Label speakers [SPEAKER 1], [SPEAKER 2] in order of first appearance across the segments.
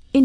[SPEAKER 1] verscheen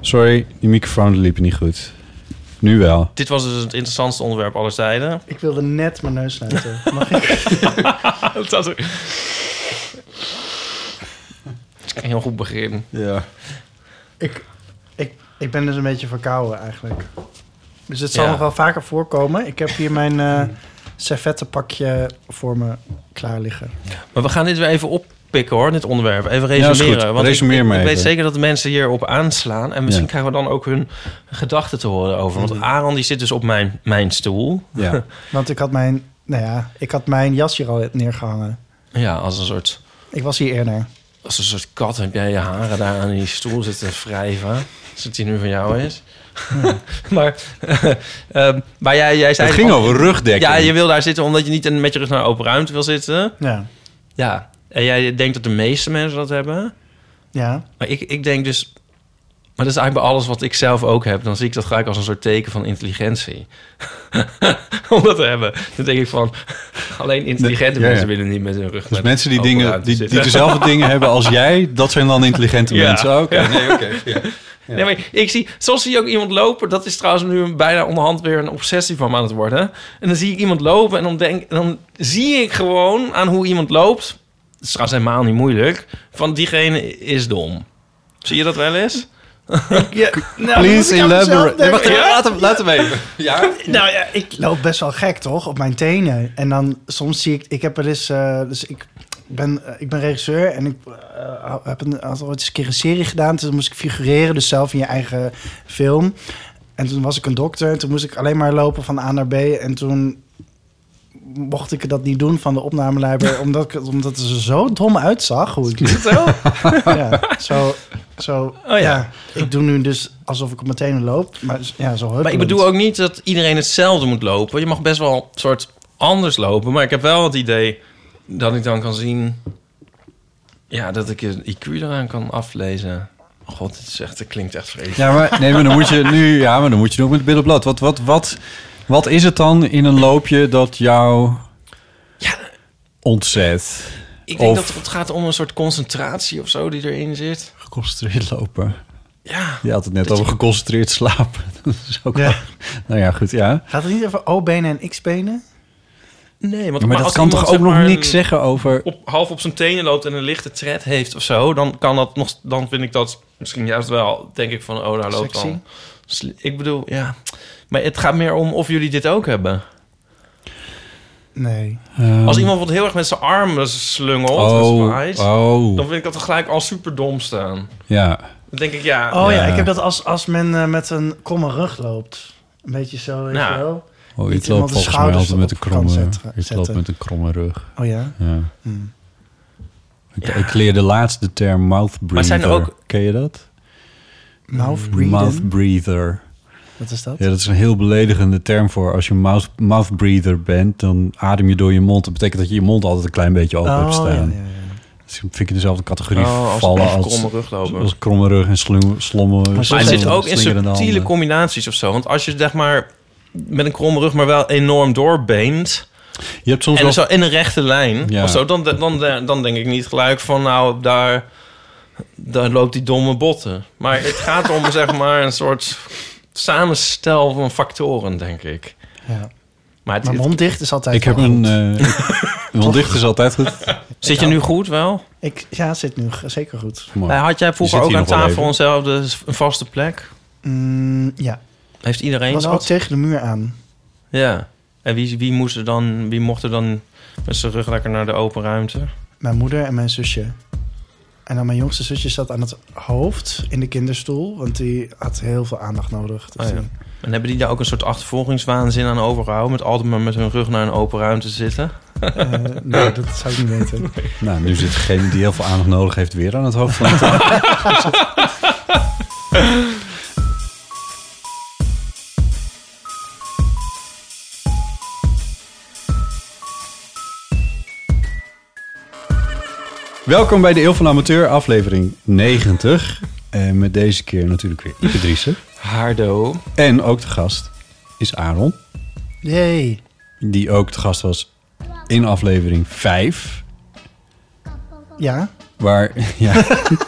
[SPEAKER 2] Sorry, die microfoon liep niet goed. Nu wel.
[SPEAKER 3] Dit was dus het interessantste onderwerp aller tijden.
[SPEAKER 4] Ik wilde net mijn neus sluiten. Mag ik?
[SPEAKER 3] dat was ook... Dat is een heel goed begin.
[SPEAKER 2] Ja.
[SPEAKER 4] ik, ik, ik ben dus een beetje verkouden eigenlijk. Dus het zal
[SPEAKER 3] Ja.
[SPEAKER 4] nog wel vaker voorkomen. Ik heb hier mijn
[SPEAKER 2] Hmm.
[SPEAKER 4] eh servettenpakje voor me klaar liggen.
[SPEAKER 3] Maar we gaan dit weer even oppikken hoor, dit onderwerp. Even
[SPEAKER 2] is goed.
[SPEAKER 3] resumeren. want ik-
[SPEAKER 2] Resumeer
[SPEAKER 3] ik,
[SPEAKER 2] maar
[SPEAKER 3] ik
[SPEAKER 2] even.
[SPEAKER 3] weet zeker dat de mensen hierop aanslaan. En misschien krijgen we dan ook hun gedachten te horen over. Want Aaron die zit dus op mijn, mijn stoel.
[SPEAKER 2] Mm. ja.
[SPEAKER 4] Want ik had mijn, nou ja, ik had mijn jas hier al neergehangen.
[SPEAKER 3] Ja, als een soort,
[SPEAKER 4] Ik was hier eerder.
[SPEAKER 3] als een soort kat heb jij je haren daar aan die stoel zitten wrijven. Als het die nu van jou is. maar ehm, maar jij, jij zei...
[SPEAKER 2] Het ging over rugdekking.
[SPEAKER 3] Ja, je wil daar zitten omdat je niet een- met je rug naar een open ruimte wil zitten.
[SPEAKER 4] Ja.
[SPEAKER 3] Ja. En jij denkt dat de meeste mensen dat hebben.
[SPEAKER 4] Ja.
[SPEAKER 3] Maar ik, ik denk dus... Maar dat is eigenlijk bij alles wat ik zelf ook heb. Dan zie ik dat gelijk als een soort teken van intelligentie. Om dat te hebben. Dan denk ik van... Alleen intelligente
[SPEAKER 2] Ja, ja.
[SPEAKER 3] mensen willen niet met hun rug
[SPEAKER 2] Dus
[SPEAKER 3] naar
[SPEAKER 2] mensen die,
[SPEAKER 3] open
[SPEAKER 2] dingen,
[SPEAKER 3] ruimte
[SPEAKER 2] die,
[SPEAKER 3] zitten.
[SPEAKER 2] die dezelfde dingen hebben als jij, dat zijn dan intelligente
[SPEAKER 3] Ja.
[SPEAKER 2] mensen. Oké, nee, oké. ja.
[SPEAKER 3] Nee, maar ik zie, soms zie je ook iemand lopen. Dat is trouwens nu een- bijna onderhand weer een obsessie van me aan het worden. En dan zie ik iemand lopen en dan, denk, dan zie ik gewoon aan hoe iemand loopt. Dat is trouwens helemaal niet moeilijk. Van diegene is dom. Zie je dat wel eens?
[SPEAKER 4] ja. Nou,
[SPEAKER 2] Please elaborate. Nee,
[SPEAKER 4] wacht,
[SPEAKER 2] wacht, even, laat hem, laat hem even. Ja?
[SPEAKER 4] Nou ja, ik loop best wel gek, toch? Op mijn tenen. En dan soms zie ik... Ik heb er eens... eh, dus ik ben, eh, ik ben regisseur en ik eh, heb een, had ooit eens een keer een serie gedaan. Toen moest ik figureren, dus zelf in je eigen film. En toen was ik een dokter. En toen moest ik alleen maar lopen van A naar B. En toen mocht ik dat niet doen van de opnameleider. omdat, ik, omdat het er zo dom uitzag. Hoe ik
[SPEAKER 3] Is dat zo? Oh
[SPEAKER 4] ja, zo... zo
[SPEAKER 3] ja.
[SPEAKER 4] ja. ik doe nu dus alsof ik op mijn tenen loop. Maar ja, zo
[SPEAKER 3] Maar ik
[SPEAKER 4] huppelend.
[SPEAKER 3] bedoel ook niet dat iedereen hetzelfde moet lopen. Je mag best wel een soort anders lopen. Maar ik heb wel het idee dat ik dan kan zien... Ja, dat ik een IQ eraan kan aflezen. God, dit, is echt, dit klinkt echt vreselijk.
[SPEAKER 2] Ja, maar, nee, maar dan moet je nu, ja, maar dan moet je doen met het blad. Wat, wat, wat, wat is het dan in een loopje dat jou ontzet?
[SPEAKER 3] Ik denk
[SPEAKER 2] Of-
[SPEAKER 3] dat het gaat om een soort concentratie of zo die erin zit.
[SPEAKER 2] Geconcentreerd lopen.
[SPEAKER 3] Ja.
[SPEAKER 2] Je had het net
[SPEAKER 3] Dat
[SPEAKER 2] over
[SPEAKER 3] je-
[SPEAKER 2] geconcentreerd slapen. Dat is ook
[SPEAKER 4] Ja.
[SPEAKER 2] wel- Nou ja, goed, ja.
[SPEAKER 4] Gaat het niet over O-benen en X-benen?
[SPEAKER 3] Nee, want
[SPEAKER 2] maar dat
[SPEAKER 3] als
[SPEAKER 2] kan
[SPEAKER 3] iemand,
[SPEAKER 2] toch ook
[SPEAKER 3] zeg
[SPEAKER 2] nog
[SPEAKER 3] maar,
[SPEAKER 2] niks
[SPEAKER 3] een-
[SPEAKER 2] zeggen over...
[SPEAKER 3] Op, half op zijn tenen loopt en een lichte tred heeft of zo, dan kan dat nog. Dan vind ik dat misschien juist wel. Denk ik van, oh, daar loopt
[SPEAKER 4] Sexy.
[SPEAKER 3] dan. sli- Ik bedoel, ja. Maar het gaat meer om of jullie dit ook hebben.
[SPEAKER 4] Nee.
[SPEAKER 2] Eh,
[SPEAKER 3] Als iemand wat heel erg met zijn armen slungelt, en
[SPEAKER 2] Ehm. Oh,
[SPEAKER 3] zwaait, dan
[SPEAKER 2] oh,
[SPEAKER 3] vind ik dat er gelijk al super dom staan.
[SPEAKER 2] ja.
[SPEAKER 3] Dan denk ik, ja.
[SPEAKER 4] Oh ja,
[SPEAKER 2] Ja.
[SPEAKER 4] ik heb dat als, als men eh, met een kromme rug loopt. Een beetje zo, weet
[SPEAKER 3] Nou.
[SPEAKER 4] je wel.
[SPEAKER 2] Oh,
[SPEAKER 4] Niet
[SPEAKER 2] ik
[SPEAKER 4] iemand
[SPEAKER 2] loop
[SPEAKER 4] de
[SPEAKER 2] volgens mij
[SPEAKER 4] schouders
[SPEAKER 2] altijd met een
[SPEAKER 4] op elkaar
[SPEAKER 2] kromme,
[SPEAKER 4] zetten.
[SPEAKER 2] ik loop met een kromme rug.
[SPEAKER 4] Oh ja?
[SPEAKER 2] Ja.
[SPEAKER 4] Hmm.
[SPEAKER 2] Ik, ik leerde laatst de term mouth breather.
[SPEAKER 3] Maar zijn er ook-
[SPEAKER 2] Ken je dat?
[SPEAKER 4] Mouth breathing.
[SPEAKER 2] Mouth breather.
[SPEAKER 4] Wat is dat?
[SPEAKER 2] Ja, dat is een heel beledigende term voor als je mouth, mouth breather bent, dan adem je door je mond. Dat betekent dat je je mond altijd een klein beetje open hebt
[SPEAKER 4] Oh, ja, ja,
[SPEAKER 2] staan.
[SPEAKER 4] ja.
[SPEAKER 2] Dus ik vind ik in dezelfde categorie
[SPEAKER 3] Oh, als
[SPEAKER 2] vallen
[SPEAKER 3] een
[SPEAKER 2] als,
[SPEAKER 3] kromme rug lopen.
[SPEAKER 2] als kromme rug en slum, slommen.
[SPEAKER 3] Maar het
[SPEAKER 4] Zo
[SPEAKER 3] zit ook in
[SPEAKER 2] slingerende
[SPEAKER 3] subtiele
[SPEAKER 2] handen.
[SPEAKER 3] combinaties of zo. Want als je zeg maar met een kromme rug, maar wel enorm doorbeent.
[SPEAKER 2] Je hebt soms
[SPEAKER 3] En
[SPEAKER 2] wel...
[SPEAKER 3] zo in een rechte lijn
[SPEAKER 2] Ja.
[SPEAKER 3] of zo. Dan, dan, dan denk ik niet gelijk van nou, daar, daar loopt die domme botten. Maar het gaat om zeg maar een soort samenstel van factoren, denk ik.
[SPEAKER 4] ja.
[SPEAKER 3] Maar, het,
[SPEAKER 4] Maar
[SPEAKER 3] het-
[SPEAKER 4] mond dicht is altijd
[SPEAKER 2] Ik heb
[SPEAKER 4] wel
[SPEAKER 2] een...
[SPEAKER 4] goed.
[SPEAKER 2] eh een ondicht is altijd goed.
[SPEAKER 3] zit je nu goed wel?
[SPEAKER 4] Ik, ja, zit nu g- zeker goed.
[SPEAKER 2] Mooi.
[SPEAKER 3] Had jij vroeger
[SPEAKER 2] Je
[SPEAKER 3] ook
[SPEAKER 2] zit
[SPEAKER 3] aan
[SPEAKER 2] hier nog wel
[SPEAKER 3] tafel
[SPEAKER 2] even.
[SPEAKER 3] eenzelfde s- een vaste plek?
[SPEAKER 4] Mm, ja.
[SPEAKER 3] Heeft iedereen
[SPEAKER 4] was
[SPEAKER 3] dat?
[SPEAKER 4] ook tegen de muur aan.
[SPEAKER 3] Ja. En wie, wie, moest er dan, wie mocht er dan met zijn rug lekker naar de open ruimte?
[SPEAKER 4] Mijn moeder en mijn zusje. En dan mijn jongste zusje zat aan het hoofd in de kinderstoel, want die had heel veel aandacht nodig. Dus
[SPEAKER 3] Oh ja.
[SPEAKER 4] die-
[SPEAKER 3] En hebben die daar ook een soort achtervolgingswaanzin aan overgehouden? Met altijd maar met hun rug naar een open ruimte zitten?
[SPEAKER 4] eh, nee, dat zou ik niet weten.
[SPEAKER 2] Nou, nu zit degene die heel veel aandacht nodig heeft weer aan het hoofd van de tafel. Welkom bij de Eeuw van de Amateur, aflevering 90. En met deze keer natuurlijk weer Ipe Driessen.
[SPEAKER 3] Hardo.
[SPEAKER 2] En ook de gast is Aaron,
[SPEAKER 4] Jee.
[SPEAKER 2] die ook de gast was in aflevering 5.
[SPEAKER 4] Ja?
[SPEAKER 2] Waar, ja,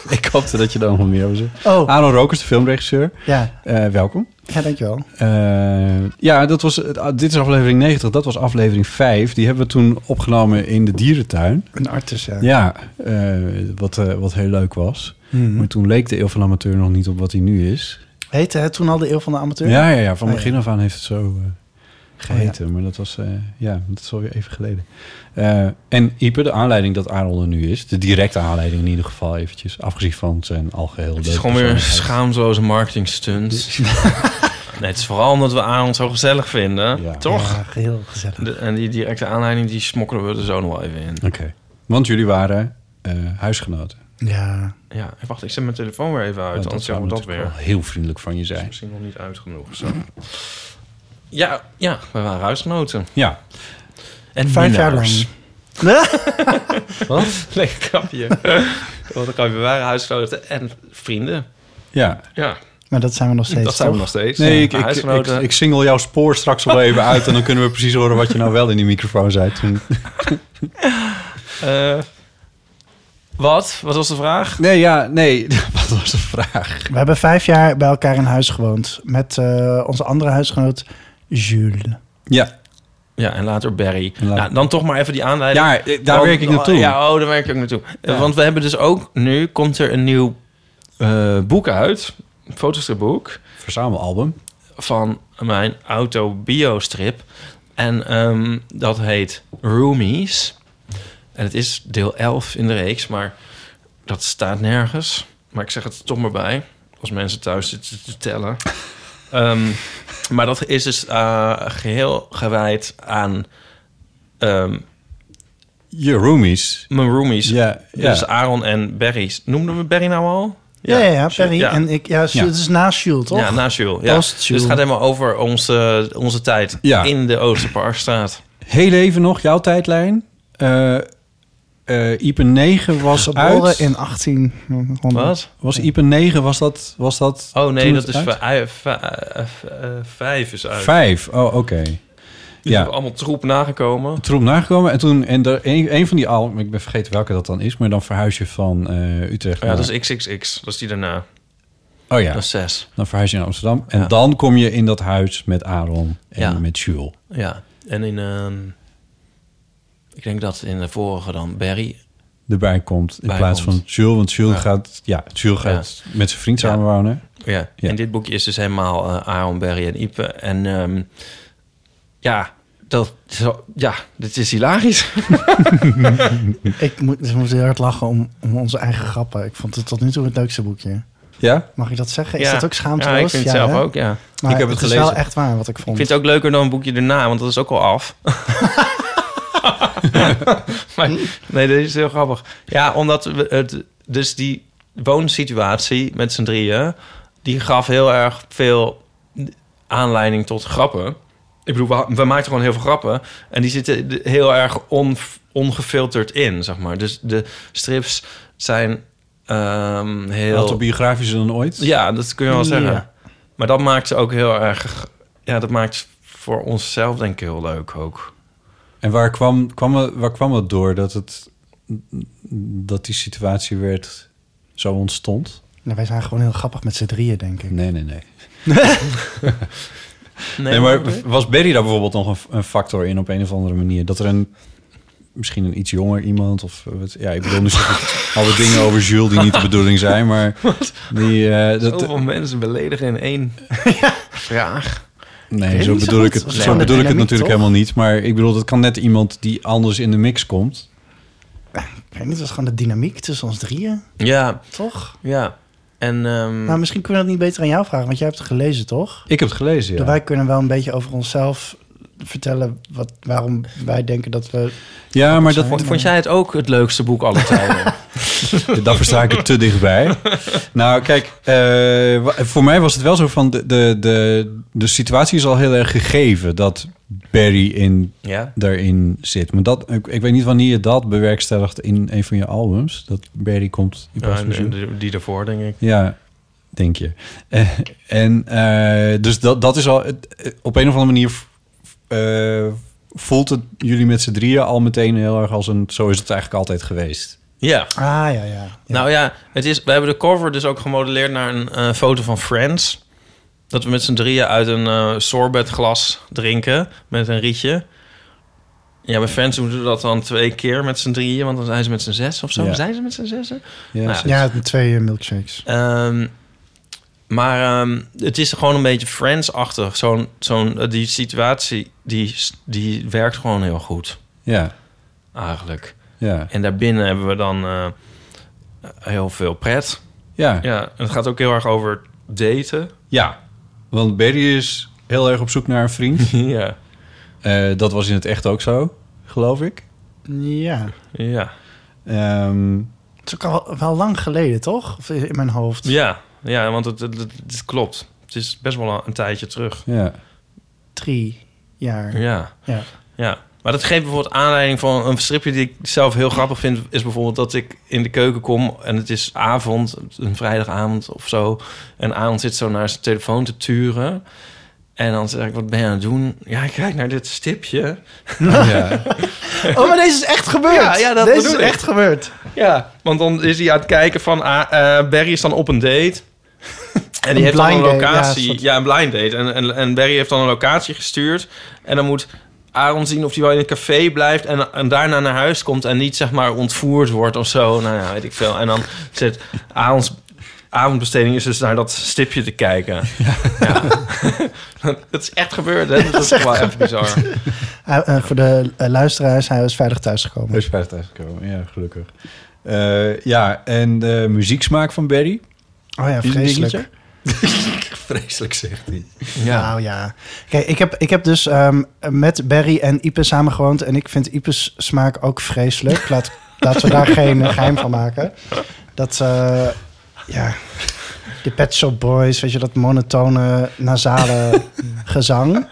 [SPEAKER 2] ik hoopte dat je daar nog wat meer over zei.
[SPEAKER 4] Oh,
[SPEAKER 2] Aaron Rokers, de filmregisseur.
[SPEAKER 4] ja.
[SPEAKER 2] Eh, welkom.
[SPEAKER 4] Ja, dankjewel.
[SPEAKER 2] Eh, ja, dat was, eh, dit is aflevering 90. Dat was aflevering 5. Die hebben we toen opgenomen in de dierentuin.
[SPEAKER 4] Een artis, ja.
[SPEAKER 2] Ja, eh, wat, eh, wat heel leuk was. Maar
[SPEAKER 4] Mhm.
[SPEAKER 2] toen leek de Eeuw van de Amateur nog niet op wat hij nu is.
[SPEAKER 4] Heette het toen al de eeuw van de amateur?
[SPEAKER 2] Ja, ja, ja van
[SPEAKER 4] Oh, ja. Oh,
[SPEAKER 2] begin af aan heeft het zo eh, geheten. Maar dat was, eh, ja, dat is alweer even geleden. Eh, en Ipe, de aanleiding dat Aaron er nu is. De directe aanleiding in ieder geval eventjes. Afgezien van zijn algeheel
[SPEAKER 3] Het is
[SPEAKER 2] leuke
[SPEAKER 3] gewoon weer een
[SPEAKER 2] persoonlijkheid.
[SPEAKER 3] schaamloze marketing stunt. nee, het is vooral omdat we Aaron zo gezellig vinden.
[SPEAKER 2] Ja.
[SPEAKER 3] Toch?
[SPEAKER 4] Ja, heel gezellig.
[SPEAKER 3] De- en die directe aanleiding, die smokkelen we er zo nog wel even in.
[SPEAKER 2] Oké. Want jullie waren eh, huisgenoten.
[SPEAKER 4] Ja.
[SPEAKER 3] Ja, en wacht, ik zet mijn telefoon weer even uit.
[SPEAKER 2] Want
[SPEAKER 3] anders
[SPEAKER 2] zou
[SPEAKER 3] zeggen we dat
[SPEAKER 2] natuurlijk
[SPEAKER 3] weer.
[SPEAKER 2] wel heel vriendelijk van je
[SPEAKER 3] Is
[SPEAKER 2] zijn.
[SPEAKER 3] misschien nog niet uit genoeg. Zo. Ja, ja, we waren huisgenoten.
[SPEAKER 2] Ja.
[SPEAKER 3] En
[SPEAKER 4] Vijf jaar
[SPEAKER 3] minnaars.
[SPEAKER 4] lang.
[SPEAKER 2] Wat?
[SPEAKER 3] Lekker grapje. Wat een grapje. We waren huisgenoten en vrienden.
[SPEAKER 2] Ja.
[SPEAKER 3] Ja,
[SPEAKER 4] Maar dat zijn we nog steeds,
[SPEAKER 3] dat zijn we
[SPEAKER 4] toch?
[SPEAKER 3] nog steeds.
[SPEAKER 2] Nee, ik,
[SPEAKER 3] Maar
[SPEAKER 2] ik, ik,
[SPEAKER 3] huisgenoten.
[SPEAKER 2] ik single jouw spoor straks wel even uit... en dan kunnen we precies horen wat je nou wel in die microfoon zei toen.
[SPEAKER 3] Eh, wat? Wat was de vraag?
[SPEAKER 2] Nee, ja, nee. Wat was de vraag?
[SPEAKER 4] We hebben vijf jaar bij elkaar in huis gewoond. Met eh, onze andere huisgenoot, Jules.
[SPEAKER 2] Ja,
[SPEAKER 3] Ja, en later Barry.
[SPEAKER 2] En later-
[SPEAKER 3] Nou, dan toch maar even die aanleiding.
[SPEAKER 2] ja eh, daar
[SPEAKER 3] Want-
[SPEAKER 2] werk ik naartoe.
[SPEAKER 3] Ja, oh, daar werk ik ook naartoe. Eh, Want we hebben dus ook... Nu komt er een nieuw eh, boek uit. Een fotostripboek.
[SPEAKER 2] Verzamelalbum.
[SPEAKER 3] Van mijn autobiostrip. En ehm, dat heet Roomies. En het is deel 11 in de reeks. Maar dat staat nergens. Maar ik zeg het er toch maar bij. Als mensen thuis zitten te tellen. Ehm, maar dat is dus eh, geheel gewijd aan... ehm,
[SPEAKER 2] Je roomies.
[SPEAKER 3] Mijn roomies.
[SPEAKER 2] Ja, ja.
[SPEAKER 3] Dus Aaron en Barry. Noemden we Barry nou al?
[SPEAKER 4] Ja, ja, ja, Perry.
[SPEAKER 3] Ja.
[SPEAKER 4] En ik, ja, Jules,
[SPEAKER 2] Ja.
[SPEAKER 4] het is na Jules, toch?
[SPEAKER 3] Ja, na Jules. Ja. Dus
[SPEAKER 4] Post
[SPEAKER 3] het gaat helemaal over onze, onze tijd
[SPEAKER 2] Ja.
[SPEAKER 3] in de Oosterparkstraat.
[SPEAKER 2] Heel even nog, jouw tijdlijn. Eh eh Ipe 9 was
[SPEAKER 4] Geboren
[SPEAKER 2] uit.
[SPEAKER 4] in 1800.
[SPEAKER 3] Wat?
[SPEAKER 2] Was Ipe 9, was dat... Was dat
[SPEAKER 3] Oh nee,
[SPEAKER 2] toen
[SPEAKER 3] dat
[SPEAKER 2] het
[SPEAKER 3] is
[SPEAKER 2] uit?
[SPEAKER 3] vij- vij- eh, eh, vijf is uit.
[SPEAKER 2] Vijf, oh oké.
[SPEAKER 3] Dus we hebben allemaal troep nagekomen.
[SPEAKER 2] troep nagekomen. En toen, en er, een, een van die al, ik ben vergeten welke dat dan is, maar dan verhuis je van eh, Utrecht.
[SPEAKER 3] Ja,
[SPEAKER 2] naar-
[SPEAKER 3] dat is XXX. Dat is die daarna.
[SPEAKER 2] oh ja,
[SPEAKER 3] Dat is zes.
[SPEAKER 2] dan verhuis je naar Amsterdam. En
[SPEAKER 3] Ja.
[SPEAKER 2] dan kom je in dat huis met Aaron en
[SPEAKER 3] Ja.
[SPEAKER 2] met Jules.
[SPEAKER 3] Ja. En in... ehm, ik denk dat in de vorige dan Barry.
[SPEAKER 2] Erbij komt in
[SPEAKER 3] Bij
[SPEAKER 2] plaats
[SPEAKER 3] komt.
[SPEAKER 2] van Jules, want Jules
[SPEAKER 3] Ja.
[SPEAKER 2] gaat, ja, Jules
[SPEAKER 3] Ja.
[SPEAKER 2] gaat met zijn vriend
[SPEAKER 3] Ja.
[SPEAKER 2] samenwonen.
[SPEAKER 3] Ja.
[SPEAKER 2] Ja.
[SPEAKER 3] En dit boekje is dus helemaal eh, Aaron, Barry en Ipe. En ehm, ja, dat, zo- ja, dit is hilarisch.
[SPEAKER 4] Ik moet, dus we moeten heel hard lachen om, om onze eigen grappen. Ik vond het tot nu toe het leukste boekje.
[SPEAKER 2] Ja?
[SPEAKER 4] Mag ik dat zeggen? Is
[SPEAKER 3] Ja.
[SPEAKER 4] dat ook schaamteloos?
[SPEAKER 3] Ja, ik vind het zelf
[SPEAKER 4] hè?
[SPEAKER 3] ook, ja.
[SPEAKER 4] Maar
[SPEAKER 2] Ik heb het
[SPEAKER 4] is wel
[SPEAKER 2] gelezen.
[SPEAKER 4] echt waar wat ik vond.
[SPEAKER 3] Ik vind het ook leuker dan een boekje erna, want dat is ook al af. maar, nee, dit is heel grappig. Ja, omdat we het, dus die woonsituatie met z'n drieën, die gaf heel erg veel aanleiding tot grappen. Ik bedoel, we, we maakten gewoon heel veel grappen en die zitten de- heel erg on, ongefilterd in, zeg maar. Dus de strips zijn ehm, heel
[SPEAKER 2] Autobiografischer dan ooit.
[SPEAKER 3] ja, dat kun je wel
[SPEAKER 4] Ja.
[SPEAKER 3] zeggen. Maar dat maakt ze ook heel erg... Ja, dat maakt voor onszelf denk ik heel leuk ook.
[SPEAKER 2] En waar kwam, kwam, het- waar kwam het door dat, het, dat die situatie werd, zo ontstond?
[SPEAKER 4] Nou, wij zijn gewoon heel grappig met z'n drieën, denk ik.
[SPEAKER 2] Nee, nee, nee. Nee, maar was Barry daar bijvoorbeeld nog een, f- een factor in op een of andere manier? Dat er een misschien een iets jonger iemand of eh, wat, ja, ik bedoel nu zeg ik alle dingen over Jules die niet de bedoeling zijn, maar die eh, dat
[SPEAKER 3] Zoveel mensen beledigen in één... vraag.
[SPEAKER 2] Nee,
[SPEAKER 4] weet
[SPEAKER 2] zo
[SPEAKER 4] niet zo
[SPEAKER 2] bedoel ik
[SPEAKER 4] goed.
[SPEAKER 2] het,
[SPEAKER 4] Dat is
[SPEAKER 2] zo
[SPEAKER 4] gewoon de
[SPEAKER 2] bedoel ik het
[SPEAKER 4] dynamiek,
[SPEAKER 2] natuurlijk
[SPEAKER 4] toch?
[SPEAKER 2] helemaal niet. Maar ik bedoel, dat kan net iemand die anders in de mix komt.
[SPEAKER 4] Ik weet niet, dat is gewoon de dynamiek tussen ons drieën,
[SPEAKER 3] Ja,
[SPEAKER 4] toch?
[SPEAKER 3] ja. En ehm,
[SPEAKER 4] Nou, misschien kunnen we dat niet beter aan jou vragen, want jij hebt het gelezen, toch? Dus
[SPEAKER 2] Ik heb het gelezen, ja.
[SPEAKER 4] Wij kunnen wel een beetje over onszelf vertellen wat, waarom wij denken dat we...
[SPEAKER 2] Ja, maar dat,
[SPEAKER 3] vond, vond jij het ook het leukste boek aller tijden?
[SPEAKER 2] dan versta ik het te dichtbij. Nou, kijk, eh, wa- voor mij was het wel zo van... De, de, de, de situatie is al heel erg gegeven dat Barry in,
[SPEAKER 3] ja.
[SPEAKER 2] daarin zit. Maar dat, ik, ik weet niet wanneer je dat bewerkstelligt in een van je albums. Dat Barry komt in
[SPEAKER 3] Ja,
[SPEAKER 2] plaats
[SPEAKER 3] en-
[SPEAKER 2] van
[SPEAKER 3] en
[SPEAKER 2] Jules.
[SPEAKER 3] die- die ervoor, denk ik.
[SPEAKER 2] Ja, denk je. Eh, en eh, dus dat, dat is al... het- eh, Op een of andere manier eh, voelt het jullie met z'n drieën al meteen heel erg als een... Zo is het eigenlijk altijd geweest.
[SPEAKER 3] Ja.
[SPEAKER 4] Ah, ja, ja. ja.
[SPEAKER 3] Nou ja, het is, we hebben de cover dus ook gemodelleerd naar een eh, foto van Friends. Dat we met z'n drieën uit een eh, sorbetglas drinken met een rietje. Ja, bij Friends doen we dat dan twee keer met z'n drieën, want dan zijn ze met z'n zes of zo.
[SPEAKER 2] Ja.
[SPEAKER 3] Zijn ze met z'n zessen?
[SPEAKER 2] Ja,
[SPEAKER 3] Nou,
[SPEAKER 2] zo-
[SPEAKER 4] Ja, het met twee eh, milkshakes.
[SPEAKER 3] Ehm, maar ehm, het is gewoon een beetje Friends-achtig. Zo'n, zo'n, eh, die situatie, die, die werkt gewoon heel goed,
[SPEAKER 2] ja.
[SPEAKER 3] eigenlijk.
[SPEAKER 2] ja.
[SPEAKER 3] En daarbinnen hebben we dan eh, heel veel pret.
[SPEAKER 2] Ja,
[SPEAKER 3] Ja, en het gaat ook heel erg over daten.
[SPEAKER 2] ja. Want Barry is heel erg op zoek naar een vriend.
[SPEAKER 3] ja.
[SPEAKER 2] Eh, dat was in het echt ook zo, geloof ik.
[SPEAKER 4] Ja,
[SPEAKER 3] Ja.
[SPEAKER 2] Ehm,
[SPEAKER 4] het is ook al wel lang geleden, toch? Of in mijn hoofd.
[SPEAKER 3] Ja, ja want het, het, het- het klopt. Het is best wel een, een tijdje terug.
[SPEAKER 2] ja.
[SPEAKER 4] Drie jaar.
[SPEAKER 3] Ja.
[SPEAKER 4] Ja.
[SPEAKER 3] ja. Maar dat geeft bijvoorbeeld aanleiding van een stripje die ik zelf heel grappig vind. Is bijvoorbeeld dat ik in de keuken kom en het is avond, een vrijdagavond of zo. En Aaron zit zo naar zijn telefoon te turen. En dan zeg ik, wat ben je aan het doen? Ja, ik kijk naar dit stipje.
[SPEAKER 2] ja.
[SPEAKER 4] Oh, maar deze is echt gebeurd.
[SPEAKER 3] Ja, ja, dat
[SPEAKER 4] deze is
[SPEAKER 3] bedoel ik.
[SPEAKER 4] echt gebeurd.
[SPEAKER 3] Ja, want dan is hij aan het kijken van... ah, eh, Barry is dan op een date. En die
[SPEAKER 4] Een
[SPEAKER 3] heeft dan een
[SPEAKER 4] blind date,
[SPEAKER 3] locatie.
[SPEAKER 4] ja,
[SPEAKER 3] Ja,
[SPEAKER 4] soort-
[SPEAKER 3] een blind date. En, en, en Barry heeft dan een locatie gestuurd. En dan moet Aaron zien of hij wel in een café blijft... En, en daarna naar huis komt en niet zeg maar ontvoerd wordt of zo. Nou ja, weet ik veel. En dan zit Aarons avondbesteding is dus naar dat stipje te kijken. Ja. dat is echt gebeurd, hè? Dat, is wel echt bizar.
[SPEAKER 4] Hij- eh, voor de eh, luisteraars, hij is veilig thuisgekomen.
[SPEAKER 2] Hij is veilig thuisgekomen, ja, gelukkig. Eh, ja, en de muzieksmaak van Barry.
[SPEAKER 4] Oh ja, vreselijk.
[SPEAKER 2] Vreselijk, zegt hij.
[SPEAKER 3] Ja.
[SPEAKER 4] Nou ja. Kijk, ik heb, ik heb dus ehm, met Barry en Ipe samengewoond. En ik vind Ipe's smaak ook vreselijk. Laat, laten we daar geen geheim van maken. Dat, eh, ja... De Pet Shop Boys, weet je, dat monotone, nasale gezang.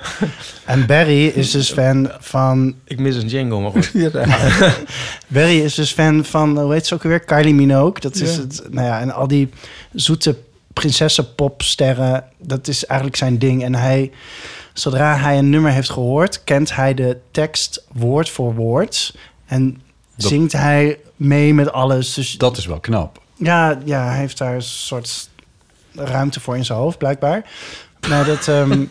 [SPEAKER 4] En Barry is dus fan van...
[SPEAKER 3] Ik mis een jingle, maar goed.
[SPEAKER 4] Barry is dus fan van, hoe heet ze ook weer? Kylie Minogue. Dat is het, nou ja, en al die zoete prinsessenpopsterren, dat is eigenlijk zijn ding. En hij, zodra hij een nummer heeft gehoord, kent hij de tekst woord voor woord. En
[SPEAKER 2] Dat-
[SPEAKER 4] zingt hij mee met alles. Dus
[SPEAKER 2] Dat is wel knap.
[SPEAKER 4] ja, ja, hij heeft daar een soort ruimte voor in zijn hoofd, blijkbaar. Maar dat... ehm,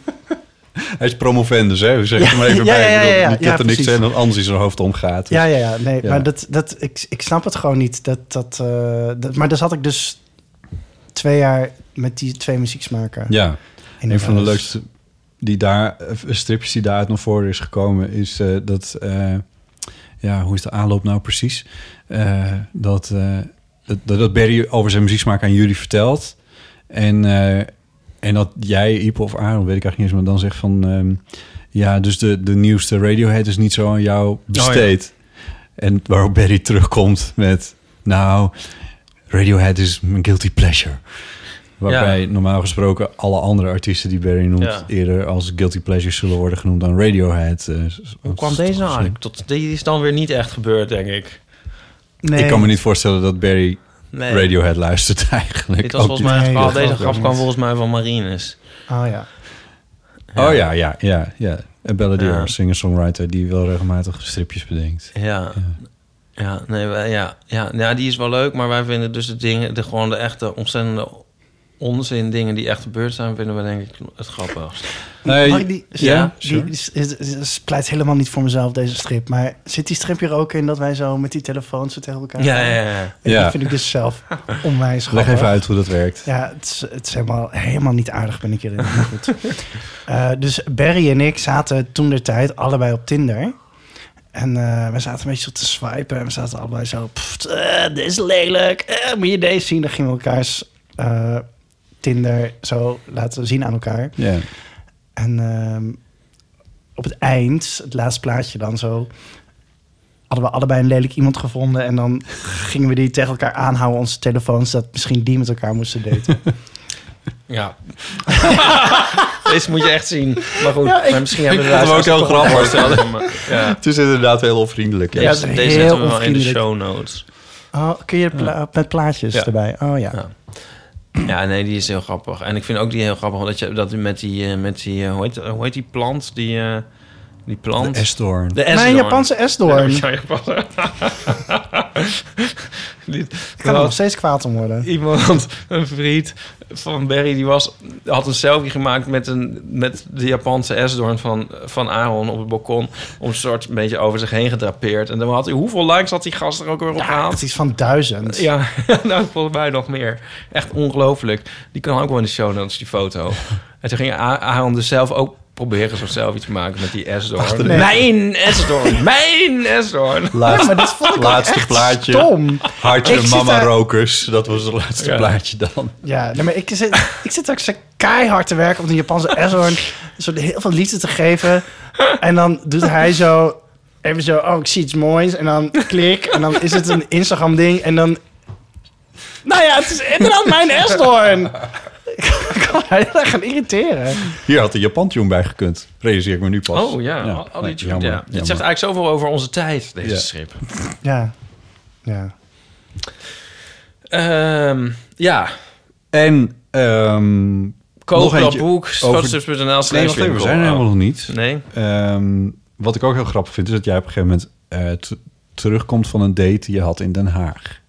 [SPEAKER 2] Hij is promovendus, hè? Zeg het
[SPEAKER 4] Ja,
[SPEAKER 2] maar even
[SPEAKER 4] ja,
[SPEAKER 2] bij.
[SPEAKER 4] ja, ja,
[SPEAKER 2] Ik bedoel,
[SPEAKER 4] ja,
[SPEAKER 2] niet
[SPEAKER 4] ja,
[SPEAKER 2] dat er niks
[SPEAKER 4] precies.
[SPEAKER 2] en dat anders in zijn hoofd omgaat. dus-
[SPEAKER 4] Ja, ja, ja. Nee,
[SPEAKER 2] Ja.
[SPEAKER 4] maar dat, dat, ik, ik snap het gewoon niet. Dat, dat, eh, dat, maar daar zat ik dus twee jaar met die twee muzieksmaken.
[SPEAKER 2] ja.
[SPEAKER 4] in
[SPEAKER 2] Een van de
[SPEAKER 4] huis.
[SPEAKER 2] leukste die daar, eh, stripjes die daaruit naar voren is gekomen, is eh, dat. eh, ja, hoe is de aanloop nou precies? Eh, dat, eh, dat, dat Barry over zijn muzieksmaak aan jullie vertelt. En, eh, en dat jij, Iep of Aaron, weet ik eigenlijk niet eens, maar dan zegt van. ehm, ja, dus de, de nieuwste Radiohead is niet zo aan jou besteed. En waarop Barry terugkomt met. Nou, Radiohead is mijn guilty pleasure. Waarbij normaal gesproken alle andere artiesten die Barry noemt...
[SPEAKER 3] Ja.
[SPEAKER 2] eerder als guilty pleasures zullen worden genoemd dan Radiohead. Eh,
[SPEAKER 3] Hoe
[SPEAKER 2] dat
[SPEAKER 3] kwam
[SPEAKER 2] is
[SPEAKER 3] deze
[SPEAKER 2] toch
[SPEAKER 3] nou
[SPEAKER 2] zo.
[SPEAKER 3] eigenlijk? Tot, die is dan weer niet echt gebeurd, denk ik.
[SPEAKER 4] Nee,
[SPEAKER 2] Ik kan me niet voorstellen dat Barry
[SPEAKER 3] Nee.
[SPEAKER 2] Radiohead luistert eigenlijk.
[SPEAKER 3] Dit was
[SPEAKER 2] Ook
[SPEAKER 3] volgens mij
[SPEAKER 4] niet.
[SPEAKER 3] het
[SPEAKER 4] Nee,
[SPEAKER 3] verhaal.
[SPEAKER 4] dat
[SPEAKER 3] Oh, Deze
[SPEAKER 4] geloof ik
[SPEAKER 3] grap
[SPEAKER 4] ook
[SPEAKER 3] kwam
[SPEAKER 4] niet.
[SPEAKER 3] volgens mij van Marinus.
[SPEAKER 4] Oh ja.
[SPEAKER 2] niet. Oh ja, ja, ja. ja. En Bella
[SPEAKER 3] Ja.
[SPEAKER 2] Dior, singer-songwriter... die wel regelmatig stripjes bedenkt.
[SPEAKER 3] Ja. Ja, nee, wij- ja, ja, ja, die is wel leuk, maar wij vinden dus de dingen, de, gewoon de echte ontzettende onzin, dingen die echt gebeurd zijn, vinden we denk ik het grappigst.
[SPEAKER 2] Nee,
[SPEAKER 4] Mag ik die,
[SPEAKER 2] ja,
[SPEAKER 4] die-
[SPEAKER 2] sure.
[SPEAKER 4] die is, is- is- pleit helemaal niet voor mezelf, deze strip. Maar zit die strip hier ook in dat wij zo met die telefoons zo tegen elkaar
[SPEAKER 3] Ja,
[SPEAKER 4] gaan?
[SPEAKER 3] ja, ja.
[SPEAKER 4] En
[SPEAKER 2] Ja.
[SPEAKER 4] Dat vind ik dus zelf onwijs
[SPEAKER 2] Leg
[SPEAKER 4] grappig.
[SPEAKER 2] even uit hoe dat werkt.
[SPEAKER 4] Ja, het is, het is helemaal, helemaal niet aardig ben ik hierin. maar goed. Eh, dus Barry en ik zaten toen de tijd allebei op Tinder. En eh, we zaten een beetje zo te swipen. En we zaten allebei zo... "Pff, eh, dit is lelijk. eh, moet je deze zien? Dan gingen we elkaars eh, Tinder zo laten zien aan elkaar.
[SPEAKER 2] Ja.
[SPEAKER 4] En ehm, op het eind, het laatste plaatje dan zo... hadden we allebei een lelijk iemand gevonden... en dan gingen we die tegen elkaar aanhouden, onze telefoons... dat misschien die met elkaar moesten daten.
[SPEAKER 3] ja. Deze moet je echt zien. Maar goed,
[SPEAKER 4] Ja, ik-
[SPEAKER 3] maar misschien
[SPEAKER 2] ik
[SPEAKER 3] hebben we
[SPEAKER 2] vond hem ook heel
[SPEAKER 3] luisteraars toch wel voorstellen. Ja.
[SPEAKER 2] Het is inderdaad heel onvriendelijk.
[SPEAKER 3] Ja,
[SPEAKER 2] Ja.
[SPEAKER 4] is
[SPEAKER 3] deze
[SPEAKER 4] heel
[SPEAKER 3] zetten we wel in de
[SPEAKER 4] onvriendelijk.
[SPEAKER 3] show notes.
[SPEAKER 4] Oh, kun je pla- met plaatjes
[SPEAKER 3] Ja.
[SPEAKER 4] erbij? Oh ja.
[SPEAKER 3] Ja. Ja, nee, die is heel grappig. En ik vind ook die heel grappig, dat je dat met die, eh, met die eh, hoe, heet, hoe heet die plant? Die, eh, die plant.
[SPEAKER 2] De S-doorn.
[SPEAKER 3] De
[SPEAKER 4] Mijn
[SPEAKER 3] esdoorn.
[SPEAKER 4] Japanse esdoorn.
[SPEAKER 3] Ja, Japanse. Die-
[SPEAKER 4] Ik kan er nog steeds kwaad om worden.
[SPEAKER 3] iemand, een vriend van Barry, die was, had een selfie gemaakt met, een, met de Japanse esdoorn van, van Aaron op het balkon. Om een soort een beetje over zich heen gedrapeerd. En dan had hij, hoeveel likes had die gast er ook weer op
[SPEAKER 4] Ja, het
[SPEAKER 3] gehaald?
[SPEAKER 4] is van duizend.
[SPEAKER 3] Ja, nou volgens mij nog meer. Echt ongelooflijk. Die kan ook wel in de show notes, die foto. En toen ging A- Aaron dus zelf ook proberen zo'n selfie te maken met die esdoorn.
[SPEAKER 4] nee.
[SPEAKER 3] Mijn esdoorn, mijn esdoorn.
[SPEAKER 4] Ja,
[SPEAKER 2] Laatste,
[SPEAKER 4] maar dat vond ik
[SPEAKER 2] laatste
[SPEAKER 4] echt
[SPEAKER 2] plaatje.
[SPEAKER 4] stom. Ik
[SPEAKER 2] Hartje
[SPEAKER 4] zit
[SPEAKER 2] mama
[SPEAKER 4] daar-
[SPEAKER 2] rokers. Dat was het laatste
[SPEAKER 3] Ja.
[SPEAKER 2] plaatje dan.
[SPEAKER 4] Ja, nee, maar ik zit, ik zit ook zo keihard te werken om de Japanse esdoorn een soort heel veel liefde te geven. En dan doet hij zo even zo, oh, ik zie iets moois. En dan klik en dan is het een Instagram ding. En dan, nou ja, het is inderdaad mijn esdoorn. Ik kan mij heel erg gaan irriteren.
[SPEAKER 2] Hier had de Japan-tune bij gekund. Realiseer ik me nu pas.
[SPEAKER 3] Oh ja, al, al die
[SPEAKER 2] nee,
[SPEAKER 3] tune-
[SPEAKER 2] jammer,
[SPEAKER 3] ja.
[SPEAKER 2] jammer.
[SPEAKER 3] Het zegt eigenlijk zoveel over onze tijd, deze
[SPEAKER 2] Ja.
[SPEAKER 3] strip.
[SPEAKER 4] Ja, ja.
[SPEAKER 3] Ehm, ja,
[SPEAKER 2] En... ehm
[SPEAKER 3] koop
[SPEAKER 2] Nog
[SPEAKER 3] dat
[SPEAKER 2] eentje
[SPEAKER 3] boek,
[SPEAKER 2] over-
[SPEAKER 3] schotstips.nl slash
[SPEAKER 2] nee, wacht even. We
[SPEAKER 3] winkel.
[SPEAKER 2] zijn er helemaal nog niet.
[SPEAKER 3] Oh. Nee?
[SPEAKER 2] Ehm, wat ik ook heel grappig vind, is dat jij op een gegeven moment eh, t- terugkomt van een date die je had in Den Haag.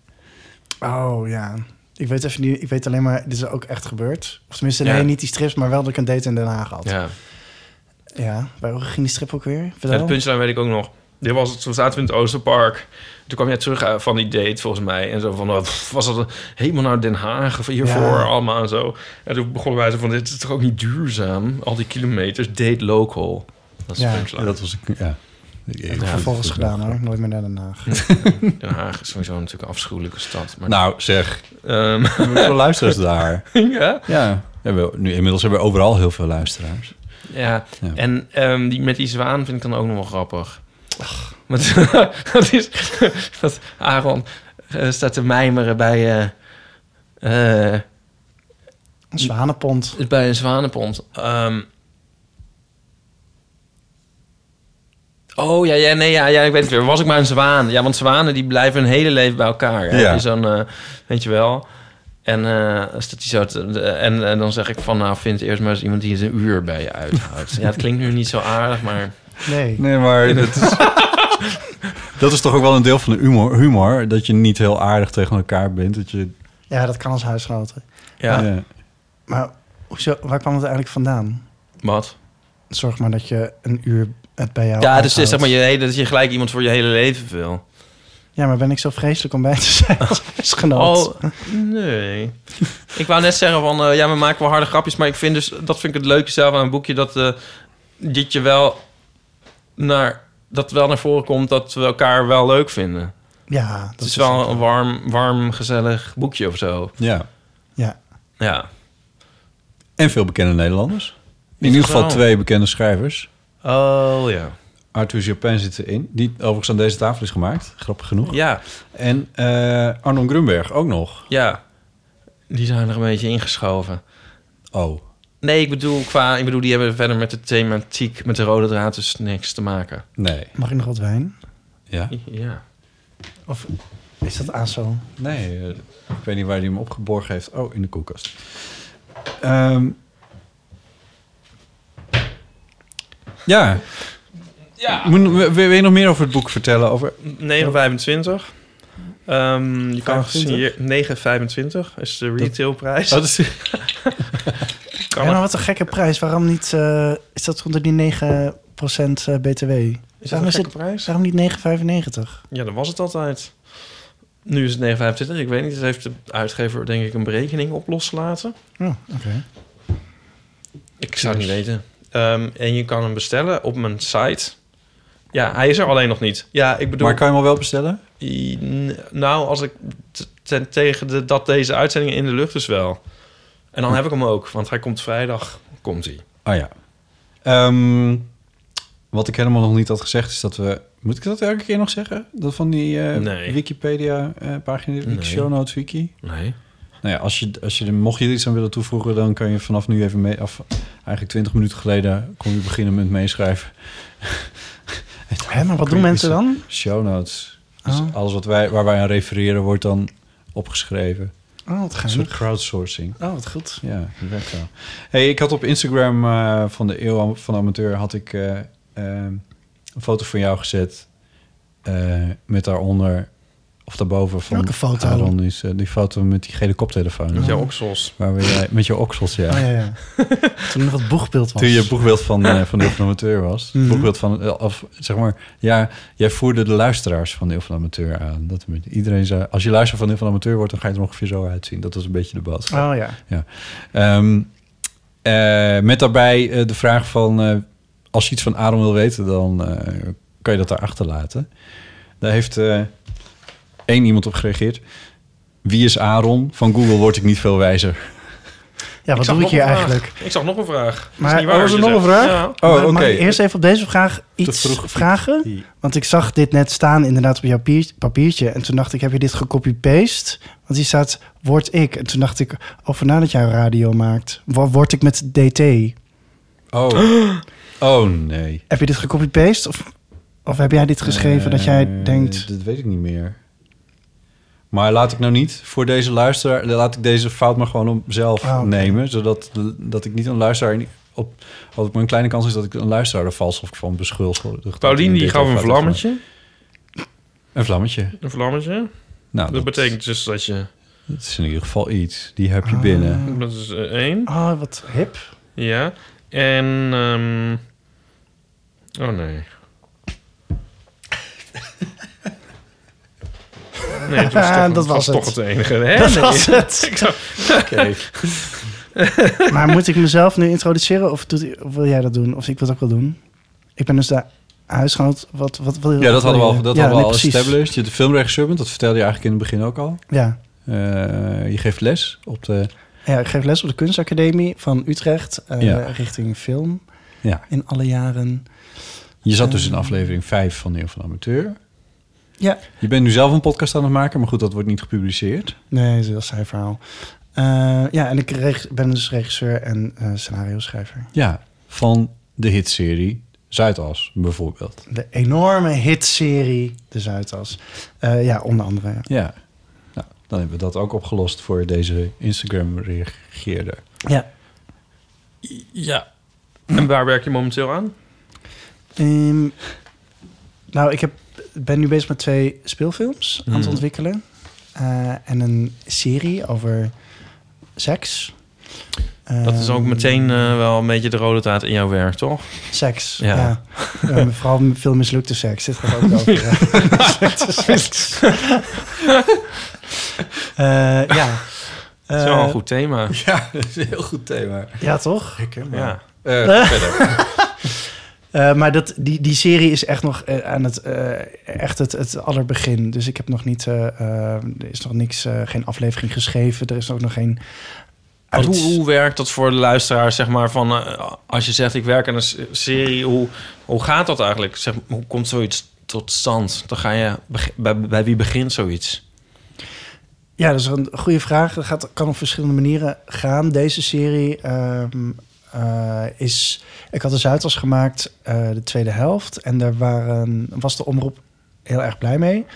[SPEAKER 4] Oh ja. Ik weet even niet, ik weet alleen maar, dit is ook echt gebeurd. Of tenminste,
[SPEAKER 3] Ja.
[SPEAKER 4] nee, niet die strips, maar wel dat ik een date in Den Haag had. Ja,
[SPEAKER 3] Ja.
[SPEAKER 4] waar ging die strip ook weer?
[SPEAKER 3] Ja,
[SPEAKER 4] Vertel.
[SPEAKER 3] de punchline weet ik ook nog. Dit was het, toen zaten we in het Oosterpark. Toen kwam jij terug eh, van die date, volgens mij. En zo van, oh, pff, was dat een- helemaal naar Den Haag of hiervoor
[SPEAKER 4] Ja.
[SPEAKER 3] allemaal en zo. En toen begonnen wij zo van, dit is toch ook niet duurzaam? Al die kilometers, date local. Dat is
[SPEAKER 4] Ja.
[SPEAKER 3] de punchline.
[SPEAKER 2] Dat was ik. Ja. Ik- ik-
[SPEAKER 3] Ja,
[SPEAKER 4] Vervolgens gedaan hoor, nooit meer naar Den Haag.
[SPEAKER 3] Den Haag is sowieso natuurlijk een afschuwelijke stad. Maar,
[SPEAKER 2] Nou, zeg.
[SPEAKER 3] Ehm,
[SPEAKER 2] Hoeveel luisteraars daar?
[SPEAKER 3] ja.
[SPEAKER 2] Ja. Hebben we, nu, inmiddels hebben we overal heel veel luisteraars.
[SPEAKER 3] Ja,
[SPEAKER 2] Ja.
[SPEAKER 3] en ehm, die, met die zwaan vind ik dan ook nog wel grappig. Want, dat is dat Aaron eh, staat te mijmeren bij, eh, eh,
[SPEAKER 4] Een zwanenpont.
[SPEAKER 3] bij een zwanenpont. Ehm, oh ja, ja, nee, ja, ja, ik weet het weer. Was ik maar een zwaan? Ja, want zwanen die blijven hun hele leven bij elkaar. Hè?
[SPEAKER 2] Ja.
[SPEAKER 3] Die Zo'n, eh, weet je wel. En, eh, staat die zo te- de- en, en dan zeg ik van, nou vind eerst maar eens iemand die het een uur bij je uithoudt. ja, het klinkt nu niet zo aardig, maar...
[SPEAKER 4] Nee.
[SPEAKER 2] Nee, maar dat is, dat is toch ook wel een deel van de humor, humor. Dat je niet heel aardig tegen elkaar bent. Dat je,
[SPEAKER 4] Ja, dat kan als huisgenoten.
[SPEAKER 3] Ja.
[SPEAKER 2] ja.
[SPEAKER 4] Maar hoezo, waar kwam het eigenlijk vandaan?
[SPEAKER 3] Wat?
[SPEAKER 4] Zorg maar dat je een uur het bij jou
[SPEAKER 3] Ja, dus het is
[SPEAKER 4] Nou, uithoudt.
[SPEAKER 3] zeg maar je, hele- dat je gelijk iemand voor je hele leven wil.
[SPEAKER 4] Ja, maar ben ik zo vreselijk om bij te zijn als huisgenoot?
[SPEAKER 3] Oh, nee. ik wou net zeggen van, eh, ja, we maken wel harde grapjes, maar ik vind dus, dat vind ik het leuke zelf aan een boekje, dat eh, dit je wel naar, dat wel naar voren komt dat we elkaar wel leuk vinden.
[SPEAKER 4] Ja, dat
[SPEAKER 3] het is wel een warm, warm, gezellig boekje of zo.
[SPEAKER 2] ja.
[SPEAKER 4] Ja.
[SPEAKER 3] Ja.
[SPEAKER 2] En veel bekende Nederlanders.
[SPEAKER 3] Is
[SPEAKER 2] In ieder
[SPEAKER 3] dat
[SPEAKER 2] geval
[SPEAKER 3] wel?
[SPEAKER 2] twee bekende schrijvers.
[SPEAKER 3] Oh, ja.
[SPEAKER 2] Arthur Japin zit erin. Die overigens aan deze tafel is gemaakt. Grappig genoeg.
[SPEAKER 3] Ja,
[SPEAKER 2] En eh Arnon Grunberg ook nog.
[SPEAKER 3] ja. Die zijn er een beetje ingeschoven.
[SPEAKER 2] Oh.
[SPEAKER 3] Nee, ik bedoel, qua, ik bedoel, die hebben verder met de thematiek, met de rode draad dus niks te maken.
[SPEAKER 2] Nee.
[SPEAKER 4] Mag ik nog wat wijn?
[SPEAKER 2] Ja?
[SPEAKER 3] Ja.
[SPEAKER 4] Of is dat aan zo?
[SPEAKER 2] Nee. eh, ik weet niet waar hij hem opgeborgen heeft. Oh, in de koelkast. Ehm. ja.
[SPEAKER 3] Ja.
[SPEAKER 2] Moet, wil, wil je nog meer over het boek vertellen? Over,
[SPEAKER 3] 925. Ehm, je kan
[SPEAKER 4] 25?
[SPEAKER 3] hier 9,25 is de retailprijs.
[SPEAKER 2] Dat is,
[SPEAKER 3] Kan
[SPEAKER 4] Ja,
[SPEAKER 3] er-
[SPEAKER 4] maar wat een gekke prijs. Waarom niet... eh, is dat onder die 9% eh,
[SPEAKER 3] is dat
[SPEAKER 4] BTW? waarom,
[SPEAKER 3] een
[SPEAKER 4] is
[SPEAKER 3] gekke
[SPEAKER 4] het,
[SPEAKER 3] prijs?
[SPEAKER 4] waarom niet 9,95?
[SPEAKER 3] Ja, dat was het altijd. Nu is het 9,25. Ik weet niet. Dat heeft de uitgever denk ik een berekening op losgelaten.
[SPEAKER 4] Oh, oké.
[SPEAKER 3] Ik zou het niet weten. Ehm, en je kan hem bestellen op mijn site. Ja, hij is er alleen nog niet. Ja, ik bedoel...
[SPEAKER 2] maar kan je hem al wel bestellen?
[SPEAKER 3] I- n- Nou, als ik t- ten, tegen de, dat deze uitzending in de lucht is wel. En dan heb ik hem ook, want hij komt vrijdag. Komt hij?
[SPEAKER 2] Ah ja. Ehm, wat ik helemaal nog niet had gezegd is dat we... Moet ik dat elke keer nog zeggen? Dat van die eh,
[SPEAKER 3] Nee.
[SPEAKER 2] Wikipedia eh, pagina, Wiki
[SPEAKER 3] Nee.
[SPEAKER 2] show notes wiki?
[SPEAKER 3] Nee.
[SPEAKER 2] Nou ja, als je, als je, er- mocht je er iets aan willen toevoegen... dan kan je vanaf nu even mee... Af, eigenlijk 20 minuten geleden kon je beginnen met meeschrijven.
[SPEAKER 4] Hè, maar wat
[SPEAKER 2] Kun
[SPEAKER 4] doen
[SPEAKER 2] je
[SPEAKER 4] mensen
[SPEAKER 2] iets-
[SPEAKER 4] dan?
[SPEAKER 2] Show notes. Dus
[SPEAKER 4] Oh.
[SPEAKER 2] alles wat wij, waar wij aan refereren wordt dan opgeschreven.
[SPEAKER 4] Oh, wat
[SPEAKER 2] Een soort
[SPEAKER 4] geinig.
[SPEAKER 2] crowdsourcing.
[SPEAKER 4] Oh, wat goed.
[SPEAKER 2] Ja, die werkt wel. Hey, ik had op Instagram eh, van de Eeuw van de Amateur... had ik eh, eh, een foto van jou gezet... eh, met daaronder, of daarboven van...
[SPEAKER 4] Welke foto?
[SPEAKER 2] Aaron is, eh, die foto met die gele koptelefoon.
[SPEAKER 3] Met jouw oksels.
[SPEAKER 2] Waar we, jij- met je oksels, ja.
[SPEAKER 4] Oh, ja, ja. Toen er nog wat boegbeeld was.
[SPEAKER 2] Toen je boegbeeld van, eh, van de Eeuw van de Amateur was.
[SPEAKER 4] Mhm.
[SPEAKER 2] Boegbeeld van, eh, of zeg maar, ja, jij voerde de luisteraars van de Eeuw van de Amateur aan. Dat een beetje- iedereen zei, als je luisteraar van de Eeuw van de Amateur wordt, dan ga je er ongeveer zo uitzien. Dat was een beetje de boodschap.
[SPEAKER 4] Oh ja.
[SPEAKER 2] Ehm, eh, met daarbij eh, de vraag van... eh, als je iets van Aaron wil weten, dan eh, kan je dat daar achterlaten. Daar heeft eh, één iemand op gereageerd. Wie is Aaron? Van Google word ik niet veel wijzer.
[SPEAKER 4] Ja, wat
[SPEAKER 3] zag
[SPEAKER 4] doe
[SPEAKER 3] nog
[SPEAKER 4] ik hier
[SPEAKER 3] een vraag.
[SPEAKER 4] eigenlijk?
[SPEAKER 3] Ik zag nog een vraag.
[SPEAKER 4] Maar-
[SPEAKER 3] is niet waar,
[SPEAKER 4] oh, was er
[SPEAKER 3] wat je
[SPEAKER 4] nog
[SPEAKER 3] zegt.
[SPEAKER 4] een vraag?
[SPEAKER 3] Ja.
[SPEAKER 2] Oh,
[SPEAKER 4] Maar-
[SPEAKER 2] oké.
[SPEAKER 4] Mag ik eerst even op deze vraag iets
[SPEAKER 2] vroeg iets.
[SPEAKER 4] vragen? Want ik zag dit net staan inderdaad op jouw pier- papiertje. En toen dacht ik, heb je dit gecopy-paste? Want hier staat, word ik. En toen dacht ik, over nadat jij radio maakt. wo- Word ik met DT.
[SPEAKER 2] Oh. oh, nee.
[SPEAKER 4] Heb je dit gecopy-paste? Of, of heb jij dit geschreven dat jij
[SPEAKER 2] Eh,
[SPEAKER 4] denkt...
[SPEAKER 2] Dat weet ik niet meer. Maar laat ik nou niet voor deze luisteraar... laat ik deze fout maar gewoon om zelf
[SPEAKER 4] Ah, oké.
[SPEAKER 2] nemen. Zodat dat ik niet een luisteraar... in- Op, wat op mijn kleine kans is dat ik een luisteraar er vals of van beschuldigd.
[SPEAKER 3] Paulien die
[SPEAKER 2] Dit
[SPEAKER 3] gaf
[SPEAKER 2] of
[SPEAKER 3] een
[SPEAKER 2] dat.
[SPEAKER 3] vlammetje.
[SPEAKER 2] Een vlammetje.
[SPEAKER 3] Een vlammetje.
[SPEAKER 2] Nou,
[SPEAKER 3] Dat betekent dus dat je...
[SPEAKER 2] Dat is in ieder geval iets. Die heb je
[SPEAKER 4] Ah,
[SPEAKER 2] binnen.
[SPEAKER 3] Dat is eh, één.
[SPEAKER 4] Oh, wat hip.
[SPEAKER 3] Ja. En... ehm, Oh nee. Nee, dat was toch,
[SPEAKER 4] Ah,
[SPEAKER 3] dat
[SPEAKER 4] dat
[SPEAKER 3] was
[SPEAKER 4] was
[SPEAKER 3] toch
[SPEAKER 4] het.
[SPEAKER 3] het enige. Hè?
[SPEAKER 4] Dat
[SPEAKER 3] Nee.
[SPEAKER 4] was het.
[SPEAKER 3] Ik zag-
[SPEAKER 4] Maar moet ik mezelf nu introduceren? Of, doet, of wil jij dat doen? Of ik wil dat ook wel doen? Ik ben dus de huisgenoot. Wat, wat wil je?
[SPEAKER 2] Ja, dat hadden we al,
[SPEAKER 4] wil
[SPEAKER 2] dat
[SPEAKER 4] je? Ja,
[SPEAKER 2] hadden we
[SPEAKER 4] nee,
[SPEAKER 2] al
[SPEAKER 4] precies.
[SPEAKER 2] established. Je de filmregisseur bent. Dat vertelde je eigenlijk in het begin ook al.
[SPEAKER 4] Ja.
[SPEAKER 2] Eh, je geeft les op de...
[SPEAKER 4] ja, ik geef les op de kunstacademie van Utrecht. eh,
[SPEAKER 2] Ja.
[SPEAKER 4] Richting film.
[SPEAKER 2] Ja.
[SPEAKER 4] In alle jaren. Eh,
[SPEAKER 2] Je zat dus in aflevering 5 van Eeuw van de Amateur.
[SPEAKER 4] Ja.
[SPEAKER 2] Je bent nu zelf een podcast aan het maken, maar goed, dat wordt niet gepubliceerd.
[SPEAKER 4] Nee, dat is zijn verhaal. Eh, ja, en ik reg- ben dus regisseur en eh, scenario schrijver.
[SPEAKER 2] Ja, van de hitserie Zuidas bijvoorbeeld.
[SPEAKER 4] De enorme hitserie De Zuidas. Eh, ja, onder andere. Ja.
[SPEAKER 2] Ja, nou, dan hebben we dat ook opgelost voor deze Instagram-reageerder.
[SPEAKER 4] ja.
[SPEAKER 3] ja. En waar werk je momenteel aan?
[SPEAKER 4] Ehm, nou, ik heb, ben nu bezig met twee speelfilms aan het
[SPEAKER 3] Mhm.
[SPEAKER 4] ontwikkelen. Eh, en een serie over seks.
[SPEAKER 3] Dat is ook
[SPEAKER 4] Ehm,
[SPEAKER 3] meteen eh, wel een beetje de rode draad in jouw werk, toch?
[SPEAKER 4] Seks,
[SPEAKER 3] Ja.
[SPEAKER 4] ja. Eh, vooral veel mislukte seks. Dit gaat ook over eh, mislukte seks. Eh, ja. Eh,
[SPEAKER 3] Dat is wel een goed thema.
[SPEAKER 2] Ja, dat is een heel goed thema.
[SPEAKER 4] Ja, toch?
[SPEAKER 3] Ja.
[SPEAKER 2] Eh,
[SPEAKER 4] Eh, maar dat, die, die serie is echt nog eh, aan het, eh, echt het, het allerbegin. Dus ik heb nog niet, eh, eh, er is nog niks, eh, geen aflevering geschreven. Er is ook nog geen...
[SPEAKER 3] Want
[SPEAKER 4] uit-
[SPEAKER 3] Hoe, hoe werkt dat voor de luisteraar, zeg maar, van eh, als je zegt ik werk aan een s- serie, hoe, hoe gaat dat eigenlijk? Zeg, hoe komt zoiets tot stand? Dan ga je, beg- bij, bij wie begint zoiets?
[SPEAKER 4] Ja, dat is een goede vraag. Dat gaat, kan op verschillende manieren gaan. Deze serie ehm, eh, is... Ik had de Zuidas gemaakt, eh, de tweede helft. En daar waren, was de omroep heel erg blij mee.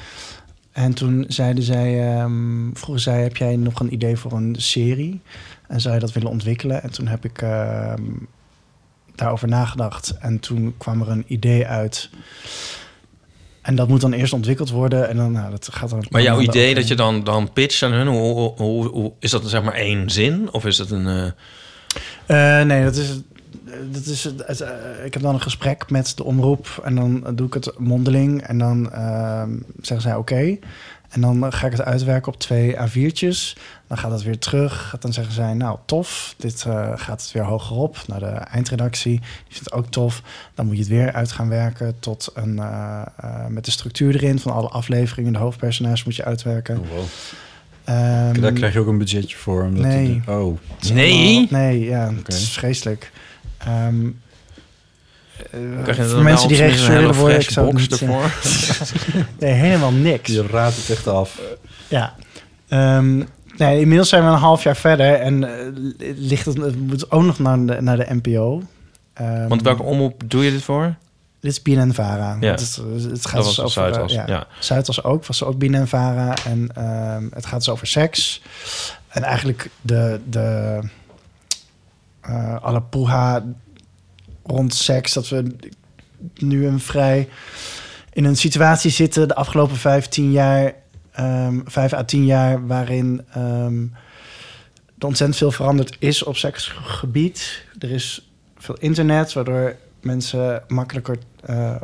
[SPEAKER 4] En toen zeiden zij, ehm, vroegen zij, heb jij nog een idee voor een serie? En zou je dat willen ontwikkelen? En toen heb ik ehm, daarover nagedacht. En toen kwam er een idee uit... En dat moet dan eerst ontwikkeld worden. En dan, nou, dat gaat dan...
[SPEAKER 3] Maar jouw
[SPEAKER 4] dan-
[SPEAKER 3] idee dat je dan, dan pitcht aan hun, hoe, hoe, hoe, hoe- is dat zeg maar één zin? Of is dat een... eh,
[SPEAKER 4] Eh, nee, dat is... Dat is het, het, eh, ik heb dan een gesprek met de omroep en dan doe ik het mondeling en dan ehm, zeggen zij oké. En dan eh, ga ik het uitwerken op twee A4'tjes. Dan gaat het weer terug. Dan zeggen zij, nou tof, dit eh, gaat het weer hogerop naar de eindredactie. Die vindt het ook tof. Dan moet je het weer uit gaan werken tot een, eh, eh, met de structuur erin van alle afleveringen. De hoofdpersonages moet je uitwerken. Ehm,
[SPEAKER 2] Oh, Daar krijg je ook een budgetje voor. Omdat
[SPEAKER 4] Nee.
[SPEAKER 2] het- oh,
[SPEAKER 3] nee?
[SPEAKER 4] Nee, ja,
[SPEAKER 2] Oké.
[SPEAKER 4] het is vreselijk. Ehm, eh,
[SPEAKER 3] Krijg je
[SPEAKER 4] voor
[SPEAKER 3] dan
[SPEAKER 4] mensen die
[SPEAKER 3] wel
[SPEAKER 4] regisseur
[SPEAKER 3] een
[SPEAKER 4] willen worden, ik
[SPEAKER 3] HelloFresh
[SPEAKER 4] zou het
[SPEAKER 3] box
[SPEAKER 4] niet zeggen.
[SPEAKER 3] ervoor.
[SPEAKER 4] Nee, helemaal niks.
[SPEAKER 2] je raadt het echt af.
[SPEAKER 3] Eh,
[SPEAKER 4] Ja. Ehm, nee, inmiddels zijn we een half jaar verder en eh, ligt het, het moet ook nog naar de, naar de NPO. Ehm,
[SPEAKER 3] Want welke omroep doe je dit voor?
[SPEAKER 4] Dit is BNNVARA.
[SPEAKER 3] Ja.
[SPEAKER 4] Het, is- het
[SPEAKER 3] Dat
[SPEAKER 4] gaat dus
[SPEAKER 3] was
[SPEAKER 4] over...
[SPEAKER 3] Zuidas,
[SPEAKER 4] eh,
[SPEAKER 3] ja.
[SPEAKER 4] Zuidas ook, was ook BNNVARA. En ehm, het gaat dus over seks. En eigenlijk de, de eh alle poeha rond seks. Dat we nu een vrij in een situatie zitten de afgelopen vijf, tien jaar, ehm, vijf à tien jaar, waarin ehm, er ontzettend veel veranderd is op seksgebied. Er is veel internet, waardoor mensen makkelijker eh,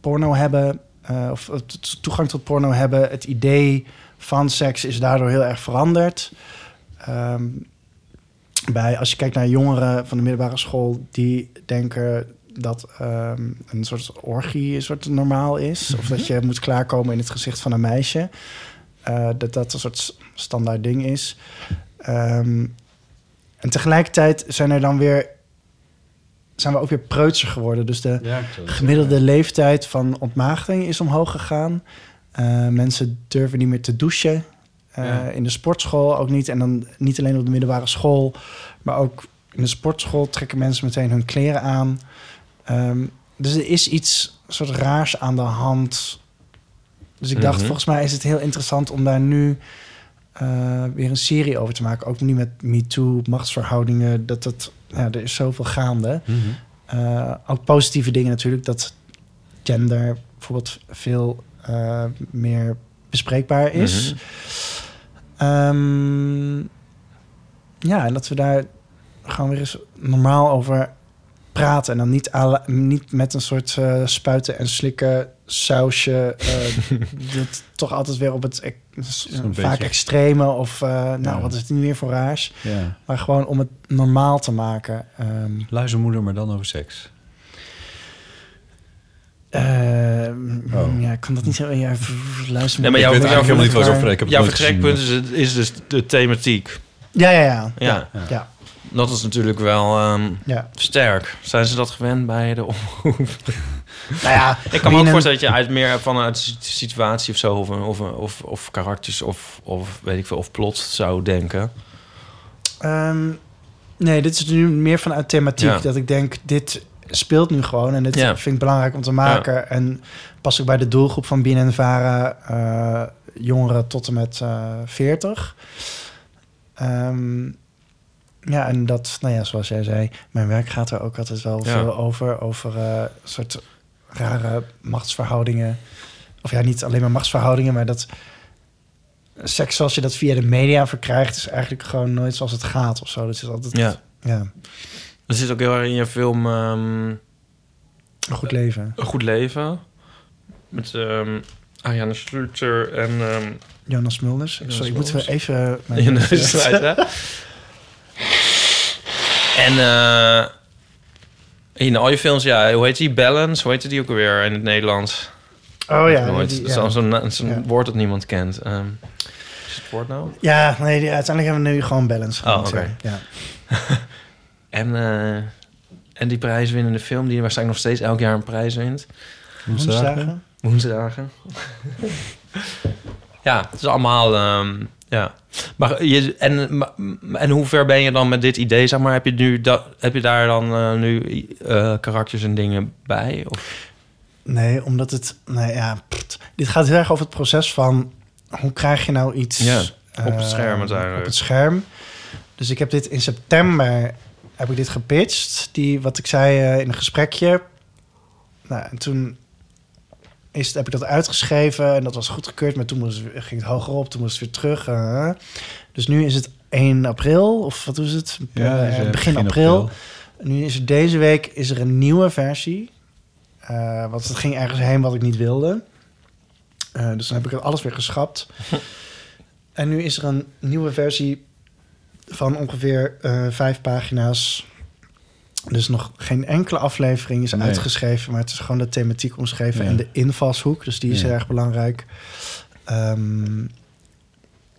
[SPEAKER 4] porno hebben eh, of eh, t- t- toegang tot porno hebben. Het idee van seks is daardoor heel erg veranderd. Ehm, bij, als je kijkt naar jongeren van de middelbare school, die denken dat ehm, een soort orgie een soort normaal is. Of dat je moet klaarkomen in het gezicht van een meisje. Eh, dat dat een soort s- standaard ding is. Ehm, en tegelijkertijd zijn er dan weer zijn we ook weer preutser geworden. Dus de,
[SPEAKER 2] Ja,
[SPEAKER 4] gemiddelde leeftijd van ontmaagding is omhoog gegaan. Eh, mensen durven niet meer te douchen. Eh,
[SPEAKER 2] Ja.
[SPEAKER 4] In de sportschool ook niet. En dan niet alleen op de middelbare school, maar ook in de sportschool trekken mensen meteen hun kleren aan. Ehm, dus er is iets soort raars aan de hand. Dus ik dacht,
[SPEAKER 3] Mhm.
[SPEAKER 4] volgens mij is het heel interessant om daar nu eh, weer een serie over te maken. Ook nu met MeToo, machtsverhoudingen. Dat, dat, ja, er is zoveel gaande. Eh, ook positieve dingen natuurlijk, dat gender bijvoorbeeld veel eh, meer bespreekbaar is.
[SPEAKER 2] Mhm.
[SPEAKER 4] Ehm, ja, en dat we daar gewoon weer eens normaal over praten. En dan niet, à la- niet met een soort eh, spuiten en slikken sausje. eh, dat toch altijd weer op het ec- vaak
[SPEAKER 2] beetje-
[SPEAKER 4] extreme of eh, nou,
[SPEAKER 2] Ja.
[SPEAKER 4] wat is het nu weer voor raars?
[SPEAKER 2] Ja.
[SPEAKER 4] Maar gewoon om het normaal te maken. Ehm,
[SPEAKER 2] Luizenmoeder, maar dan over seks.
[SPEAKER 4] Eh,
[SPEAKER 2] Oh.
[SPEAKER 4] Ja, ik kan dat niet zo... Ja, v- luister
[SPEAKER 3] Ja, maar
[SPEAKER 4] ik
[SPEAKER 3] jouw-
[SPEAKER 4] weet
[SPEAKER 3] jouw-
[SPEAKER 4] eigenlijk
[SPEAKER 3] helemaal
[SPEAKER 2] niet waar ze
[SPEAKER 4] waar-
[SPEAKER 2] over- Ik heb het
[SPEAKER 3] Jouw
[SPEAKER 2] nooit gezien,
[SPEAKER 3] vertrekpunt is, het- is dus de thematiek.
[SPEAKER 4] Ja, ja, ja.
[SPEAKER 3] Ja,
[SPEAKER 4] ja. ja,
[SPEAKER 3] dat is natuurlijk wel ehm,
[SPEAKER 4] ja.
[SPEAKER 3] sterk. Zijn ze dat gewend bij de omroep?
[SPEAKER 4] Nou ja,
[SPEAKER 3] Ik kan me ook
[SPEAKER 4] binnen-
[SPEAKER 3] voorstellen dat je uit meer vanuit de situatie of zo... of, een- of, een- of, of karakters of, of weet ik veel, of plot zou denken.
[SPEAKER 4] Ehm, nee, dit is nu meer vanuit thematiek.
[SPEAKER 3] Ja.
[SPEAKER 4] Dat ik denk, dit speelt nu gewoon. En dit
[SPEAKER 3] Ja.
[SPEAKER 4] vind ik belangrijk om te maken. En pas ook bij de doelgroep van BNNVARA... eh jongeren tot en met eh 40. Ehm, ja, en dat, nou ja, zoals jij zei... mijn werk gaat er ook altijd wel
[SPEAKER 3] Ja.
[SPEAKER 4] veel over. Over eh soort rare machtsverhoudingen. Of ja, niet alleen maar machtsverhoudingen, maar dat seks zoals je dat via de media verkrijgt, is eigenlijk gewoon nooit zoals het gaat of zo. Dus het is altijd
[SPEAKER 3] Ja.
[SPEAKER 4] ja,
[SPEAKER 3] Dat zit ook heel erg in je film ehm,
[SPEAKER 4] een goed leven.
[SPEAKER 3] Een Goed Leven. Met ehm Ariane Schluter en... ehm,
[SPEAKER 4] Jonas Mulders.
[SPEAKER 3] Jonas
[SPEAKER 4] Sorry, ik moet
[SPEAKER 3] Mulders.
[SPEAKER 4] wel even. Mijn
[SPEAKER 3] in de wedstrijd, hè? En eh, in al je films, ja, hoe heet die? Balance, hoe heette die ook alweer in het Nederlands?
[SPEAKER 4] Oh ja,
[SPEAKER 3] Nooit.
[SPEAKER 4] die-
[SPEAKER 3] Zo'n
[SPEAKER 4] ja.
[SPEAKER 3] zo'n- zo'n
[SPEAKER 4] Ja.
[SPEAKER 3] woord dat niemand kent. Ehm, is het woord nou?
[SPEAKER 4] ja nee, die- uiteindelijk hebben we nu gewoon balance.
[SPEAKER 3] Oh,
[SPEAKER 4] genoemd,
[SPEAKER 3] oké.
[SPEAKER 4] ja. Ja.
[SPEAKER 3] En, eh, en die prijswinnende film, die waarschijnlijk nog steeds elk jaar een prijs wint.
[SPEAKER 4] Woensdagen.
[SPEAKER 3] Woensdagen. ja, het is allemaal... ehm, ja. Maar je, en, maar- en hoe ver ben je dan met dit idee? Zeg maar, heb je, nu dat heb je daar dan eh, nu eh, karakters en dingen bij? Of?
[SPEAKER 4] Nee, omdat het. Nou ja, pft. dit gaat heel erg over het proces van hoe krijg je nou iets
[SPEAKER 3] Ja, op het
[SPEAKER 4] eh,
[SPEAKER 3] scherm uiteindelijk.
[SPEAKER 4] Op het scherm. Dus ik heb dit in september heb ik dit gepitcht. Die, wat ik zei eh, in een gesprekje. Nou, en toen is, heb ik dat uitgeschreven en dat was goedgekeurd. Maar toen moest, ging het hoger op, toen moest het weer terug. eh. dus nu is het 1 april, of wat is het?
[SPEAKER 2] Ja,
[SPEAKER 4] Eh,
[SPEAKER 2] dus, eh,
[SPEAKER 4] begin, april. Nu is er deze week is er een nieuwe versie. Eh, want het ging ergens heen wat ik niet wilde. Eh, dus dan heb ik het alles weer geschrapt. en nu is er een nieuwe versie van ongeveer eh, vijf pagina's. Dus nog geen enkele aflevering is
[SPEAKER 2] Nee.
[SPEAKER 4] uitgeschreven, maar het is gewoon de thematiek omschreven
[SPEAKER 2] Ja.
[SPEAKER 4] en de invalshoek. Dus die is
[SPEAKER 2] Ja.
[SPEAKER 4] heel erg belangrijk. Ehm,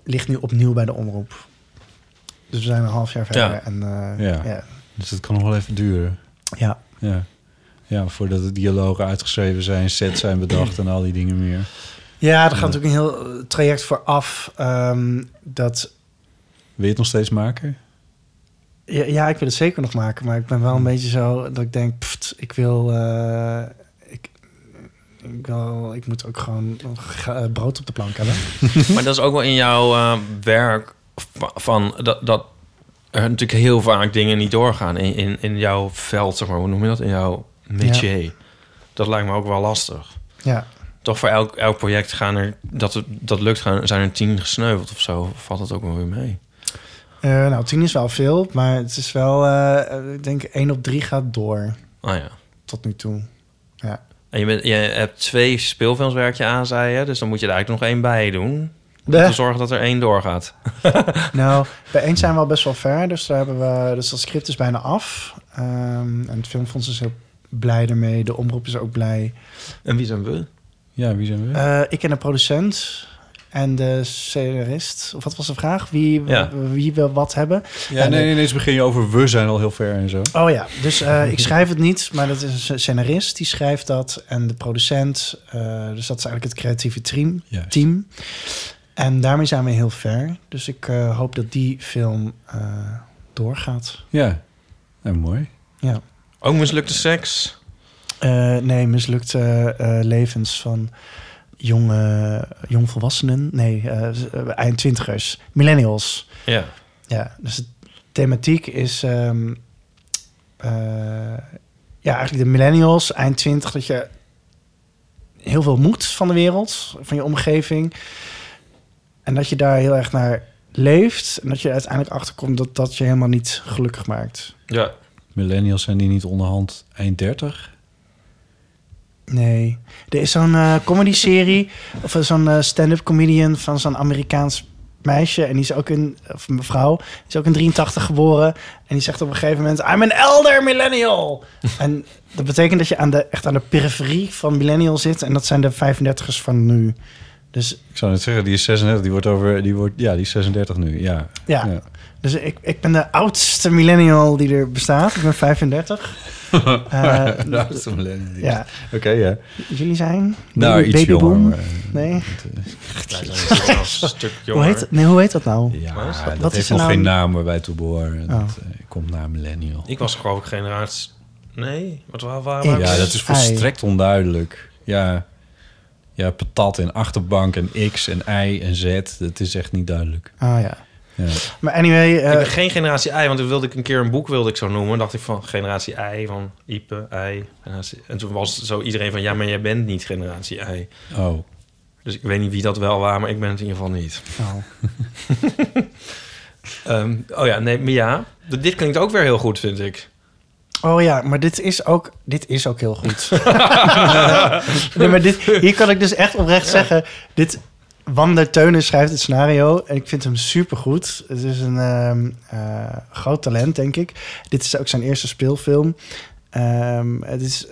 [SPEAKER 4] ligt nu opnieuw bij de omroep. Dus we zijn een half jaar verder.
[SPEAKER 3] Ja.
[SPEAKER 4] En, eh,
[SPEAKER 2] Ja.
[SPEAKER 4] ja.
[SPEAKER 2] Dus dat kan nog wel even duren.
[SPEAKER 4] ja.
[SPEAKER 2] Ja. Ja, voordat de dialogen uitgeschreven zijn, sets zijn bedacht en al die dingen meer.
[SPEAKER 4] Ja, er gaat natuurlijk een heel eh, traject voor af. ehm, dat,
[SPEAKER 2] Wil je het nog steeds maken?
[SPEAKER 4] ja, ja, ik wil het zeker nog maken, maar ik ben wel een beetje zo dat ik denk, pft, ik wil, eh, ik, ik wil, ik moet ook gewoon ga- eh, brood op de plank hebben.
[SPEAKER 3] Maar dat is ook wel in jouw eh, werk va- van dat, dat er natuurlijk heel vaak dingen niet doorgaan in, in, in jouw veld, zeg maar. Hoe noem je dat? In jouw métier. Dat lijkt me ook wel lastig.
[SPEAKER 4] Ja,
[SPEAKER 3] Toch voor elk, elk project gaan er, dat, het- dat lukt, gaan, zijn er tien gesneuveld of zo. Valt dat ook wel weer mee?
[SPEAKER 4] Eh, nou, tien is wel veel, maar het is wel, eh, eh, ik denk, één op drie gaat door
[SPEAKER 3] Ah ja.
[SPEAKER 4] tot nu toe. Ja,
[SPEAKER 3] En je, bent, je hebt twee speelfilms werk je aan, zei je. Dus dan moet je er eigenlijk nog één bij doen. Om te
[SPEAKER 4] Eh,
[SPEAKER 3] zorgen dat er één doorgaat.
[SPEAKER 4] nou, bij één zijn we al best wel ver, dus daar hebben we, dus dat script is bijna af. Ehm, en het filmfonds is heel blij ermee, de omroep is ook blij.
[SPEAKER 3] En wie zijn we?
[SPEAKER 2] Ja, wie zijn we?
[SPEAKER 4] Eh, ik en de producent en de scenarist. Of wat was de vraag? Wie,
[SPEAKER 3] Ja.
[SPEAKER 4] wie wil wat hebben?
[SPEAKER 2] ja,
[SPEAKER 4] en
[SPEAKER 2] nee, ineens begin je over we zijn al heel ver en zo.
[SPEAKER 4] Oh ja, dus eh, ik schrijf het niet, maar dat is een scenarist die schrijft dat. En de producent, eh, dus dat is eigenlijk het creatieve team.
[SPEAKER 2] Juist.
[SPEAKER 4] team. En daarmee zijn we heel ver. Dus ik eh, hoop dat die film eh, doorgaat.
[SPEAKER 2] Ja, nou, mooi.
[SPEAKER 4] Ja.
[SPEAKER 3] Ook mislukte seks.
[SPEAKER 4] Eh, nee, mislukte eh, levens van jonge, jongvolwassenen. Nee, eh eind twintigers. Millennials.
[SPEAKER 3] Ja.
[SPEAKER 4] Ja, dus de thematiek is ehm, eh, ja, eigenlijk de millennials, eind 20, dat je heel veel moet van de wereld, van je omgeving. En dat je daar heel erg naar leeft. En dat je uiteindelijk achterkomt dat dat je helemaal niet gelukkig maakt.
[SPEAKER 3] Ja.
[SPEAKER 2] Millennials zijn die niet onderhand eind 30.
[SPEAKER 4] Nee. Er is zo'n eh comedy-serie, of zo'n eh, stand-up comedian van zo'n Amerikaans meisje. En die is ook in, of mevrouw, die is ook in 83 geboren. En die zegt op een gegeven moment, I'm an elder millennial. en dat betekent dat je aan de, echt aan de periferie van millennial zit. En dat zijn de 35ers van nu. Dus
[SPEAKER 2] Ik zou net zeggen, die is 36, die wordt over, die wordt, ja, die is 36 nu, ja.
[SPEAKER 4] ja, dus ik, ik ben de oudste millennial die er bestaat. Ik ben 35. Eh,
[SPEAKER 2] De oudste millennial.
[SPEAKER 4] Ja,
[SPEAKER 2] Oké, ja.
[SPEAKER 4] jullie zijn?
[SPEAKER 2] Nou,
[SPEAKER 4] Baby-
[SPEAKER 2] iets jonger.
[SPEAKER 4] Babyboom?
[SPEAKER 2] maar, eh,
[SPEAKER 4] Nee.
[SPEAKER 3] Wij zijn wel een stuk
[SPEAKER 4] Hoe
[SPEAKER 3] jonger.
[SPEAKER 4] heet, nee, hoe heet dat nou?
[SPEAKER 2] Ja,
[SPEAKER 3] Wat is
[SPEAKER 2] dat
[SPEAKER 4] dat
[SPEAKER 2] heeft
[SPEAKER 4] een
[SPEAKER 2] nog
[SPEAKER 4] naam?
[SPEAKER 2] geen naam waarbij het toe behoren.
[SPEAKER 4] Oh.
[SPEAKER 2] Dat eh, komt naar millennial.
[SPEAKER 3] Ik was geloof ik generatie... Nee, wat waar
[SPEAKER 4] Ik.
[SPEAKER 3] waren we?
[SPEAKER 2] Ja, dat is
[SPEAKER 4] Ei.
[SPEAKER 2] volstrekt onduidelijk. Ja, ja, patat en achterbank en x en y en z. Dat is echt niet duidelijk.
[SPEAKER 4] Ah ja.
[SPEAKER 2] Ja.
[SPEAKER 4] Maar anyway... eh,
[SPEAKER 3] ik ben geen generatie I, want toen wilde ik een keer een boek wilde ik zo noemen. dacht ik van generatie I, van Ipe, I. generatie- En toen was zo iedereen van, ja, maar jij bent niet generatie I.
[SPEAKER 2] Oh,
[SPEAKER 3] Dus ik weet niet wie dat wel waren, maar ik ben het in ieder geval niet.
[SPEAKER 4] nou.
[SPEAKER 3] Ehm, oh ja, nee, maar ja. d- Dit klinkt ook weer heel goed, vind ik.
[SPEAKER 4] Oh ja, maar dit is ook, dit is ook heel goed. nee, maar dit, hier kan ik dus echt oprecht zeggen... Dit, Wander Teunen schrijft het scenario en ik vind hem supergoed. Het is een ehm, eh, groot talent, denk ik. Dit is ook zijn eerste speelfilm. Ehm, het is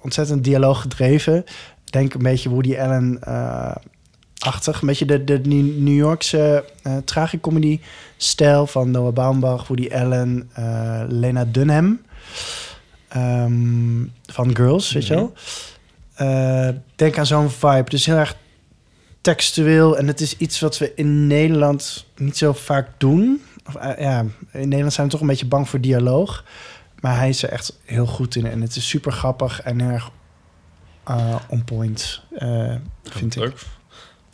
[SPEAKER 4] ontzettend dialooggedreven. Denk een beetje Woody Allen-achtig. een beetje de, de New Yorkse eh tragicomedy-stijl van Noah Baumbach, Woody Allen, eh, Lena Dunham. Ehm, van Girls, weet je wel. Eh, denk aan zo'n vibe. Dus heel erg textueel. En het is iets wat we in Nederland niet zo vaak doen. Of, eh, ja, in Nederland zijn we toch een beetje bang voor dialoog. Maar hij is er echt heel goed in. En het is super grappig en heel erg eh, on point, eh, vind ik.
[SPEAKER 3] Leuk.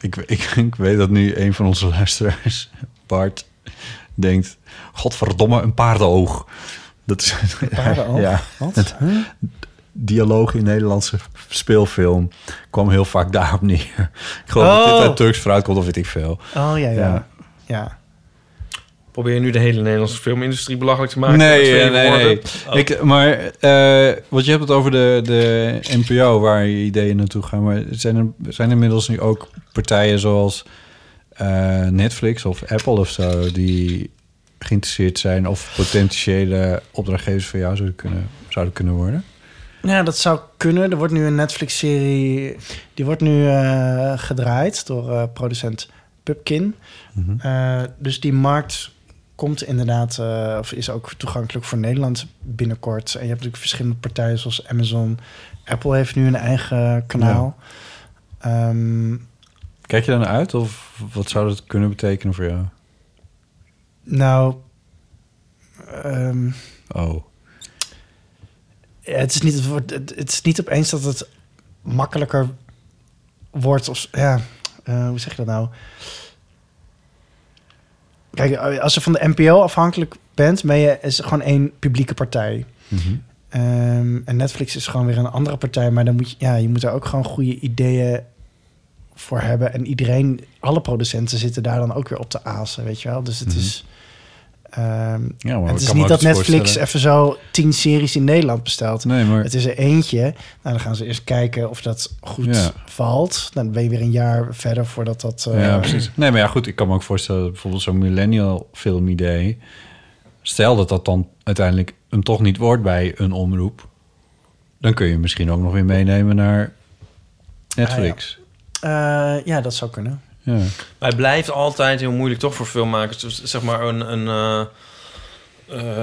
[SPEAKER 2] ik, ik, ik weet dat nu een van onze luisteraars, Bart, denkt... Godverdomme, een paardenoog. Dat is,
[SPEAKER 4] Paardenoog?
[SPEAKER 2] Ja,
[SPEAKER 4] Wat? Huh?
[SPEAKER 2] dialoog in Nederlandse speelfilm kwam heel vaak daarop neer. Ik geloof dat
[SPEAKER 4] Oh.
[SPEAKER 2] dit uit Turks vooruit komt, of weet ik veel.
[SPEAKER 4] Oh ja, ja.
[SPEAKER 2] Ja.
[SPEAKER 4] ja.
[SPEAKER 3] Probeer je nu de hele Nederlandse filmindustrie belachelijk te maken?
[SPEAKER 2] nee,
[SPEAKER 3] met twee
[SPEAKER 2] nee, nee.
[SPEAKER 3] woorden? Oh.
[SPEAKER 2] Ik, maar, eh want je hebt het over de, de NPO, waar je ideeën naartoe gaan. Maar zijn er zijn er inmiddels nu ook partijen zoals eh, Netflix of Apple of zo... die geïnteresseerd zijn of potentiële opdrachtgevers van jou zouden kunnen, zouden kunnen worden?
[SPEAKER 4] Ja, dat zou kunnen. Er wordt nu een Netflix-serie... Die wordt nu eh, gedraaid door eh, producent Pupkin. Eh, dus die markt komt inderdaad... eh, of is ook toegankelijk voor Nederland binnenkort. En je hebt natuurlijk verschillende partijen zoals Amazon. Apple heeft nu een eigen kanaal. Ehm,
[SPEAKER 2] Kijk je daar naar uit of wat zou dat kunnen betekenen voor jou?
[SPEAKER 4] nou... ehm,
[SPEAKER 2] Oh,
[SPEAKER 4] Ja, het, is niet, het, wordt, het, het is niet opeens dat het makkelijker wordt. Of, ja, eh, hoe zeg je dat nou? Kijk, eh, als je van de NPO afhankelijk bent, ben je is er gewoon één publieke partij.
[SPEAKER 2] Mhm.
[SPEAKER 4] Ehm, en Netflix is gewoon weer een andere partij. Maar dan moet je, ja, je moet daar ook gewoon goede ideeën voor hebben. En iedereen, alle producenten zitten daar dan ook weer op te azen, weet je wel. Dus het is... ehm,
[SPEAKER 2] Mhm. ja, maar
[SPEAKER 4] en
[SPEAKER 2] ik
[SPEAKER 4] het is
[SPEAKER 2] kan me
[SPEAKER 4] niet
[SPEAKER 2] ook
[SPEAKER 4] dat
[SPEAKER 2] iets
[SPEAKER 4] Netflix
[SPEAKER 2] voorstellen.
[SPEAKER 4] even zo tien series in Nederland bestelt.
[SPEAKER 2] Nee, maar
[SPEAKER 4] Het is er eentje. Nou, dan gaan ze eerst kijken of dat goed
[SPEAKER 2] Ja.
[SPEAKER 4] valt. Dan ben je weer een jaar verder voordat dat... eh,
[SPEAKER 2] Ja, precies. Nee, maar ja, goed, ik kan me ook voorstellen dat bijvoorbeeld zo'n millennial filmidee... stel dat dat dan uiteindelijk hem toch niet wordt bij een omroep... dan kun je hem misschien ook nog weer meenemen naar Netflix.
[SPEAKER 4] Eh, ja, dat zou kunnen.
[SPEAKER 2] ja.
[SPEAKER 3] Maar het blijft altijd heel moeilijk toch voor filmmakers. Dus zeg maar een... een eh, eh,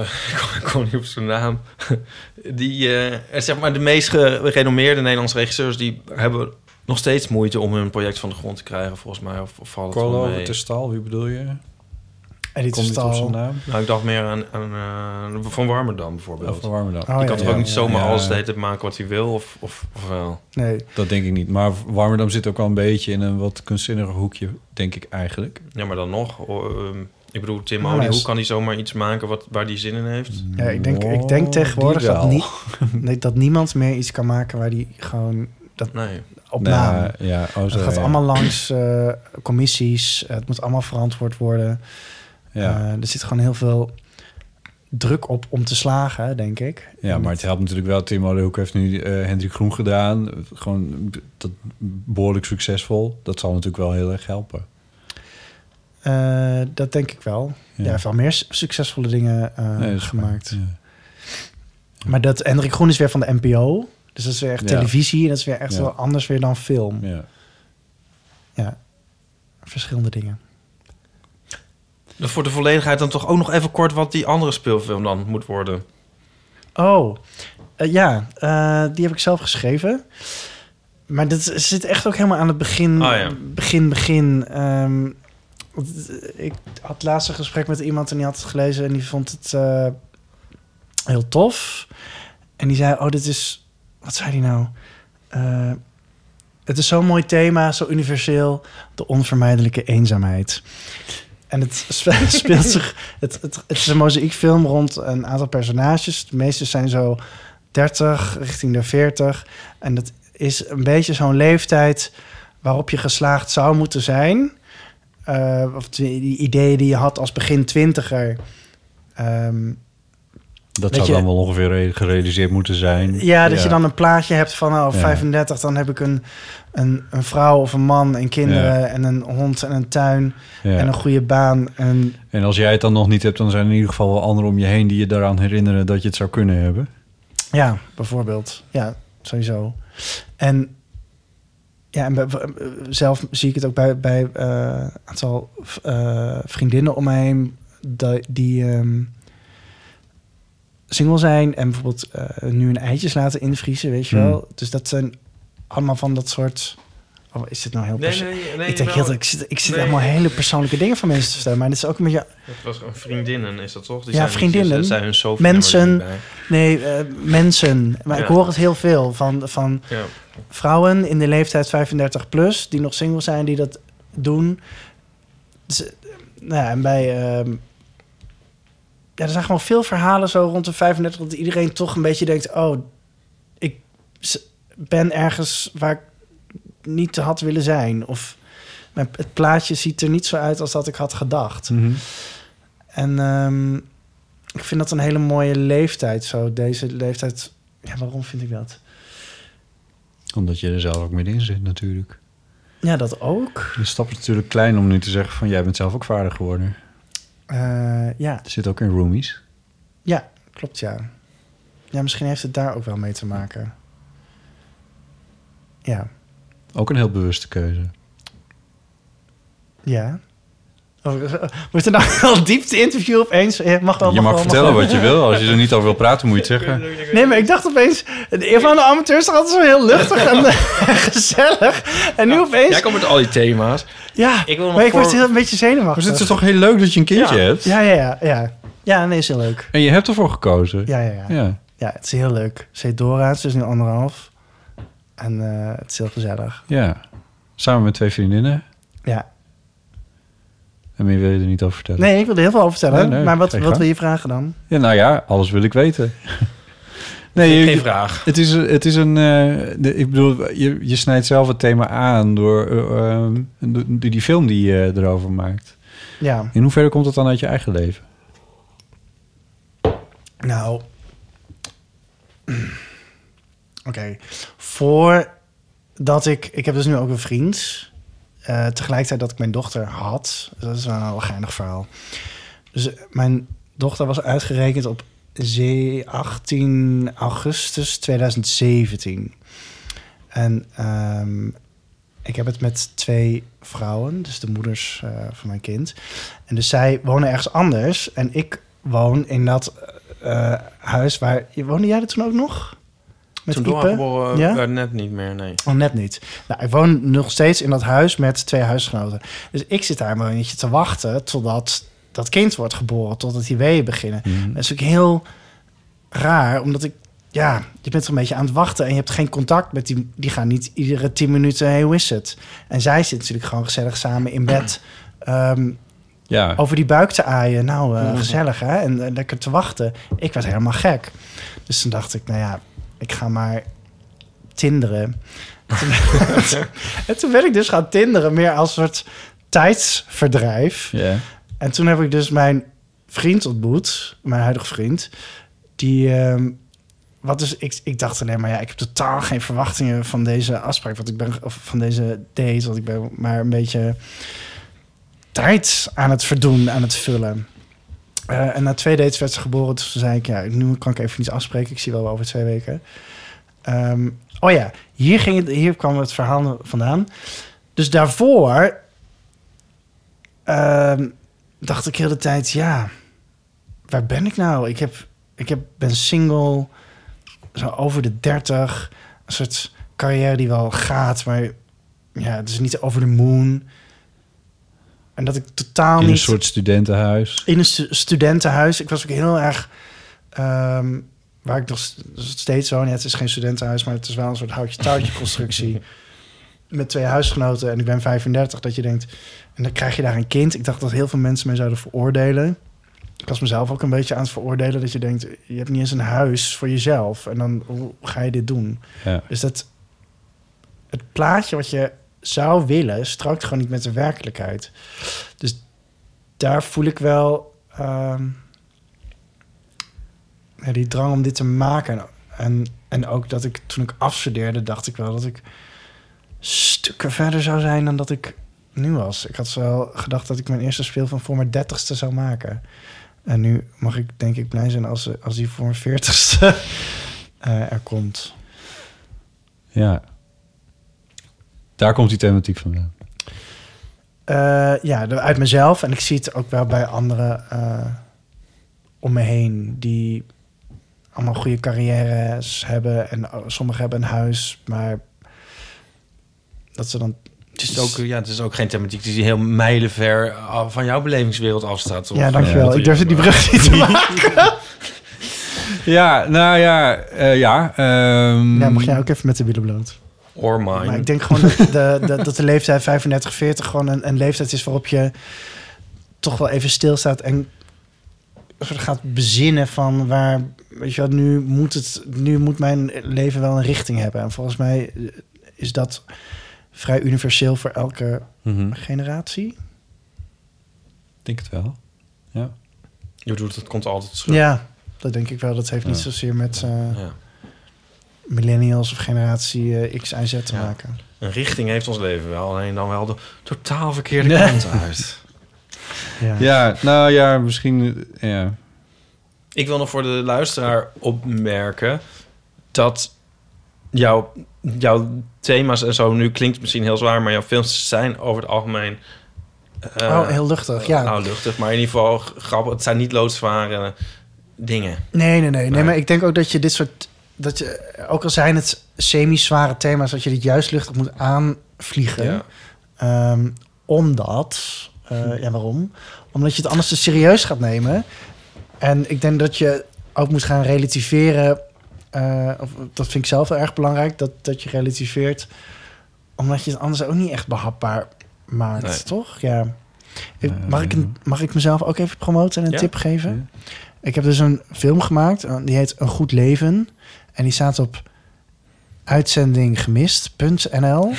[SPEAKER 3] ik kom niet op zijn naam. Die, eh, zeg maar de meest gerenommeerde Nederlandse regisseurs... die hebben nog steeds moeite om hun project van de grond te krijgen, volgens mij. Of, of valt het wel mee?
[SPEAKER 2] Stal, wie bedoel je?
[SPEAKER 4] En dit is al...
[SPEAKER 2] naam?
[SPEAKER 3] Nou, ik dacht meer aan, aan eh, Van Warmerdam bijvoorbeeld.
[SPEAKER 2] Van Warmerdam.
[SPEAKER 4] Oh,
[SPEAKER 3] Die
[SPEAKER 4] ja,
[SPEAKER 3] kan toch
[SPEAKER 4] ja.
[SPEAKER 3] ook niet zomaar
[SPEAKER 2] Ja.
[SPEAKER 3] alles de hele tijd maken wat hij wil? Of, of, of wel?
[SPEAKER 4] Nee.
[SPEAKER 2] Dat denk ik niet. Maar Warmerdam zit ook al een beetje in een wat kunstzinniger hoekje, denk ik eigenlijk.
[SPEAKER 3] Ja, maar dan nog. oh, ehm, ik bedoel, Tim
[SPEAKER 4] Ja,
[SPEAKER 3] Olie,
[SPEAKER 4] maar
[SPEAKER 3] hoe
[SPEAKER 4] is-
[SPEAKER 3] kan hij zomaar iets maken wat, waar hij zin in heeft?
[SPEAKER 4] Ja, ik, denk, ik denk tegenwoordig
[SPEAKER 2] die
[SPEAKER 4] dat,
[SPEAKER 2] wel.
[SPEAKER 4] nie- nee, dat niemand meer iets kan maken waar die gewoon
[SPEAKER 3] Nee.
[SPEAKER 4] op naam.
[SPEAKER 2] Nou, ja, oh,
[SPEAKER 4] Het
[SPEAKER 2] zo,
[SPEAKER 4] gaat
[SPEAKER 2] ja.
[SPEAKER 4] allemaal langs eh, commissies. Het moet allemaal verantwoord worden.
[SPEAKER 2] Ja.
[SPEAKER 4] Eh, er zit gewoon heel veel druk op om te slagen, denk ik.
[SPEAKER 2] Ja,
[SPEAKER 4] En
[SPEAKER 2] maar het helpt natuurlijk wel. Tim Olehoek heeft nu eh Hendrik Groen gedaan. Gewoon b- dat, behoorlijk succesvol. Dat zal natuurlijk wel heel erg helpen.
[SPEAKER 4] Eh, dat denk ik wel.
[SPEAKER 2] Ja.
[SPEAKER 4] Ja, hij heeft wel meer s- succesvolle dingen eh,
[SPEAKER 2] Nee, dat is
[SPEAKER 4] gemaakt.
[SPEAKER 2] waar. Ja.
[SPEAKER 4] Maar dat Hendrik Groen is weer van de NPO. Dus dat is weer echt
[SPEAKER 2] Ja.
[SPEAKER 4] televisie. En dat is weer echt
[SPEAKER 2] Ja.
[SPEAKER 4] wel anders weer dan film. Ja.
[SPEAKER 2] Ja.
[SPEAKER 4] verschillende dingen.
[SPEAKER 3] Dus voor de volledigheid dan toch ook nog even kort wat die andere speelfilm dan moet worden.
[SPEAKER 4] Oh, eh, ja. eh, die heb ik zelf geschreven. Maar dat zit echt ook helemaal aan het begin.
[SPEAKER 3] Ah, ja.
[SPEAKER 4] Begin, begin. Ehm, want, eh, ik had laatst een gesprek met iemand en die had het gelezen en die vond het eh, heel tof. En die zei, oh, dit is... Wat zei die nou? Eh, het is zo'n mooi thema, zo universeel. De onvermijdelijke eenzaamheid. En het spe- speelt zich... Het, het, het is een mozaïekfilm rond een aantal personages. De meeste zijn zo 30, richting de 40. En dat is een beetje zo'n leeftijd waarop je geslaagd zou moeten zijn. Eh, of die, die ideeën die je had als begin twintiger. Ehm,
[SPEAKER 2] Dat
[SPEAKER 4] Weet
[SPEAKER 2] zou
[SPEAKER 4] je-
[SPEAKER 2] dan wel ongeveer re- gerealiseerd moeten zijn.
[SPEAKER 4] ja, dat je dan een plaatje hebt van oh,
[SPEAKER 2] Ja.
[SPEAKER 4] 35, dan heb ik een, een, een vrouw of een man en kinderen
[SPEAKER 2] Ja.
[SPEAKER 4] en een hond en een tuin
[SPEAKER 2] Ja.
[SPEAKER 4] en een goede baan. En
[SPEAKER 2] En als jij het dan nog niet hebt, dan zijn er in ieder geval wel anderen om je heen... die je daaraan herinneren dat je het zou kunnen hebben.
[SPEAKER 4] ja, bijvoorbeeld. Ja, sowieso. En, ja, en bij- bij- zelf zie ik het ook bij bij, eh, een aantal v- eh, vriendinnen om mij heen die, die ehm, single zijn en bijvoorbeeld eh, nu hun eitjes laten invriezen, weet je
[SPEAKER 2] Hmm.
[SPEAKER 4] wel. Dus dat zijn allemaal van dat soort... Oh, is dit nou heel perso-
[SPEAKER 3] nee.
[SPEAKER 4] ik denk heel, ik zit, ik zit
[SPEAKER 3] Nee.
[SPEAKER 4] allemaal hele persoonlijke dingen van mensen te vertellen. Maar dat is ook een beetje...
[SPEAKER 3] Dat was een vriendinnen, is dat toch? Die
[SPEAKER 4] Ja,
[SPEAKER 3] zijn,
[SPEAKER 4] vriendinnen.
[SPEAKER 3] Die zijn hun sofa
[SPEAKER 4] Mensen.
[SPEAKER 3] bij.
[SPEAKER 4] Nee, eh, mensen. Maar ik
[SPEAKER 3] Ja.
[SPEAKER 4] hoor het heel veel van, van
[SPEAKER 3] Ja.
[SPEAKER 4] vrouwen in de leeftijd 35 plus... die nog single zijn, die dat doen. Dus, eh, nou ja, en bij... ehm, ja, er zijn gewoon veel verhalen zo rond de 35... dat iedereen toch een beetje denkt... oh, ik s- ben ergens waar ik niet had willen zijn. Of mijn, het plaatje ziet er niet zo uit als dat ik had gedacht. En ehm, ik vind dat een hele mooie leeftijd zo. Deze leeftijd... Ja, waarom vind ik dat?
[SPEAKER 2] Omdat je er zelf ook middenin zit natuurlijk.
[SPEAKER 4] Ja, dat ook.
[SPEAKER 2] De stap is natuurlijk klein om nu te zeggen van... jij bent zelf ook vader geworden.
[SPEAKER 4] Eh, ja,
[SPEAKER 2] Er zit ook in roomies.
[SPEAKER 4] Ja, klopt ja. Ja, misschien heeft het daar ook wel mee te maken. Ja.
[SPEAKER 2] Ook een heel bewuste keuze.
[SPEAKER 4] Ja. Oh, Wordt er nou al diepte interview opeens? Eh, Mag wel,
[SPEAKER 2] je
[SPEAKER 4] mag
[SPEAKER 2] mag
[SPEAKER 4] wel,
[SPEAKER 2] vertellen
[SPEAKER 4] wel.
[SPEAKER 2] wat je wil. Als je er niet over wil praten, moet je het zeggen.
[SPEAKER 4] Nee, maar ik dacht opeens... De eer van de amateur is toch altijd zo heel luchtig en eh, gezellig. En nu
[SPEAKER 3] Jij
[SPEAKER 4] opeens...
[SPEAKER 3] komt met al die thema's.
[SPEAKER 4] Ja,
[SPEAKER 3] Ik wil nog
[SPEAKER 4] maar ik word
[SPEAKER 3] voor-
[SPEAKER 4] heel een beetje
[SPEAKER 2] Maar het is
[SPEAKER 4] zenuwachtig.
[SPEAKER 2] toch heel leuk dat je een kindje
[SPEAKER 3] Ja.
[SPEAKER 2] hebt?
[SPEAKER 4] Ja, ja, ja, ja. Ja, nee, is heel leuk.
[SPEAKER 2] En je hebt ervoor gekozen.
[SPEAKER 4] Ja, ja, ja. ja.
[SPEAKER 2] Ja.
[SPEAKER 4] het is heel leuk. Ze heet Dora, ze is nu anderhalf. En eh, het is heel gezellig.
[SPEAKER 2] Ja. Samen met twee vriendinnen.
[SPEAKER 4] Ja,
[SPEAKER 2] En meer wil je er niet over vertellen.
[SPEAKER 4] Nee, ik wilde heel veel over vertellen.
[SPEAKER 2] Nee, nee,
[SPEAKER 4] maar wat,
[SPEAKER 2] geen
[SPEAKER 4] wat
[SPEAKER 2] gang.
[SPEAKER 4] wil je vragen dan?
[SPEAKER 2] Ja, nou ja, alles wil ik weten. nee, je-
[SPEAKER 3] Geen vraag.
[SPEAKER 2] Het is, het is een... eh, de- ik bedoel, je, je snijdt zelf het thema aan door, eh, ehm, door door die film die je eh, erover maakt.
[SPEAKER 4] Ja,
[SPEAKER 2] In hoeverre komt dat dan uit je eigen leven?
[SPEAKER 4] nou. Oké. Voordat ik. Ik heb dus nu ook een vriend. Eh, tegelijkertijd dat ik mijn dochter had. Dat is wel een heel geinig verhaal. Dus eh, mijn dochter was uitgerekend op ze- 18 augustus 2017. En ehm, ik heb het met twee vrouwen, dus de moeders eh, van mijn kind. En dus zij wonen ergens anders. En ik woon in dat eh, huis waar... Woonde jij er toen ook nog? Met
[SPEAKER 3] Toen eh,
[SPEAKER 4] Ipe?
[SPEAKER 3] Dora geboren
[SPEAKER 4] Ja?
[SPEAKER 3] werd net niet meer, nee.
[SPEAKER 4] Oh, net niet. Nou, ik woon nog steeds in dat huis met twee huisgenoten. Dus ik zit daar maar een beetje te wachten totdat dat kind wordt geboren, totdat die weeën beginnen. Dat is natuurlijk heel raar, omdat ik, ja, je bent er een beetje aan het wachten en je hebt geen contact met die. Die gaan niet iedere tien minuten, hey, hoe is het? En zij zitten natuurlijk gewoon gezellig samen in bed. ehm,
[SPEAKER 2] Ja.
[SPEAKER 4] over die buik te aaien. Nou, eh, gezellig hè? En eh, lekker te wachten. Ik werd helemaal gek. Dus toen dacht ik, nou ja, ik ga maar tinderen. Toen- en toen ben ik dus gaan tinderen, meer als soort tijdsverdrijf.
[SPEAKER 2] Ja.
[SPEAKER 4] En toen heb ik dus mijn vriend ontmoet, mijn huidige vriend, die. ehm, wat dus, ik, ik dacht alleen maar, ja, ik heb totaal geen verwachtingen van deze afspraak, want ik ben, of van deze date, want ik ben maar een beetje tijd aan het verdoen, aan het vullen. Eh, en na twee dates werd ze geboren, dus toen zei ik, ja, nu kan ik even niet afspreken, ik zie wel over twee weken. Ehm, oh ja, hier, ging het, hier kwam het verhaal vandaan. Dus daarvoor ehm, dacht ik heel de tijd, ja, waar ben ik nou? Ik, heb, ik heb, ben single, zo over de 30. Een soort carrière die wel gaat, maar ja, het is niet over de moon. En dat ik totaal
[SPEAKER 2] In een
[SPEAKER 4] niet...
[SPEAKER 2] soort studentenhuis.
[SPEAKER 4] In een stu- studentenhuis. Ik was ook heel erg... ehm, waar ik nog st- steeds woon. Ja, het is geen studentenhuis, maar het is wel een soort houtje-touwtje constructie. met twee huisgenoten en ik ben 35. Dat je denkt, en dan krijg je daar een kind. Ik dacht dat heel veel mensen mij zouden veroordelen. Ik was mezelf ook een beetje aan het veroordelen. Dat je denkt, je hebt niet eens een huis voor jezelf. En dan, hoe ga je dit doen?
[SPEAKER 2] Ja.
[SPEAKER 4] Dus dat het plaatje wat je zou willen, strookt gewoon niet met de werkelijkheid. Dus daar voel ik wel ehm, ja, die drang om dit te maken. En, en ook dat ik toen ik afstudeerde, dacht ik wel dat ik stukken verder zou zijn dan dat ik nu was. Ik had wel gedacht dat ik mijn eerste speel van voor mijn dertigste zou maken. En nu mag ik denk ik blij zijn als, als die voor mijn veertigste eh, er komt.
[SPEAKER 2] Ja. Daar komt die thematiek vandaan.
[SPEAKER 4] Eh, ja, de- uit mezelf. En ik zie het ook wel bij anderen eh, om me heen. Die allemaal goede carrières hebben. En oh, sommigen hebben een huis. Maar dat ze dan...
[SPEAKER 3] Het is ook, ja, het is ook geen thematiek die heel mijlenver af- van jouw belevingswereld afstaat. toch?
[SPEAKER 4] Ja,
[SPEAKER 3] Ja,
[SPEAKER 4] dankjewel.
[SPEAKER 3] dat
[SPEAKER 4] ik durfde die
[SPEAKER 3] maar-
[SPEAKER 4] brug niet te maken.
[SPEAKER 2] Ja, nou ja, eh, ja. ehm,
[SPEAKER 4] Ja, mocht jij ook even met de wielen bloot.
[SPEAKER 3] Or mine.
[SPEAKER 4] Maar ik denk gewoon dat de, de- dat de leeftijd 35, 40 gewoon een, een leeftijd is waarop je toch wel even stilstaat en soort gaat bezinnen van waar, weet je wat, nu moet, het, nu moet mijn leven wel een richting hebben. En volgens mij eh, is dat vrij universeel voor elke
[SPEAKER 2] Mhm.
[SPEAKER 4] generatie.
[SPEAKER 2] Ik denk het wel. Ja.
[SPEAKER 3] Je bedoelt, het komt altijd terug.
[SPEAKER 4] Ja, dat denk ik wel. Dat heeft niet
[SPEAKER 2] Ja.
[SPEAKER 4] zozeer met eh,
[SPEAKER 3] Ja.
[SPEAKER 4] millennials of generatie eh, X en Z te
[SPEAKER 3] Ja.
[SPEAKER 4] maken.
[SPEAKER 3] Een richting heeft ons leven wel, alleen dan wel de totaal verkeerde kant uit.
[SPEAKER 4] Ja.
[SPEAKER 2] ja, nou ja, misschien... eh, Ja.
[SPEAKER 3] Ik wil nog voor de luisteraar opmerken dat jouw, jouw thema's en zo nu klinkt het misschien heel zwaar, maar jouw films zijn over het algemeen. eh,
[SPEAKER 4] oh, heel luchtig, ja.
[SPEAKER 3] Nou, luchtig, maar in ieder geval g- grappig. Het zijn niet loodzware eh, dingen.
[SPEAKER 4] Nee, nee, nee, nee.
[SPEAKER 3] Nee.
[SPEAKER 4] Maar ik denk ook dat je dit soort... Dat je, ook al zijn het semi-zware thema's... dat je dit juist luchtig moet aanvliegen.
[SPEAKER 3] Ja. Hm.
[SPEAKER 4] Ehm, omdat... eh, ja, waarom? Omdat je het anders te serieus gaat nemen. En ik denk dat je ook moet gaan relativeren... eh, of, dat vind ik zelf heel erg belangrijk, dat, dat je relativeert. Omdat je het anders ook niet echt behapbaar maakt,
[SPEAKER 3] Nee.
[SPEAKER 4] toch? Ja. Ik-
[SPEAKER 2] Eh,
[SPEAKER 4] mag, ik een- mag ik mezelf ook even promoten en een
[SPEAKER 3] Ja.
[SPEAKER 4] tip geven? Ik heb dus een film gemaakt, eh, die heet Een Goed Leven. En die staat op uitzendinggemist.nl.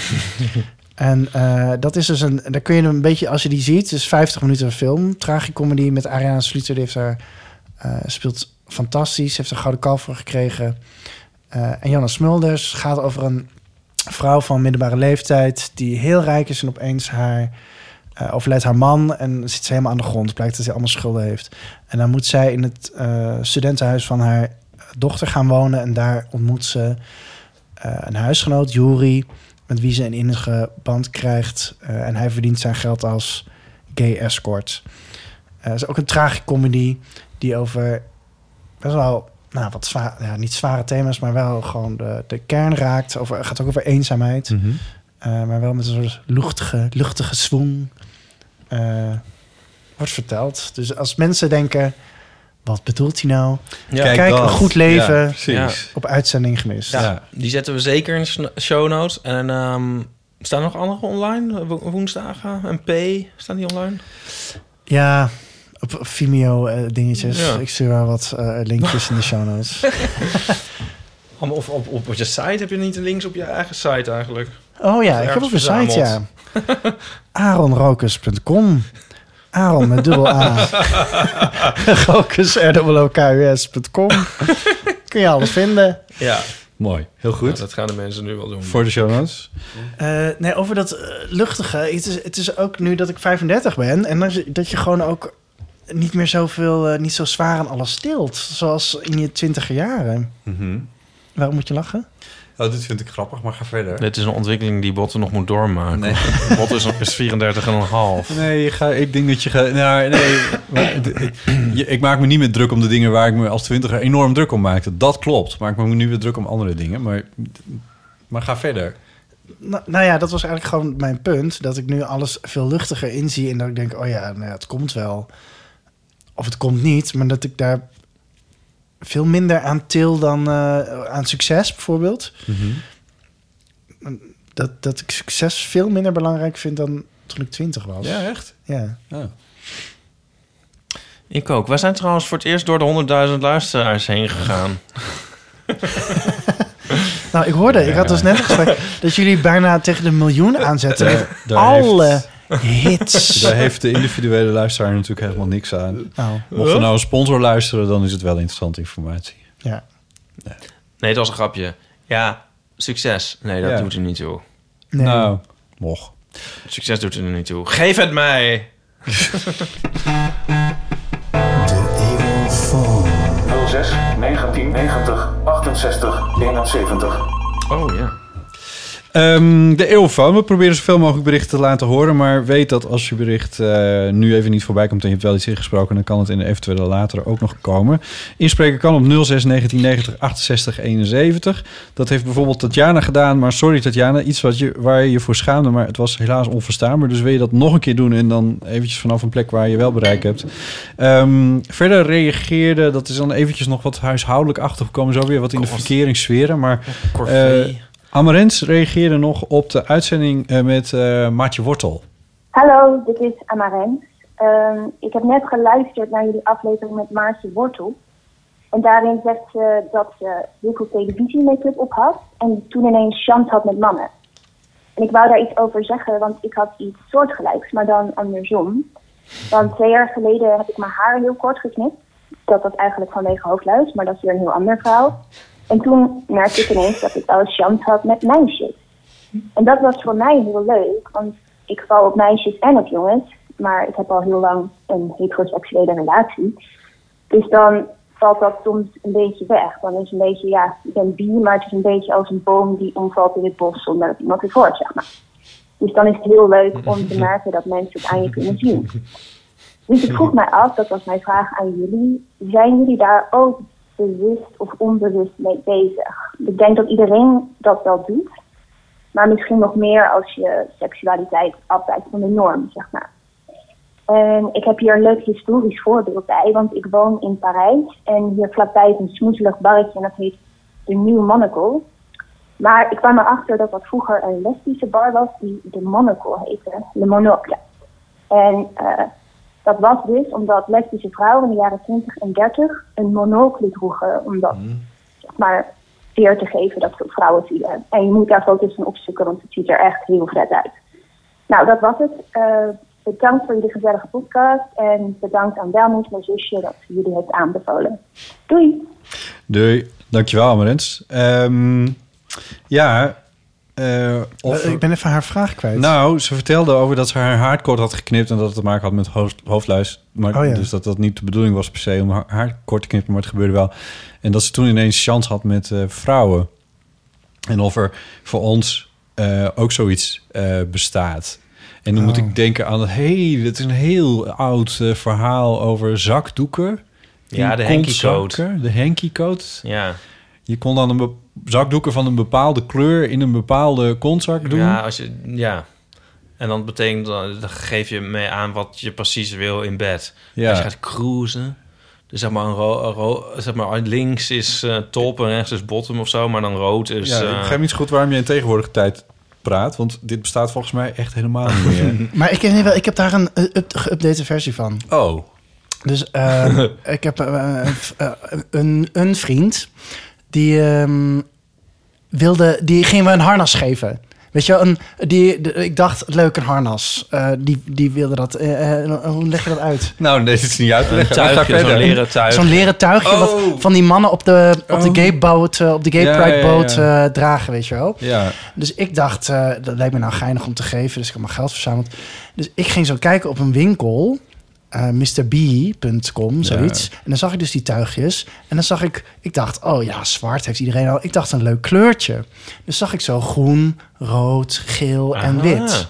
[SPEAKER 4] en eh, dat is dus een, daar kun je hem een beetje, als je die ziet, dus 50 minuten film, tragicomedy met Ariana Sluiter. Die heeft daar, eh, speelt fantastisch, heeft een gouden kalf voor gekregen. Eh, en Janne Smulders gaat over een vrouw van middelbare leeftijd die heel rijk is en opeens haar eh overlijdt haar man en zit ze helemaal aan de grond. Blijkt dat hij allemaal schulden heeft. En dan moet zij in het eh, studentenhuis van haar dochter gaan wonen. En daar ontmoet ze eh, een huisgenoot, Juri, met wie ze een innige band krijgt. Eh, en hij verdient zijn geld als gay escort. Eh, Het is ook een tragicomedy die over best wel, nou wat zwaar, ja, niet zware thema's, maar wel gewoon de, de kern raakt. Over, gaat ook over eenzaamheid.
[SPEAKER 2] Mhm.
[SPEAKER 4] Eh, maar wel met een soort luchtige, luchtige swing. eh, wordt verteld. Dus als mensen denken, wat bedoelt hij nou?
[SPEAKER 3] Ja.
[SPEAKER 4] Kijk, een
[SPEAKER 2] dat.
[SPEAKER 4] goed leven.
[SPEAKER 2] Ja, precies.
[SPEAKER 4] Op uitzending gemist.
[SPEAKER 3] Ja,
[SPEAKER 2] Ja.
[SPEAKER 3] die zetten we zeker in de sn- show notes. En ehm, staan er nog andere online? Wo- Woensdagen en P, staan die online?
[SPEAKER 4] Ja, op Vimeo eh, dingetjes.
[SPEAKER 3] Ja.
[SPEAKER 4] Ik stuur wel wat eh, linkjes in de show notes.
[SPEAKER 3] Om- Of op, op, op je site heb je niet de links op je eigen site eigenlijk?
[SPEAKER 4] Oh ja, ik
[SPEAKER 3] Ergens
[SPEAKER 4] heb op een site, ja.
[SPEAKER 3] verzameld.
[SPEAKER 4] Aaronrokers.com Aaron met dubbel A. Rokus, R-O-K-U-S.com Kun je alles vinden.
[SPEAKER 3] Ja,
[SPEAKER 2] Mooi. Heel goed.
[SPEAKER 3] Ja, dat gaan de mensen nu wel doen.
[SPEAKER 2] Voor de show notes.
[SPEAKER 4] Eh, nee, over dat eh, luchtige. Het is, het is ook nu dat ik 35 ben. En dat je, dat je gewoon ook niet meer zoveel, eh, niet zo zwaar aan alles tilt. Zoals in je twintiger jaren.
[SPEAKER 3] Mhm.
[SPEAKER 4] Waarom moet je lachen?
[SPEAKER 2] Oh, dit vind ik grappig, maar ga verder.
[SPEAKER 3] Dit is een ontwikkeling die Botten nog moet doormaken. Botten is nog is 34,5.
[SPEAKER 2] Nee, je ga, ik denk dat je gaat... Nou, nee, maar d- ik- je- ik maak me niet meer druk om de dingen waar ik me als twintiger enorm druk om maakte. Dat klopt, maar ik maak me nu weer druk om andere dingen. Maar, maar ga verder.
[SPEAKER 4] Nou, nou ja, dat was eigenlijk gewoon mijn punt. Dat ik nu alles veel luchtiger inzie. En dat ik denk, oh ja, nou ja, het komt wel. Of het komt niet. Maar dat ik daar veel minder aan til dan eh, aan succes bijvoorbeeld.
[SPEAKER 3] Mhm.
[SPEAKER 4] Dat, dat ik succes veel minder belangrijk vind dan toen ik 20 was.
[SPEAKER 2] Ja, echt? Oh.
[SPEAKER 4] Ja.
[SPEAKER 2] Ja.
[SPEAKER 3] Ik ook. Wij zijn trouwens voor het eerst door de 100.000 luisteraars heen gegaan.
[SPEAKER 4] Nou, ik hoorde, ik had dus net een gesprek dat jullie bijna tegen de miljoen aanzetten. Met
[SPEAKER 2] Eh, daar
[SPEAKER 4] alle
[SPEAKER 2] heeft-
[SPEAKER 4] hits.
[SPEAKER 2] Daar heeft de individuele luisteraar natuurlijk helemaal niks aan.
[SPEAKER 4] Nou,
[SPEAKER 2] Mocht er nou een sponsor luisteren, dan is het wel interessante informatie.
[SPEAKER 4] ja.
[SPEAKER 3] Nee, dat was een grapje. Ja, succes. Nee, dat
[SPEAKER 2] Ja.
[SPEAKER 3] doet er niet toe.
[SPEAKER 4] Nee.
[SPEAKER 2] Nou, mocht.
[SPEAKER 3] Succes doet er niet toe. Geef het mij! Oh ja.
[SPEAKER 2] Ehm, de eeuwfoon. We proberen zoveel mogelijk berichten te laten horen. Maar weet dat als je bericht eh, nu even niet voorbij komt en je hebt wel iets ingesproken, dan kan het in de eventuele latere ook nog komen. Inspreken kan op 06 1990 68 71. Dat heeft bijvoorbeeld Tatjana gedaan. Maar sorry Tatjana, iets wat je, waar je je voor schaamde, maar het was helaas onverstaanbaar. Dus wil je dat nog een keer doen en dan eventjes vanaf een plek waar je wel bereik hebt. Ehm, verder reageerde, dat is dan eventjes nog wat huishoudelijk achter. We komen zo weer wat in de
[SPEAKER 3] Kost.
[SPEAKER 2] verkeringssferen, maar...
[SPEAKER 3] Corvée.
[SPEAKER 2] Eh, Amarens reageerde nog op de uitzending eh, met eh, Maartje Wortel.
[SPEAKER 5] Hallo, dit is Amarens.
[SPEAKER 6] Ehm, ik heb net geluisterd naar jullie aflevering met Maartje Wortel. En daarin zegt ze dat ze heel veel televisie-make-up op had. En toen ineens chance had met mannen. En ik wou daar iets over zeggen, want ik had iets soortgelijks, maar dan andersom. Want twee jaar geleden heb ik mijn haar heel kort geknipt. Dat was eigenlijk vanwege hoofdluis, maar dat is weer een heel ander verhaal. En toen merkte ik ineens dat ik wel eens chance had met meisjes. En dat was voor mij heel leuk, want ik val op meisjes en op jongens. Maar ik heb al heel lang een heteroseksuele relatie. Dus dan valt dat soms een beetje weg. Dan is een beetje, ja, ik ben bi, maar het is een beetje als een boom die omvalt in het bos zonder dat iemand het hoort, zeg maar. Dus dan is het heel leuk om te merken dat mensen het aan je kunnen zien. Dus ik vroeg mij af, dat was mijn vraag aan jullie, zijn jullie daar ook bewust of onbewust mee bezig? Ik denk dat iedereen dat wel doet, maar misschien nog meer als je seksualiteit afwijkt van de norm, zeg maar. En ik heb hier een leuk historisch voorbeeld bij, want ik woon in Parijs en hier vlakbij is een smoezelig barretje en dat heet de Nieuwe Monocle. Maar ik kwam erachter dat dat vroeger een lesbische bar was die de Monocle heette, de Monocle. En eh, dat was dus omdat lesbische vrouwen in de jaren 20 en 30 een monocle droegen, omdat zeg maar veer te geven dat soort vrouwen vielen. En je moet daar foto's van opzoeken, want het ziet er echt heel vet uit. Nou, dat was het. Eh, bedankt voor jullie gezellige podcast. En bedankt aan Welmoes, mijn zusje, dat ze jullie heeft aanbevolen. Doei!
[SPEAKER 2] Doei. Dankjewel, Amarens. Ehm, ja. eh, of,
[SPEAKER 4] Eh, ik ben even haar vraag kwijt.
[SPEAKER 2] Nou, ze vertelde over dat ze haar haar kort had geknipt... en dat het te maken had met hoofd, hoofdluis. Maar,
[SPEAKER 4] Oh ja.
[SPEAKER 2] Dus dat dat niet de bedoeling was per se om haar, haar kort te knippen... maar het gebeurde wel. En dat ze toen ineens chance had met eh, vrouwen. En of er voor ons eh, ook zoiets eh, bestaat. En dan
[SPEAKER 4] Oh.
[SPEAKER 2] moet ik denken aan... hey, dat is een heel oud eh, verhaal over zakdoeken.
[SPEAKER 3] Ja,
[SPEAKER 2] In
[SPEAKER 3] de henkie-code.
[SPEAKER 2] kontzakken, De henkie-code.
[SPEAKER 3] Ja.
[SPEAKER 2] Je kon dan een be- zakdoeken van een bepaalde kleur... in een bepaalde kontzak doen.
[SPEAKER 3] Ja, als je, ja. En dan betekent dan, dan geef je mee aan wat je precies wil in bed.
[SPEAKER 2] Ja.
[SPEAKER 3] Als je gaat cruisen, dus zeg maar, een ro- een ro- zeg maar links is eh, top en rechts is bottom of zo, maar dan rood is.
[SPEAKER 2] ja, ik
[SPEAKER 3] eh,
[SPEAKER 2] begrijp niet zo goed waarom je in tegenwoordige tijd praat. Want dit bestaat volgens mij echt helemaal niet meer.
[SPEAKER 4] Maar ik, nee, wel, ik heb daar een eh, up- geüpdate versie van.
[SPEAKER 2] oh.
[SPEAKER 4] Dus eh, ik heb eh, een v- eh, een, een vriend die ehm, wilde, die ging me een harnas geven. Weet je, wel, een, die, de- ik dacht, leuk, een harnas. Eh, die, die wilde dat. eh, eh, hoe leg je dat uit?
[SPEAKER 2] Nou, nee, dit is niet uit te
[SPEAKER 3] een
[SPEAKER 2] leggen. Maar ga
[SPEAKER 3] tuigje,
[SPEAKER 2] verder.
[SPEAKER 3] zo'n leren tuig.
[SPEAKER 4] Zo'n leren tuigje
[SPEAKER 2] Oh.
[SPEAKER 4] wat van die mannen op de, op de
[SPEAKER 2] Oh.
[SPEAKER 4] gay boot, eh, op de gay
[SPEAKER 2] Ja,
[SPEAKER 4] pride
[SPEAKER 2] ja, ja.
[SPEAKER 4] boot eh, dragen, weet je wel.
[SPEAKER 2] Ja,
[SPEAKER 4] Dus ik dacht, eh, dat lijkt me nou geinig om te geven. Dus ik had mijn geld verzameld. Dus ik ging zo kijken op een winkel. eh MrB.com, zoiets. En dan zag ik dus die tuigjes. En dan zag ik, ik dacht, oh ja, zwart heeft iedereen al. Ik dacht een leuk kleurtje. Dus zag ik zo groen, rood, geel en
[SPEAKER 3] Ah.
[SPEAKER 4] wit.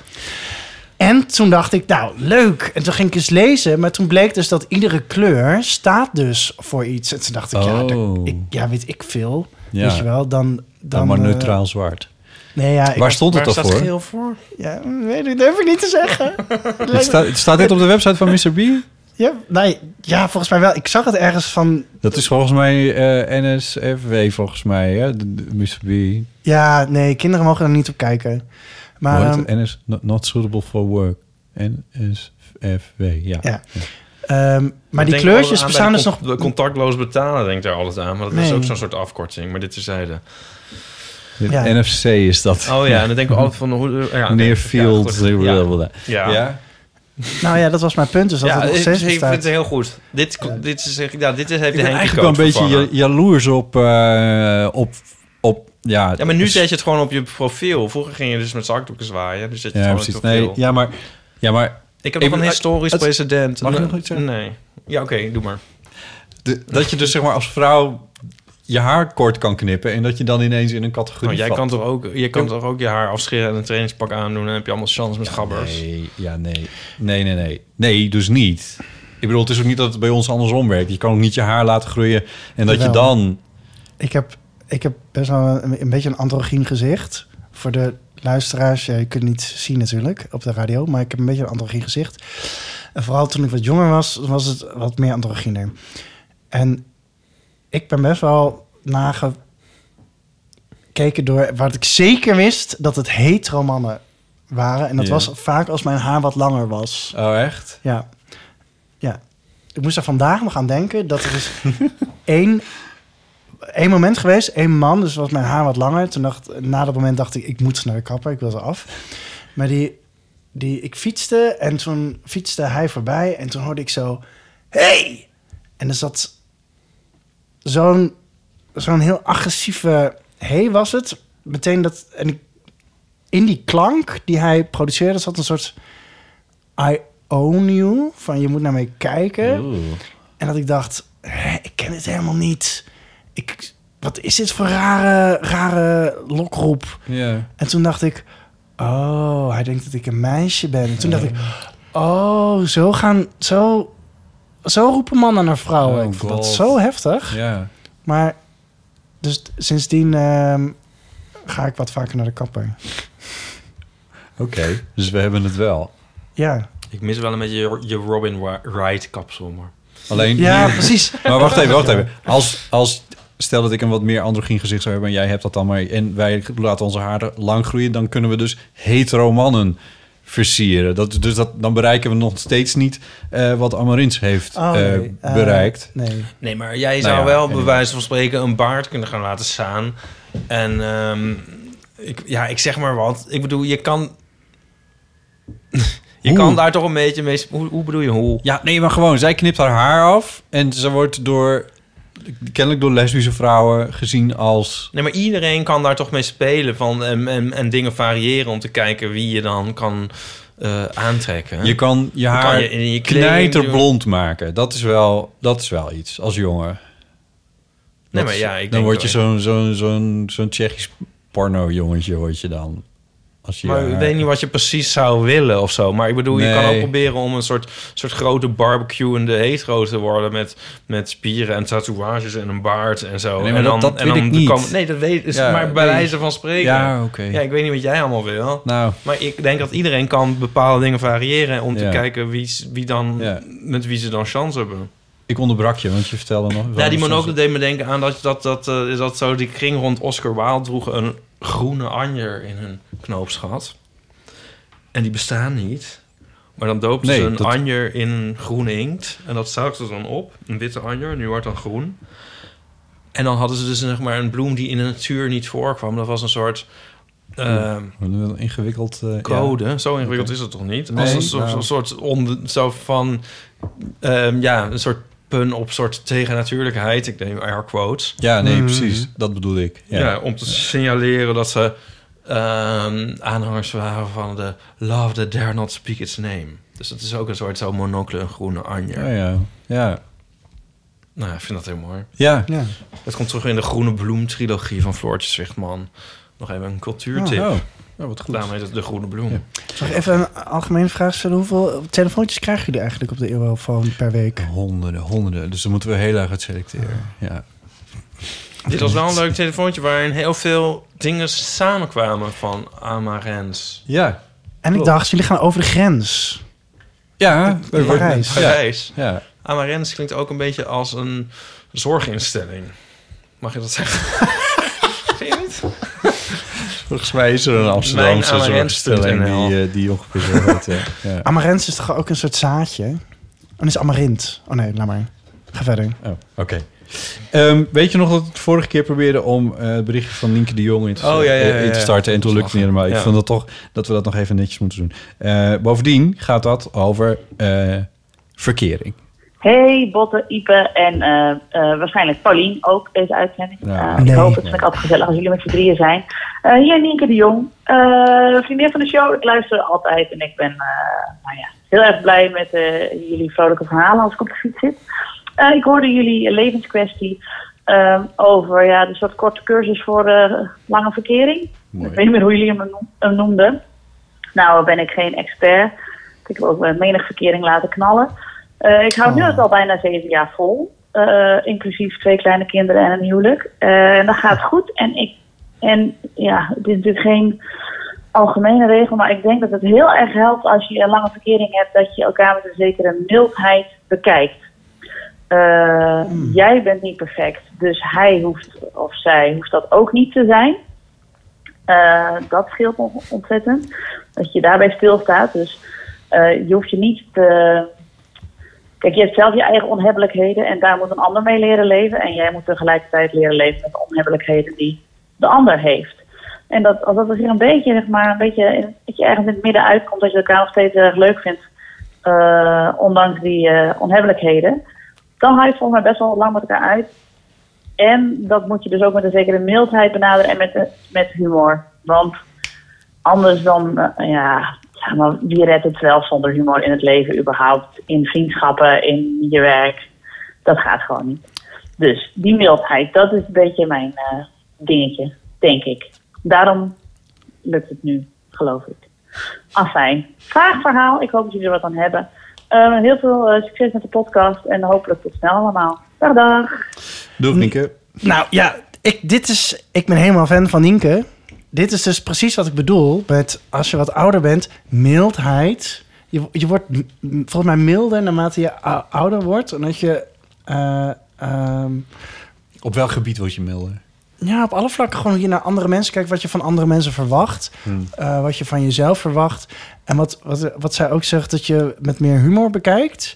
[SPEAKER 4] En toen dacht ik, nou, leuk. En toen ging ik eens lezen. Maar toen bleek dus dat iedere kleur staat dus voor iets. En toen dacht ik, ja, daar-
[SPEAKER 2] Oh.
[SPEAKER 4] ik, ja weet ik veel.
[SPEAKER 2] Ja.
[SPEAKER 4] Weet je wel, dan...
[SPEAKER 2] dan
[SPEAKER 4] dan
[SPEAKER 2] maar
[SPEAKER 4] eh,
[SPEAKER 2] neutraal zwart.
[SPEAKER 4] nee, ja, ik-
[SPEAKER 2] Waar stond
[SPEAKER 3] Waar
[SPEAKER 2] het
[SPEAKER 3] staat
[SPEAKER 2] dan voor?
[SPEAKER 3] geel voor?
[SPEAKER 4] ja, weet ik, durf ik niet te zeggen.
[SPEAKER 2] Het staat, het staat dit op de website van Mr. B?
[SPEAKER 4] ja, nee, ja, volgens mij wel. Ik zag het ergens van...
[SPEAKER 2] Dat is volgens mij eh, NSFW, volgens mij. Hè? De- de- Mr. B.
[SPEAKER 4] Ja, nee, kinderen mogen er niet op kijken. Maar
[SPEAKER 2] Hoe heet
[SPEAKER 4] ehm,
[SPEAKER 2] het? NS not, not suitable for work. NSFW, ja.
[SPEAKER 4] Ja. ehm, maar die kleurtjes bestaan dus nog...
[SPEAKER 3] De contactloos betalen denk ik daar altijd aan, maar dat is
[SPEAKER 4] Nee.
[SPEAKER 3] ook zo'n soort afkorting. Maar dit terzijde.
[SPEAKER 2] Dit
[SPEAKER 4] Ja.
[SPEAKER 2] NFC is dat.
[SPEAKER 3] Oh ja, en dan denk ik altijd van hoe. Ja,
[SPEAKER 2] Near field.
[SPEAKER 3] Ja, ja,
[SPEAKER 2] blablabla.
[SPEAKER 3] ja.
[SPEAKER 2] Ja?
[SPEAKER 4] Nou ja, dat was mijn punt, dus dat
[SPEAKER 3] Ja,
[SPEAKER 4] het nog
[SPEAKER 3] ik,
[SPEAKER 4] steeds
[SPEAKER 3] ik vind
[SPEAKER 4] bestaat.
[SPEAKER 3] het heel goed. Dit, dit, is, ja, dit is, heeft
[SPEAKER 2] Ik
[SPEAKER 3] de
[SPEAKER 2] ben
[SPEAKER 3] Henkie
[SPEAKER 2] eigenlijk wel een beetje
[SPEAKER 3] vervangen.
[SPEAKER 2] ja- jaloers op, eh, op, op ja...
[SPEAKER 3] Ja, maar nu
[SPEAKER 2] dus-
[SPEAKER 3] zet je het gewoon op je profiel. Vroeger ging je dus met zakdoeken zwaaien. Nu zet je
[SPEAKER 2] Ja,
[SPEAKER 3] het gewoon
[SPEAKER 2] precies.
[SPEAKER 3] op je
[SPEAKER 2] Nee,
[SPEAKER 3] profiel.
[SPEAKER 2] ja, maar... Ja, maar
[SPEAKER 3] Ik heb
[SPEAKER 2] Ik
[SPEAKER 3] nog een
[SPEAKER 2] ben-
[SPEAKER 3] historisch
[SPEAKER 2] het-
[SPEAKER 3] precedent.
[SPEAKER 2] Mag ik
[SPEAKER 3] Nee.
[SPEAKER 2] nog iets zeggen?
[SPEAKER 3] Nee. Ja, oké, doe maar.
[SPEAKER 2] de- dat je dus zeg maar als vrouw je haar kort kan knippen... en dat je dan ineens in een categorie
[SPEAKER 3] Oh, jij
[SPEAKER 2] valt.
[SPEAKER 3] kan, toch ook, jij kan
[SPEAKER 2] Ja.
[SPEAKER 3] toch ook je haar afscheren en een trainingspak aandoen... en dan heb je allemaal chance met gabbers.
[SPEAKER 2] Nee, ja, nee. Nee, nee, nee. Nee, dus niet. Ik bedoel, het is ook niet dat het bij ons andersom werkt. Je kan ook niet je haar laten groeien en dat je
[SPEAKER 4] Jawel.
[SPEAKER 2] dan...
[SPEAKER 4] Ik, heb, ik heb best wel een, een beetje een androgyn gezicht. Voor de luisteraars, ja, je kunt het niet zien natuurlijk op de radio... maar ik heb een beetje een androgyn gezicht. En vooral toen ik wat jonger was, was het wat meer androgyner. En ik ben best wel nagekeken door... wat ik zeker wist dat het hetero mannen waren. En dat
[SPEAKER 2] Ja.
[SPEAKER 4] was vaak als mijn haar wat langer was.
[SPEAKER 2] Oh, echt?
[SPEAKER 4] Ja. Ja. Ik moest er vandaag nog aan denken dat er is één, één moment geweest, één man, dus was mijn haar wat langer. Toen dacht, na dat moment dacht ik, ik moet naar de kapper, ik wil ze af. Maar die, die, ik fietste en toen fietste hij voorbij en toen hoorde ik zo, hey! En er zat zo'n zo'n heel agressieve hey was het. Meteen dat, en ik, in die klank die hij produceerde zat een soort I own you, van je moet naar mij kijken. En dat ik dacht, hè, ik ken dit helemaal niet. Ik, wat is dit voor rare, rare lokroep?
[SPEAKER 2] Ja.
[SPEAKER 4] En toen dacht ik, oh, hij denkt dat ik een meisje ben. En toen dacht ik, oh, zo gaan, zo, zo roepen mannen naar vrouwen. ik
[SPEAKER 2] Oh,
[SPEAKER 4] vond dat
[SPEAKER 2] God.
[SPEAKER 4] zo heftig.
[SPEAKER 2] Ja.
[SPEAKER 4] Maar, dus t- sindsdien ehm, ga ik wat vaker naar de kapper.
[SPEAKER 2] Oké. Dus we hebben het wel.
[SPEAKER 4] Ja,
[SPEAKER 3] Ik mis wel een beetje je, je Robin Wa- Wright kapsel, maar...
[SPEAKER 2] Alleen
[SPEAKER 4] ja
[SPEAKER 2] hier-
[SPEAKER 4] precies.
[SPEAKER 2] Maar wacht even, wacht even. Als, als stel dat ik een wat meer androgyn gezicht zou hebben en jij hebt dat dan maar en wij laten onze haren lang groeien, dan kunnen we dus hetero mannen versieren. Dat, dus dat, dan bereiken we nog steeds niet eh, wat Amarins heeft
[SPEAKER 4] Oh,
[SPEAKER 2] eh,
[SPEAKER 4] nee. Eh,
[SPEAKER 2] bereikt.
[SPEAKER 4] nee.
[SPEAKER 3] Nee, maar jij zou
[SPEAKER 2] Nou ja,
[SPEAKER 3] wel
[SPEAKER 2] anyway.
[SPEAKER 3] bij wijze van spreken een baard kunnen gaan laten staan. En ehm, ik, ja, ik zeg maar wat. Ik bedoel, je kan... je
[SPEAKER 2] Hoe?
[SPEAKER 3] kan daar toch een beetje mee... sp- Hoe, hoe bedoel je hoe?
[SPEAKER 2] Ja, nee, maar gewoon, zij knipt haar haar af en ze wordt door kennelijk door lesbische vrouwen gezien als
[SPEAKER 3] Nee, maar iedereen kan daar toch mee spelen van, en, en, en dingen variëren om te kijken wie je dan kan eh, aantrekken.
[SPEAKER 2] je kan je haar
[SPEAKER 3] je in je kleding
[SPEAKER 2] knijterblond maken. Dat is wel dat is wel iets als jongen.
[SPEAKER 3] nee,
[SPEAKER 2] Dat
[SPEAKER 3] maar
[SPEAKER 2] is-
[SPEAKER 3] ja, ik
[SPEAKER 2] dan
[SPEAKER 3] denk
[SPEAKER 2] word je
[SPEAKER 3] wel-
[SPEAKER 2] zo'n zo'n zo'n zo'n Tsjechisch porno jongetje word je dan. Als je
[SPEAKER 3] Maar ik
[SPEAKER 2] haar-
[SPEAKER 3] weet niet wat je precies zou willen of zo. Maar ik bedoel, je
[SPEAKER 2] Nee.
[SPEAKER 3] kan ook proberen om een soort, soort grote barbecueende hetero te worden... Met, met spieren en tatoeages en een baard en zo.
[SPEAKER 2] Nee, maar
[SPEAKER 3] en
[SPEAKER 2] dat- dat weet ik niet.
[SPEAKER 3] komen- nee, dat weet is
[SPEAKER 2] Ja,
[SPEAKER 3] maar bij
[SPEAKER 2] nee.
[SPEAKER 3] wijze van spreken.
[SPEAKER 2] Ja, oké.
[SPEAKER 3] Ja, ik weet niet wat jij allemaal wil.
[SPEAKER 2] Nou,
[SPEAKER 3] Maar ik denk dat iedereen kan bepaalde dingen variëren... om te
[SPEAKER 2] Ja.
[SPEAKER 3] kijken wie, s- wie dan,
[SPEAKER 2] Ja.
[SPEAKER 3] met wie ze dan chance hebben.
[SPEAKER 2] ik onderbrak je, want je vertelde nog.
[SPEAKER 3] Ja, die monocle deed me denken aan dat, dat, dat, eh, is dat zo die kring rond Oscar Wilde droegen een groene anjer in hun knoopsgat. En die bestaan niet. Maar dan doopten
[SPEAKER 2] Nee,
[SPEAKER 3] ze een
[SPEAKER 2] dat-
[SPEAKER 3] anjer in een groene inkt. En dat zouten ze dan op. Een witte anjer, nu wordt dan groen. En dan hadden ze dus zeg maar, een bloem die in de natuur niet voorkwam. Dat was een soort eh,
[SPEAKER 2] Een ingewikkeld eh, ja.
[SPEAKER 3] code. Zo ingewikkeld is het toch niet?
[SPEAKER 2] Nee,
[SPEAKER 3] Als een soort,
[SPEAKER 2] nou.
[SPEAKER 3] een soort on, zo van... ehm, ja, een soort pun op soort tegennatuurlijkheid. Ik neem air quotes.
[SPEAKER 2] Ja, nee,
[SPEAKER 4] Mm.
[SPEAKER 2] precies. Dat bedoel ik. Ja.
[SPEAKER 3] Ja. om te signaleren dat ze ehm, aanhangers waren van de Love That Dare Not Speak Its Name. Dus dat is ook een soort zo monocle, een groene anjer.
[SPEAKER 2] Ja, Oh, ja. ja.
[SPEAKER 3] Nou, ik vind dat heel mooi.
[SPEAKER 2] Ja.
[SPEAKER 4] Ja.
[SPEAKER 3] Het komt terug in de Groene Bloem-trilogie van Floortje Zwichtman. Nog even een cultuurtip.
[SPEAKER 2] Oh. Ja, wat goed.
[SPEAKER 3] Daarom heet het De Groene Bloem.
[SPEAKER 2] Ja.
[SPEAKER 4] Mag ik even een algemene vraag stellen? Hoeveel telefoontjes krijgen jullie eigenlijk op de Eurofoon per week?
[SPEAKER 2] Honderden, honderden. Dus dan moeten we heel erg uit selecteren. Ja.
[SPEAKER 3] Dit was wel een leuk telefoontje waarin heel veel dingen samenkwamen van Amarens.
[SPEAKER 2] Ja.
[SPEAKER 4] En ik
[SPEAKER 3] Klopt.
[SPEAKER 4] dacht, jullie gaan over de grens.
[SPEAKER 2] Ja.
[SPEAKER 4] Parijs.
[SPEAKER 2] Ja.
[SPEAKER 3] Parijs.
[SPEAKER 2] ja.
[SPEAKER 3] Amarens klinkt ook een beetje als een zorginstelling. Mag je dat zeggen? Vind je niet?
[SPEAKER 2] Volgens mij is er een Amsterdamse
[SPEAKER 3] Mijn
[SPEAKER 2] zorgstelling
[SPEAKER 3] Amarens.nl.
[SPEAKER 2] die, eh, die ongeveer zo heet. Ja. Ja.
[SPEAKER 4] Amarens is toch ook een soort zaadje? En is amarint. Oh nee, laat maar. Ga verder.
[SPEAKER 2] Oh, oké. Ehm, weet je nog dat we het vorige keer probeerden om eh, het berichtje van Nienke de Jong in te, eh,
[SPEAKER 3] Oh, ja, ja, ja,
[SPEAKER 2] in te
[SPEAKER 3] ja.
[SPEAKER 2] starten en toen lukte het niet helemaal. Ik
[SPEAKER 3] Ja.
[SPEAKER 2] vond dat toch dat we dat nog even netjes moeten doen. Eh, bovendien gaat dat over eh, verkering.
[SPEAKER 7] Hey, Botte, Ipe en eh, eh, waarschijnlijk Paulien ook deze uitzending.
[SPEAKER 2] Ja.
[SPEAKER 7] Eh,
[SPEAKER 4] Nee.
[SPEAKER 7] Ik hoop het. vind ik altijd gezellig als jullie met z'n drieën zijn. Eh, hier Nienke de Jong, eh, vriendin van de show. Ik luister altijd en ik ben eh, nou ja, heel erg blij met eh, jullie vrolijke verhalen als ik op de fiets zit. Eh, ik hoorde jullie levenskwestie eh, over ja, een soort korte cursus voor eh, lange verkering.
[SPEAKER 2] Mooi.
[SPEAKER 7] Ik weet niet meer hoe jullie hem noem- hem noemden. Nou ben ik geen expert. Ik heb ook wel menig verkering laten knallen. Eh, ik hou nu het al bijna zeven jaar vol. eh, inclusief twee kleine kinderen en een huwelijk. Eh, en dat gaat goed. En, ik, en ja, dit is natuurlijk geen algemene regel. Maar ik denk dat het heel erg helpt als je een lange verkering hebt. Dat je elkaar met een zekere mildheid bekijkt. Eh, Jij bent niet perfect. Dus hij hoeft, of zij hoeft dat ook niet te zijn. Eh, dat scheelt on- ontzettend. Dat je daarbij stilstaat. Dus eh, je hoeft je niet te, Kijk, je hebt zelf je eigen onhebbelijkheden en daar moet een ander mee leren leven. En jij moet tegelijkertijd leren leven met de onhebbelijkheden die de ander heeft. En dat, als dat er hier een beetje, zeg maar, een beetje, in- dat je ergens in het midden uitkomt, dat je elkaar nog steeds heel erg leuk vindt, eh, ondanks die eh, onhebbelijkheden, dan hou je het volgens mij best wel lang met elkaar uit. En dat moet je dus ook met een zekere mildheid benaderen en met, eh, met humor. Want anders dan, eh, ja, zeg maar, wie redt het wel zonder humor in het leven überhaupt? In vriendschappen, in je werk. Dat gaat gewoon niet. Dus die mildheid, dat is een beetje mijn eh, dingetje, denk ik. Daarom lukt het nu, geloof ik. Afijn, vaag verhaal. Ik hoop dat jullie er wat aan hebben. Eh, heel veel eh, succes met de podcast en hopelijk tot snel allemaal. Dag dag!
[SPEAKER 2] Doeg, Nienke.
[SPEAKER 4] Nou ja, ik, dit is, ik ben helemaal fan van Nienke. Dit is dus precies wat ik bedoel met als je wat ouder bent, mildheid. Je, je wordt m- m- volgens mij milder naarmate je ou- ouder wordt. En dat je eh, ehm,
[SPEAKER 2] Op welk gebied word je milder?
[SPEAKER 4] ja, op alle vlakken gewoon hoe je naar andere mensen kijkt. Wat je van andere mensen verwacht. eh, wat je van jezelf verwacht. En wat, wat, wat zij ook zegt, dat je met meer humor bekijkt.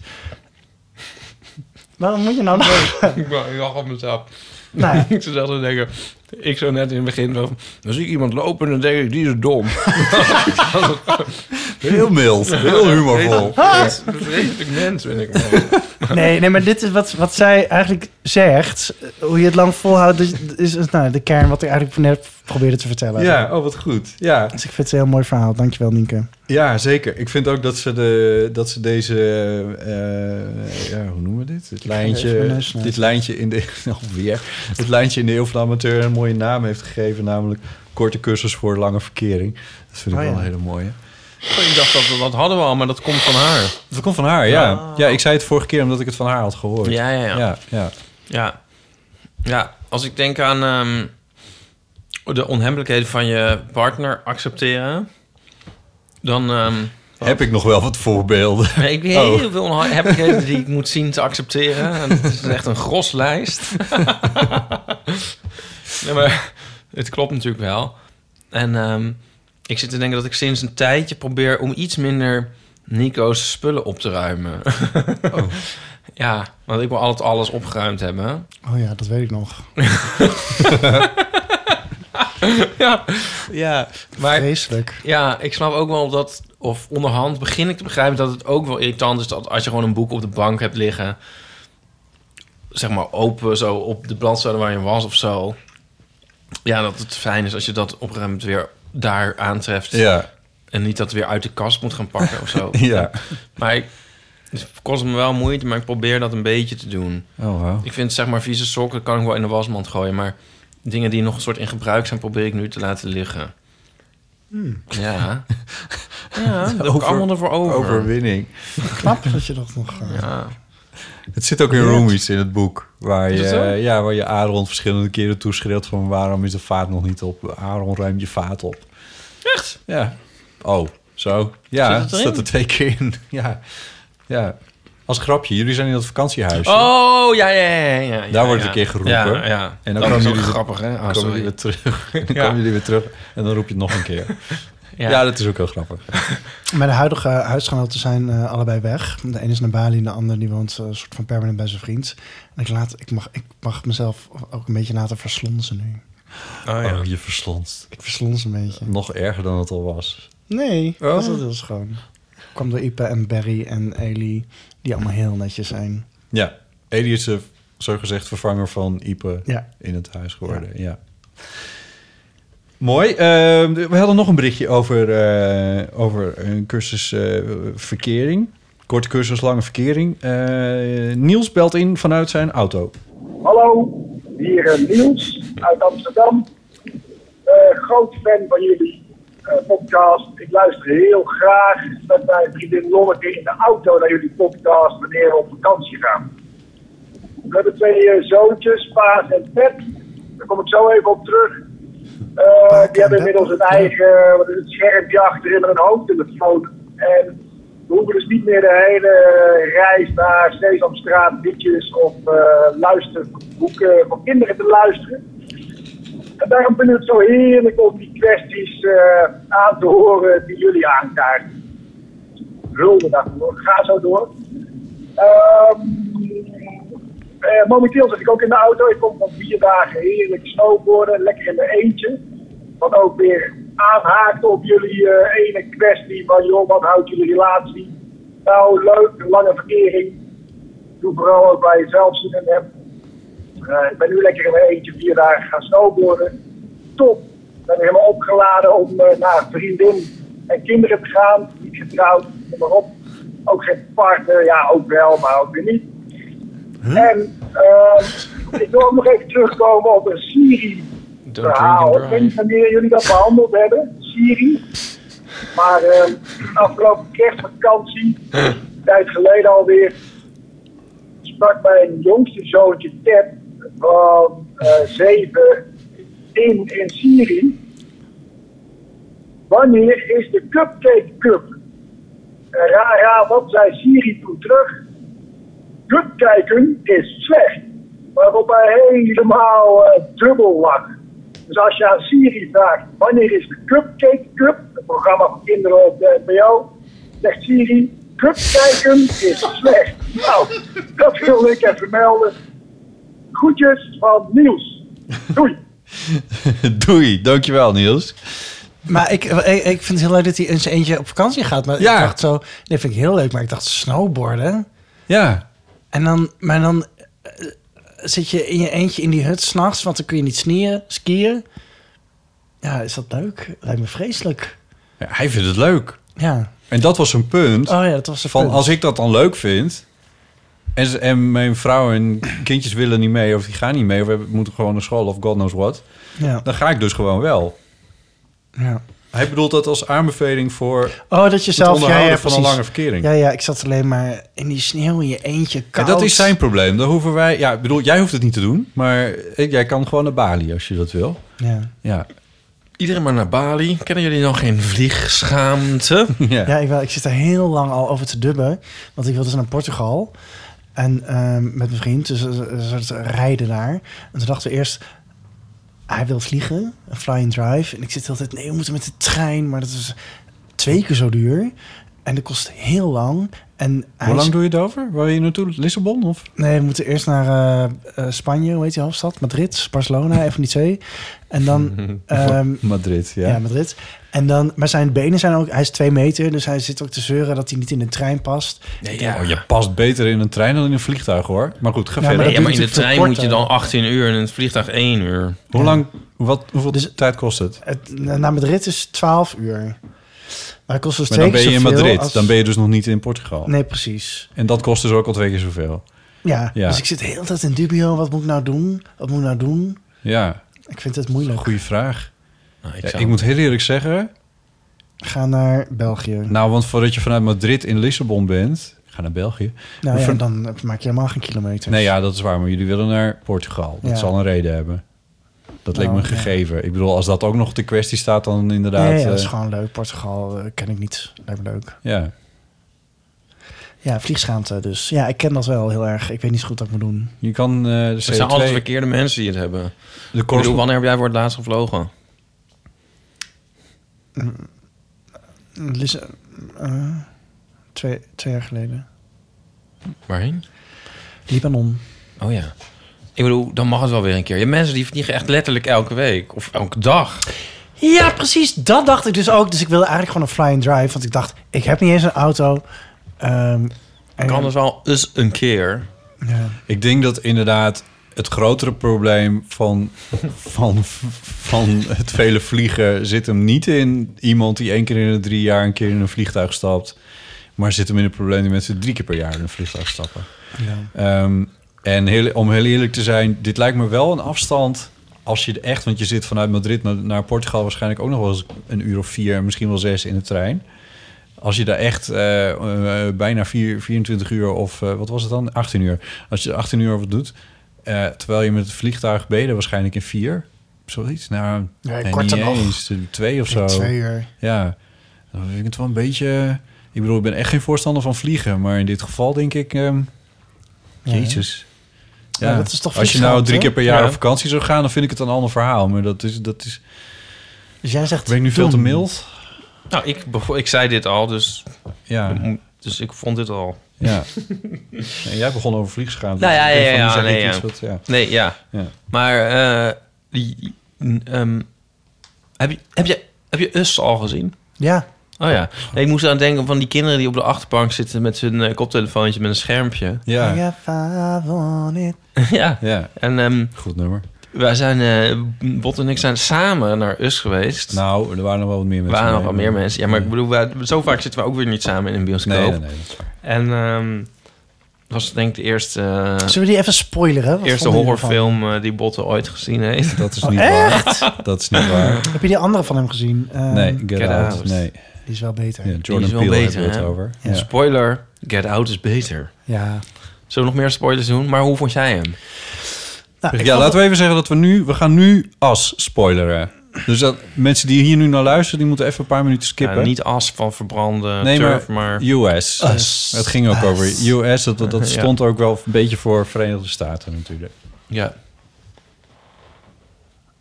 [SPEAKER 4] Waarom moet je nou lachen?
[SPEAKER 3] Ik wacht op mezelf.
[SPEAKER 4] Nou ja.
[SPEAKER 3] Ik zou zelfs wel denken... Ik zo net in het begin van... Dan zie ik iemand lopen en dan denk ik, die is dom.
[SPEAKER 2] Heel mild, heel humorvol.
[SPEAKER 3] Dat is een Vreselijk mens, ben ik. man.
[SPEAKER 4] Nee, nee, maar dit is wat, wat zij eigenlijk zegt. Hoe je het lang volhoudt, is, is, is, nou, de kern wat ik eigenlijk net probeerde te vertellen.
[SPEAKER 2] Ja, oh wat goed. Ja,
[SPEAKER 4] Dus ik vind het een heel mooi verhaal. Dankjewel, Nienke.
[SPEAKER 2] ja zeker. Ik vind ook dat ze, de, dat ze deze, eh, ja, hoe noemen we dit? Dit
[SPEAKER 4] even
[SPEAKER 2] lijntje,
[SPEAKER 4] mijn neus
[SPEAKER 2] dit lijntje in de, alweer, het lijntje in de eeuw van de amateur een mooie naam heeft gegeven, namelijk korte cursus voor lange verkering. Dat vind ik
[SPEAKER 4] Oh,
[SPEAKER 2] wel
[SPEAKER 4] ja.
[SPEAKER 2] een hele mooie.
[SPEAKER 3] Ik dacht, dat, we- dat hadden we al, maar dat komt van haar.
[SPEAKER 2] Dat komt van haar, ja. Ja, ik zei het vorige keer omdat ik het van haar had gehoord.
[SPEAKER 3] Ja, ja, ja.
[SPEAKER 2] ja, ja.
[SPEAKER 3] Ja. Ja, als ik denk aan ehm, de onhebbelijkheden van je partner accepteren, dan ehm,
[SPEAKER 2] Heb ik nog wel wat voorbeelden? Oh.
[SPEAKER 3] ik heb heel veel onhebbelijkheden die ik moet zien te accepteren. En het is echt een gros lijst. nee, maar het klopt natuurlijk wel. En ehm, ik zit te denken dat ik sinds een tijdje probeer om iets minder Nico's spullen op te ruimen.
[SPEAKER 2] Oh.
[SPEAKER 3] ja, want ik wil altijd alles opgeruimd hebben.
[SPEAKER 4] Oh ja, dat weet ik nog.
[SPEAKER 3] ja. ja, maar
[SPEAKER 4] Vreselijk.
[SPEAKER 3] ja, ik snap ook wel dat, of onderhand begin ik te begrijpen dat het ook wel irritant is dat als je gewoon een boek op de bank hebt liggen, zeg maar open zo op de bladzijde waar je was of zo. Ja, dat het fijn is als je dat opgeruimd weer daar aantreft
[SPEAKER 2] Ja,
[SPEAKER 3] en niet dat weer uit de kast moet gaan pakken of zo.
[SPEAKER 2] ja.
[SPEAKER 3] Maar ik, het kost me wel moeite, maar ik probeer dat een beetje te doen.
[SPEAKER 2] Oh, wauw.
[SPEAKER 3] Ik vind zeg maar vieze sokken kan ik wel in de wasmand gooien, maar dingen die nog een soort in gebruik zijn, probeer ik nu te laten liggen. Hmm. Ja. ja, dat heb ik
[SPEAKER 2] Over-
[SPEAKER 3] allemaal ervoor over.
[SPEAKER 2] Overwinning.
[SPEAKER 4] Knap dat je dat nog... eh,
[SPEAKER 3] Ja.
[SPEAKER 2] Het zit ook in Roomies in het boek. Waar
[SPEAKER 3] Is het zo?
[SPEAKER 2] je, ja, waar je Aaron verschillende keren toeschreeuwt van waarom is de vaat nog niet op? Aaron, ruim je vaat op.
[SPEAKER 3] Echt?
[SPEAKER 2] Ja. Oh, zo.
[SPEAKER 3] Zit
[SPEAKER 2] Ja,
[SPEAKER 3] het erin?
[SPEAKER 2] staat er twee keer in. Ja. ja. Als grapje, jullie zijn in dat vakantiehuisje.
[SPEAKER 3] Oh, ja, ja, ja. ja, ja,
[SPEAKER 2] Daar wordt
[SPEAKER 3] ja.
[SPEAKER 2] een keer geroepen.
[SPEAKER 3] Ja, ja.
[SPEAKER 2] En dan
[SPEAKER 3] Dat
[SPEAKER 2] komen
[SPEAKER 3] is ook
[SPEAKER 2] jullie-
[SPEAKER 3] grappig, hè? Ah,
[SPEAKER 2] Dan komen
[SPEAKER 3] sorry.
[SPEAKER 2] jullie weer terug. Dan
[SPEAKER 3] Ja.
[SPEAKER 2] komen jullie weer terug en dan roep je het nog een keer.
[SPEAKER 3] Ja.
[SPEAKER 2] Ja, dat is ook heel grappig.
[SPEAKER 4] Mijn huidige huisgenoten zijn eh, allebei weg. De een is naar Bali en de ander die woont eh, een soort van permanent bij zijn vriend. En ik, laat, ik, mag, ik mag mezelf ook een beetje laten verslonzen nu.
[SPEAKER 3] Oh, ja.
[SPEAKER 2] Oh, je verslonst.
[SPEAKER 4] Ik verslons een beetje.
[SPEAKER 2] Nog erger dan het al was.
[SPEAKER 4] Nee, dat was heel schoon. Ik kwam door Ipe en Barry en Eli, die allemaal heel netjes zijn.
[SPEAKER 2] Ja, Edi is de zogezegd vervanger van Ipe
[SPEAKER 4] Ja.
[SPEAKER 2] in het huis geworden. Ja. Mooi. Ehm, we hadden nog een berichtje over, eh, over een cursus eh, verkering. Korte cursus, lange verkering. Eh, Niels belt in vanuit zijn auto.
[SPEAKER 8] Hallo, hier eh, Niels uit Amsterdam. Eh, groot fan van jullie eh, podcast. Ik luister heel graag met mijn vriendin Lonneke in de auto naar jullie podcast wanneer we op vakantie gaan. We hebben twee eh, zoontjes, Paas en Pep. Daar kom ik zo even op terug. Eh,
[SPEAKER 4] Paak en
[SPEAKER 8] die hebben
[SPEAKER 4] Pep,
[SPEAKER 8] inmiddels een
[SPEAKER 4] ja.
[SPEAKER 8] eigen eh, wat is het, schermpje achterin met een hoofdtelefoon. En we hoeven dus niet meer de hele eh, reis naar Sesamstraat, liedjes of eh luisterboeken voor kinderen te luisteren. En daarom vind ik het zo heerlijk om die kwesties eh, aan te horen die jullie aankaarten. Hulde daarvoor. Ga zo door. Eh, Ehm, eh, momenteel zit ik ook in de auto. Ik kom van vier dagen heerlijk snowboarden. Lekker in mijn eentje. Wat ook weer aanhaakt op jullie eh, ene kwestie. Van joh, wat houdt jullie relatie? Nou, leuk, een lange verkering. Doe vooral ook bij jezelf zin in hebt. Eh, ik ben nu lekker in mijn eentje vier dagen gaan snowboarden. Top. Ik ben helemaal opgeladen om eh, naar vriendin en kinderen te gaan. Niet getrouwd, kom maar op. Ook geen partner, ja ook wel, maar ook weer niet. En eh, ik wil ook nog even terugkomen op een
[SPEAKER 3] Don't drink and
[SPEAKER 8] Syrië-verhaal. Ik weet niet
[SPEAKER 3] drive.
[SPEAKER 8] wanneer jullie dat behandeld hebben, Syrië. Maar eh, afgelopen kerstvakantie, een tijd geleden alweer, sprak mijn jongste zoontje Ted van eh, zeven in, in Syrië. Wanneer is de Cupcake Cup? En raar, raar, wat zei Syrië toen terug? Cupcakeen is slecht. Waarop hij helemaal eh, dubbel lag. Dus als je aan Syrië vraagt, wanneer is de Cupcake Cup? Het programma voor kinderen op de NPO. Zegt Syrië, Cupcakeen is slecht. Nou, dat wilde ik even melden. Groetjes van Niels. Doei.
[SPEAKER 2] Doei, dankjewel Niels.
[SPEAKER 4] Maar ik, ik, ik vind het heel leuk dat hij in zijn eentje op vakantie gaat. Maar
[SPEAKER 2] Ja.
[SPEAKER 4] ik dacht zo, dit vind ik heel leuk. Maar ik dacht snowboarden.
[SPEAKER 2] Ja,
[SPEAKER 4] En dan, maar dan eh, zit je in je eentje in die hut s'nachts, want dan kun je niet snieren, skiën. Ja, is dat leuk? Lijkt me vreselijk.
[SPEAKER 2] Ja, hij vindt het leuk.
[SPEAKER 4] Ja.
[SPEAKER 2] En dat was een punt
[SPEAKER 4] Oh ja, dat was de
[SPEAKER 2] van
[SPEAKER 4] punt.
[SPEAKER 2] als ik dat dan leuk vind... En, ze- en mijn vrouw en kindjes willen niet mee of die gaan niet mee... of we moeten gewoon naar school of god knows what...
[SPEAKER 4] Ja.
[SPEAKER 2] dan ga ik dus gewoon wel.
[SPEAKER 4] ja.
[SPEAKER 2] Hij bedoelt dat als aanbeveling voor
[SPEAKER 4] Oh, dat je
[SPEAKER 2] het
[SPEAKER 4] zelf... Ja,
[SPEAKER 2] onderhouden
[SPEAKER 4] ja,
[SPEAKER 2] van een
[SPEAKER 4] precies.
[SPEAKER 2] lange verkering.
[SPEAKER 4] Ja, ja, ik zat alleen maar in die sneeuw in je eentje
[SPEAKER 2] En
[SPEAKER 4] koud.
[SPEAKER 2] dat is zijn probleem. Dan hoeven wij... Ja, ik bedoel, jij hoeft het niet te doen... maar eh, jij kan gewoon naar Bali als je dat wil.
[SPEAKER 4] Ja,
[SPEAKER 2] Ja,
[SPEAKER 3] Iedereen maar naar Bali. Kennen jullie nog geen vliegschaamte?
[SPEAKER 2] ja.
[SPEAKER 4] ja ik, wel, ik zit er heel lang al over te dubben. Want ik wilde dus naar Portugal. En ehm, met mijn vriend, dus eh, een soort rijden daar. En toen dachten we eerst, hij wil vliegen, een fly-and drive. En ik zit altijd, nee, we moeten met de trein. Maar dat is twee keer zo duur. En dat kost heel lang. En hij
[SPEAKER 2] Hoe lang
[SPEAKER 4] is-
[SPEAKER 2] doe je het over? Waar wil je naartoe? Lissabon of?
[SPEAKER 4] Nee, we moeten eerst naar eh, eh, Spanje, hoe heet die hoofdstad? Madrid, Barcelona, een van die twee. En dan... ehm,
[SPEAKER 2] Madrid, ja.
[SPEAKER 4] Ja, Madrid. En dan, maar zijn benen zijn ook, hij is twee meter, dus hij zit ook te zeuren dat hij niet in de trein past.
[SPEAKER 3] Nee,
[SPEAKER 2] Oh, je past beter in een trein dan in een vliegtuig, hoor. Maar goed, ga
[SPEAKER 4] Ja,
[SPEAKER 2] verder.
[SPEAKER 4] maar
[SPEAKER 3] ja,
[SPEAKER 4] dat
[SPEAKER 3] maar in
[SPEAKER 4] doe je
[SPEAKER 3] de trein
[SPEAKER 4] verkorten.
[SPEAKER 3] moet je dan 18 uur en in het vliegtuig 1 uur.
[SPEAKER 2] Hoe lang, wat, hoeveel
[SPEAKER 4] Dus-
[SPEAKER 2] tijd kost het?
[SPEAKER 4] Het, naar Madrid is 12 uur. Maar het kost dus
[SPEAKER 2] Maar
[SPEAKER 4] twee
[SPEAKER 2] dan
[SPEAKER 4] keer
[SPEAKER 2] ben je in
[SPEAKER 4] zoveel
[SPEAKER 2] Madrid.
[SPEAKER 4] als-
[SPEAKER 2] Dan ben je dus nog niet in Portugal.
[SPEAKER 4] Nee, precies.
[SPEAKER 2] En dat kost dus ook al twee keer zoveel.
[SPEAKER 4] Ja,
[SPEAKER 2] Ja.
[SPEAKER 4] dus ik zit heel de tijd in dubio. Wat moet ik nou doen? Wat moet ik nou doen?
[SPEAKER 2] Ja,
[SPEAKER 4] Ik vind het moeilijk.
[SPEAKER 2] goede vraag.
[SPEAKER 3] Nou, ik
[SPEAKER 2] Ja,
[SPEAKER 3] zou-
[SPEAKER 2] ik moet heel eerlijk zeggen...
[SPEAKER 4] Ga naar België.
[SPEAKER 2] Nou, want voordat je vanuit Madrid in Lissabon bent... Ga naar België.
[SPEAKER 4] Nou ja,
[SPEAKER 2] Ver-
[SPEAKER 4] dan eh, maak je helemaal geen kilometers.
[SPEAKER 2] Nee, ja, dat is waar. Maar jullie willen naar Portugal. Dat
[SPEAKER 4] Ja.
[SPEAKER 2] zal een reden hebben. Dat leek me
[SPEAKER 4] Nou,
[SPEAKER 2] een gegeven. Ik bedoel, als dat ook nog de kwestie staat, dan inderdaad...
[SPEAKER 4] Nee, ja, dat is
[SPEAKER 2] eh,
[SPEAKER 4] gewoon leuk. Portugal eh, ken ik niet. Lijkt me leuk.
[SPEAKER 2] ja.
[SPEAKER 4] Ja, vliegschaamte dus. Ja, ik ken dat wel heel erg. Ik weet niet zo goed wat ik moet doen.
[SPEAKER 2] Je kan eh, de
[SPEAKER 3] Het zijn altijd
[SPEAKER 2] CO2...
[SPEAKER 3] verkeerde mensen die het hebben. Ik
[SPEAKER 2] De
[SPEAKER 3] bedoel,
[SPEAKER 2] correspond-
[SPEAKER 3] wanneer heb jij voor het laatst gevlogen?
[SPEAKER 4] Lis- eh, twee, twee jaar geleden.
[SPEAKER 3] Waarheen?
[SPEAKER 4] Libanon.
[SPEAKER 3] Oh ja. Ik bedoel, dan mag het wel weer een keer. Je hebt mensen die vliegen echt letterlijk elke week of elke dag.
[SPEAKER 4] Ja, precies. Dat dacht ik dus ook. Dus ik wilde eigenlijk gewoon een fly-and drive. Want ik dacht, ik heb niet eens een auto. Ehm, en-
[SPEAKER 3] Kan dus wel eens een keer.
[SPEAKER 4] Ja.
[SPEAKER 2] Ik denk dat inderdaad het grotere probleem van, van, van het vele vliegen zit hem niet in iemand die één keer in de drie jaar een keer in een vliegtuig stapt. Maar zit hem in het probleem dat mensen drie keer per jaar in een vliegtuig stappen. Ehm, en heel, om heel eerlijk te zijn, dit lijkt me wel een afstand als je echt, want je zit vanuit Madrid naar, naar Portugal waarschijnlijk ook nog wel eens een uur of vier, misschien wel zes in de trein. Als je daar echt eh, eh, bijna vier, 24 uur of eh, wat was het dan? 18 uur. Als je 18 uur wat doet, eh, terwijl je met het vliegtuig ben je er waarschijnlijk in vier. Zoiets. Nou,
[SPEAKER 4] Ja,
[SPEAKER 2] nee,
[SPEAKER 4] korter
[SPEAKER 2] niet
[SPEAKER 4] nog.
[SPEAKER 2] eens. Twee of zo.
[SPEAKER 4] Twee uur.
[SPEAKER 2] Ja, dan vind ik het wel een beetje... Ik bedoel, ik ben echt geen voorstander van vliegen. Maar in dit geval denk ik... ehm,
[SPEAKER 4] Ja.
[SPEAKER 2] Jezus. Ja,
[SPEAKER 4] Ja, dat is toch
[SPEAKER 2] Als je nou
[SPEAKER 4] vliegtuig,
[SPEAKER 2] drie
[SPEAKER 4] hè?
[SPEAKER 2] keer per jaar
[SPEAKER 3] Ja.
[SPEAKER 2] op vakantie zou gaan... dan vind ik het een ander verhaal. Maar dat is... Dat is
[SPEAKER 4] Dus jij zegt...
[SPEAKER 2] ben ik nu veel te
[SPEAKER 4] doen.
[SPEAKER 2] mild?
[SPEAKER 3] Nou, ik, bevo- ik zei dit al, dus
[SPEAKER 2] Ja.
[SPEAKER 3] moet- Dus ik vond dit al.
[SPEAKER 2] Ja. En jij begon over vliegschaamte.
[SPEAKER 3] Nou ja,
[SPEAKER 2] Dus ik
[SPEAKER 3] ja,
[SPEAKER 2] denk
[SPEAKER 3] ja,
[SPEAKER 2] van, nu zeg
[SPEAKER 3] nee,
[SPEAKER 2] ik
[SPEAKER 3] ja.
[SPEAKER 2] iets wat-
[SPEAKER 4] Nou,
[SPEAKER 2] ja.
[SPEAKER 3] Nee, ja.
[SPEAKER 2] Ja.
[SPEAKER 3] Maar eh, die, ehm, heb, je, heb, je, heb je Us al gezien?
[SPEAKER 4] Ja.
[SPEAKER 3] Oh ja. Nee, ik moest aan denken van die kinderen die op de achterbank zitten met hun eh, koptelefoontje met een schermpje.
[SPEAKER 2] Ja. ja.
[SPEAKER 4] If I want it.
[SPEAKER 3] ja. En ehm,
[SPEAKER 2] Goed nummer.
[SPEAKER 3] wij zijn, eh, Bot en ik zijn samen naar Us geweest.
[SPEAKER 2] Nou, er waren nog wel wat meer
[SPEAKER 3] er
[SPEAKER 2] mensen.
[SPEAKER 3] waren nog
[SPEAKER 2] mee,
[SPEAKER 3] wel meer
[SPEAKER 2] maar-
[SPEAKER 3] mensen. Ja, maar ik bedoel, wij, zo vaak zitten we ook weer niet samen in een bioscoop.
[SPEAKER 2] Nee, nee, nee, dat is waar.
[SPEAKER 3] En ehm, dat was denk ik de eerste, eh,
[SPEAKER 4] Zullen we die even spoileren? Wat
[SPEAKER 3] eerste
[SPEAKER 4] vonden jullie ervan? Oh,
[SPEAKER 3] horrorfilm eh, die Botte ooit gezien heeft.
[SPEAKER 2] Dat is niet waar. Dat is niet waar.
[SPEAKER 4] Heb je die andere van hem gezien? Ehm,
[SPEAKER 2] Nee, Get,
[SPEAKER 3] Get
[SPEAKER 2] Out.
[SPEAKER 3] Out.
[SPEAKER 2] Nee.
[SPEAKER 4] Die is wel beter.
[SPEAKER 2] Ja,
[SPEAKER 4] Ja.
[SPEAKER 3] Die
[SPEAKER 2] Jordan
[SPEAKER 3] is wel
[SPEAKER 2] Peele
[SPEAKER 3] beter,
[SPEAKER 2] hebben we het
[SPEAKER 3] hè?
[SPEAKER 2] over.
[SPEAKER 4] Ja.
[SPEAKER 2] Ja.
[SPEAKER 3] Spoiler, Get Out is beter. Zullen we nog meer spoilers doen? Maar hoe vond jij hem?
[SPEAKER 4] Nou, ik
[SPEAKER 2] Ja,
[SPEAKER 4] vond-
[SPEAKER 2] laten we even zeggen dat we nu... We gaan nu as spoileren. Dus dat mensen die hier nu naar luisteren... die moeten even een paar minuten skippen.
[SPEAKER 3] Ja, niet as van verbranden
[SPEAKER 2] Nee,
[SPEAKER 3] turf,
[SPEAKER 2] maar-
[SPEAKER 3] maar...
[SPEAKER 2] US. Het ging ook over US. Dat, dat, dat
[SPEAKER 3] Ja.
[SPEAKER 2] stond ook wel een beetje voor Verenigde Staten natuurlijk.
[SPEAKER 3] Ja.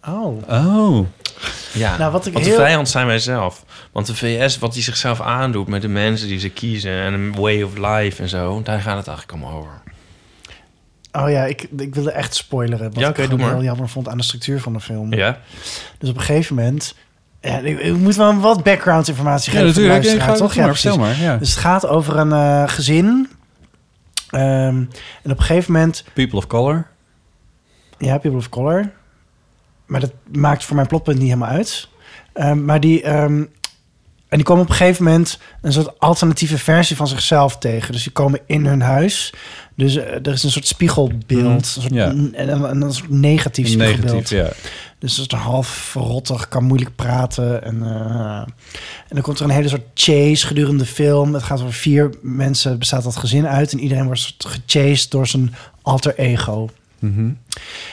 [SPEAKER 4] Oh.
[SPEAKER 2] Oh.
[SPEAKER 3] ja.
[SPEAKER 4] Nou, wat ik
[SPEAKER 3] Want
[SPEAKER 4] heel-
[SPEAKER 3] de vijand zijn wij zelf. Want de VS, wat die zichzelf aandoet met de mensen die ze kiezen... en een way of life en zo, daar gaat het eigenlijk om over.
[SPEAKER 4] oh ja, ik, ik wilde echt spoileren. Wat
[SPEAKER 3] Ja,
[SPEAKER 4] ik
[SPEAKER 3] oké, doe
[SPEAKER 4] gewoon
[SPEAKER 3] maar.
[SPEAKER 4] heel jammer vond aan de structuur van de film.
[SPEAKER 3] Ja?
[SPEAKER 4] Dus op een gegeven moment... Ja, ik, ik moet wel wat background informatie
[SPEAKER 2] Ja,
[SPEAKER 4] geven voor de
[SPEAKER 2] natuurlijk. Ja,
[SPEAKER 4] luisteraar,
[SPEAKER 2] ga
[SPEAKER 4] toch?
[SPEAKER 2] toch
[SPEAKER 4] Ja,
[SPEAKER 2] maar.
[SPEAKER 4] precies.
[SPEAKER 2] Vertel maar. Ja.
[SPEAKER 4] Dus het gaat over een eh, gezin. Ehm, en op een gegeven moment...
[SPEAKER 2] People of Color.
[SPEAKER 4] Ja, People of Color. Maar dat maakt voor mijn plotpunt niet helemaal uit. Ehm, maar die... ehm, en die komen op een gegeven moment een soort alternatieve versie van zichzelf tegen. Dus die komen in hun huis. Dus eh, er is een soort spiegelbeeld. Een soort,
[SPEAKER 2] Mhm. ja.
[SPEAKER 4] en, en- en een soort negatief spiegelbeeld.
[SPEAKER 2] Negatief, ja.
[SPEAKER 4] Dus dat is half verrottig, kan moeilijk praten. En, eh, en dan komt er een hele soort chase gedurende de film. Het gaat over vier mensen, bestaat dat gezin uit. En iedereen wordt soort gechased door zijn alter ego.
[SPEAKER 2] Mhm.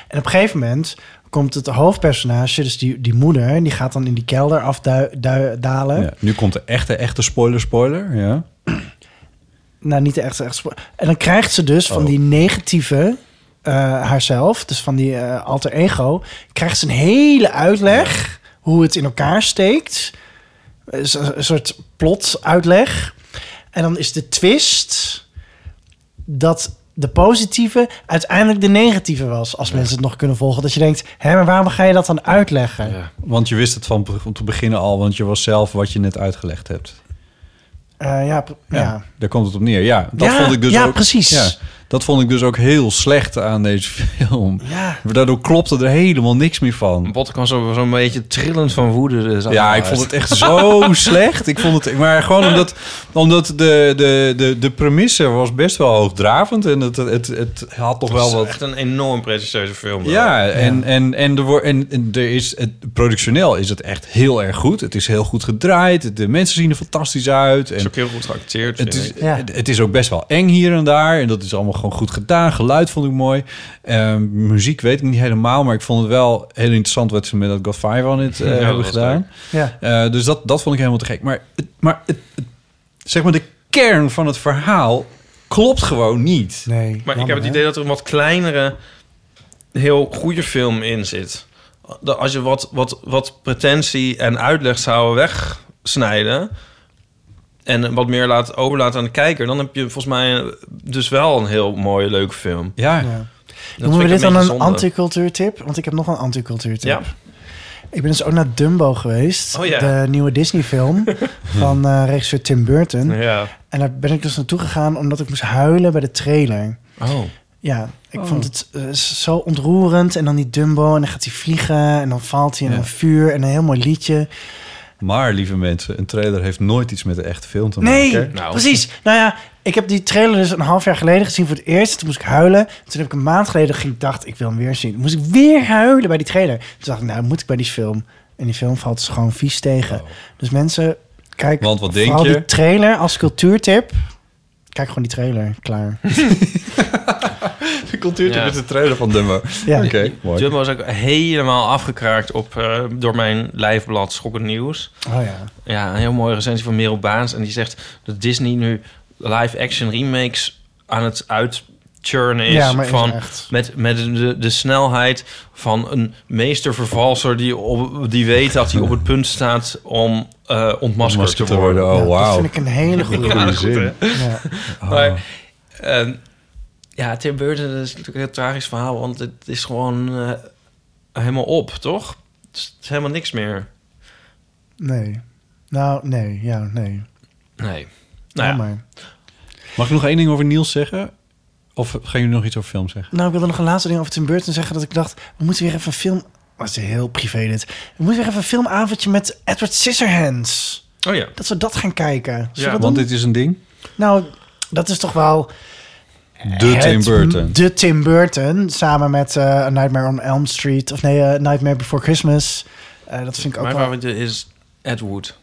[SPEAKER 4] En op een gegeven moment komt het hoofdpersonage, dus die, die moeder... die gaat dan in die kelder afdalen.
[SPEAKER 2] ja. Nu komt de echte, echte spoiler spoiler. Ja.
[SPEAKER 4] Nou, niet de echte, echte spo- En dan krijgt ze dus van
[SPEAKER 2] Oh.
[SPEAKER 4] die negatieve eh, haarzelf, dus van die eh, alter ego, krijgt ze een hele uitleg hoe het in elkaar steekt. Eh, zo- Een soort plot uitleg. En dan is de twist dat de positieve uiteindelijk de negatieve was. Als mensen het nog kunnen volgen. Dat je denkt, hè, maar waarom ga je dat dan uitleggen?
[SPEAKER 3] Ja.
[SPEAKER 2] Want je wist het van om te beginnen al, want je was zelf wat je net uitgelegd hebt.
[SPEAKER 4] Eh, ja, pr- ja.
[SPEAKER 2] Ja, daar komt het op neer. Ja, dat
[SPEAKER 4] Ja,
[SPEAKER 2] vond ik dus
[SPEAKER 4] ja,
[SPEAKER 2] ook.
[SPEAKER 4] precies.
[SPEAKER 2] dat vond ik dus ook heel slecht aan deze film.
[SPEAKER 4] Ja.
[SPEAKER 2] Daardoor klopte er helemaal niks meer van.
[SPEAKER 3] Botte kwam zo- zo'n beetje trillend van woede. de zaal
[SPEAKER 2] Ja,
[SPEAKER 3] eh, uit.
[SPEAKER 2] ik vond het echt zo slecht. Ik vond het, maar gewoon omdat, omdat de, de, de, de premisse was best wel hoogdravend. En het, het, het had toch wel
[SPEAKER 3] Het is
[SPEAKER 2] wat
[SPEAKER 3] echt een enorm pretentieuze film. wel.
[SPEAKER 2] Ja, en, en, en, er wordt en, en er is, het, productioneel is het echt heel erg goed. Het is heel goed gedraaid. De mensen zien er fantastisch uit.
[SPEAKER 3] Het is
[SPEAKER 2] En
[SPEAKER 3] ook heel goed geacteerd,
[SPEAKER 2] het,
[SPEAKER 3] vind
[SPEAKER 2] is,
[SPEAKER 3] ik.
[SPEAKER 4] Ja.
[SPEAKER 2] het- het is ook best wel eng hier en daar. En dat is allemaal gewoon goed gedaan. Geluid vond ik mooi. Ehm, muziek weet ik niet helemaal. Maar ik vond het wel heel interessant wat ze met dat God Five on it eh,
[SPEAKER 3] Ja, dat
[SPEAKER 2] hebben
[SPEAKER 3] was
[SPEAKER 2] gedaan.
[SPEAKER 4] ja.
[SPEAKER 2] Eh, dus dat, dat vond ik helemaal te gek. Maar, het, maar het, het- zeg maar de kern van het verhaal klopt gewoon niet.
[SPEAKER 4] Nee,
[SPEAKER 3] Maar ik
[SPEAKER 4] jammer,
[SPEAKER 3] heb het
[SPEAKER 4] hè?
[SPEAKER 3] idee dat er een wat kleinere, heel goede film in zit. Dat Als je wat, wat, wat pretentie en uitleg zouden wegsnijden... en wat meer laat, overlaten aan de kijker... dan heb je volgens mij dus wel een heel mooie, leuke film.
[SPEAKER 2] Ja,
[SPEAKER 4] Ja.
[SPEAKER 3] Dat
[SPEAKER 4] Noemen we
[SPEAKER 3] vind
[SPEAKER 4] dit
[SPEAKER 3] ik
[SPEAKER 4] dan
[SPEAKER 3] beetje
[SPEAKER 4] een
[SPEAKER 3] zonde.
[SPEAKER 4] anticultuurtip? Want ik heb nog een anticultuurtip.
[SPEAKER 3] Ja.
[SPEAKER 4] Ik ben dus ook naar Dumbo geweest.
[SPEAKER 3] Oh ja.
[SPEAKER 4] De nieuwe Disney film van eh, regisseur Tim Burton.
[SPEAKER 3] ja.
[SPEAKER 4] En daar ben ik dus naartoe gegaan omdat ik moest huilen bij de trailer.
[SPEAKER 3] Oh.
[SPEAKER 4] Ja, ik vond het eh, zo ontroerend. En dan die Dumbo en dan gaat hij vliegen en dan valt hij in
[SPEAKER 2] Ja.
[SPEAKER 4] een vuur en een heel mooi liedje.
[SPEAKER 2] Maar lieve mensen, een trailer heeft nooit iets met de echte film te maken.
[SPEAKER 4] Nee,
[SPEAKER 3] Nou.
[SPEAKER 4] precies. Nou ja, ik heb die trailer dus een half jaar geleden gezien voor het eerst. Toen moest ik huilen. Toen heb ik een maand geleden ging, dacht ik wil hem weer zien. Toen moest ik weer huilen bij die trailer. Toen dacht ik, nou moet ik bij die film. En die film valt dus gewoon vies tegen. Dus mensen, kijk
[SPEAKER 2] Want wat
[SPEAKER 4] vooral
[SPEAKER 2] denk je?
[SPEAKER 4] die trailer als cultuurtip. Kijk gewoon die trailer, klaar.
[SPEAKER 2] De cultuurtip
[SPEAKER 3] Ja.
[SPEAKER 2] is de trailer van Dumbo.
[SPEAKER 4] Ja.
[SPEAKER 2] Oké, mooi.
[SPEAKER 3] Jumbo is ook helemaal afgekraakt op, eh, door mijn lijfblad Schokkend Nieuws.
[SPEAKER 4] Oh ja.
[SPEAKER 3] Ja, een heel mooie recensie van Merel Baans. En die zegt dat Disney nu live-action remakes aan het uitchurnen is.
[SPEAKER 4] Ja, maar is
[SPEAKER 3] van,
[SPEAKER 4] echt.
[SPEAKER 3] Met, met de, de snelheid van een meestervervalser die, op, die weet dat hij op het punt staat om eh, ontmaskerd
[SPEAKER 2] Masker
[SPEAKER 3] te worden.
[SPEAKER 2] Oh,
[SPEAKER 4] Dat
[SPEAKER 2] wauw.
[SPEAKER 4] vind ik een hele goede.
[SPEAKER 2] Goeie zin.
[SPEAKER 4] Ja.
[SPEAKER 2] Oh.
[SPEAKER 3] Maar, ehm, ja, Tim Burton dat is natuurlijk een heel tragisch verhaal, want het is gewoon eh, helemaal op, toch? Het is, het is helemaal niks meer.
[SPEAKER 4] Nee. Nou, nee. Ja, nee.
[SPEAKER 3] Nee. Nou ja,
[SPEAKER 4] Nou, maar.
[SPEAKER 2] Mag ik nog één ding over Niels zeggen? Of gaan jullie nog iets over film zeggen?
[SPEAKER 4] nou, ik wilde nog een laatste ding over Tim Burton zeggen. Dat ik dacht, we moeten weer even een film... Dat is heel privé dit. We moeten weer even een filmavondje met Edward Scissorhands.
[SPEAKER 3] oh ja.
[SPEAKER 4] Dat we dat gaan kijken. Zullen we
[SPEAKER 3] Ja,
[SPEAKER 4] dat
[SPEAKER 2] Want
[SPEAKER 4] doen?
[SPEAKER 2] dit is een ding.
[SPEAKER 4] Nou, dat is toch wel...
[SPEAKER 2] De
[SPEAKER 4] het-
[SPEAKER 2] Tim Burton.
[SPEAKER 4] De Tim Burton, samen met eh, A Nightmare on Elm Street. Of nee, eh, Nightmare Before Christmas. Eh, dat vind ik ook
[SPEAKER 3] Mijn
[SPEAKER 4] wel...
[SPEAKER 3] favoriet is Ed Wood.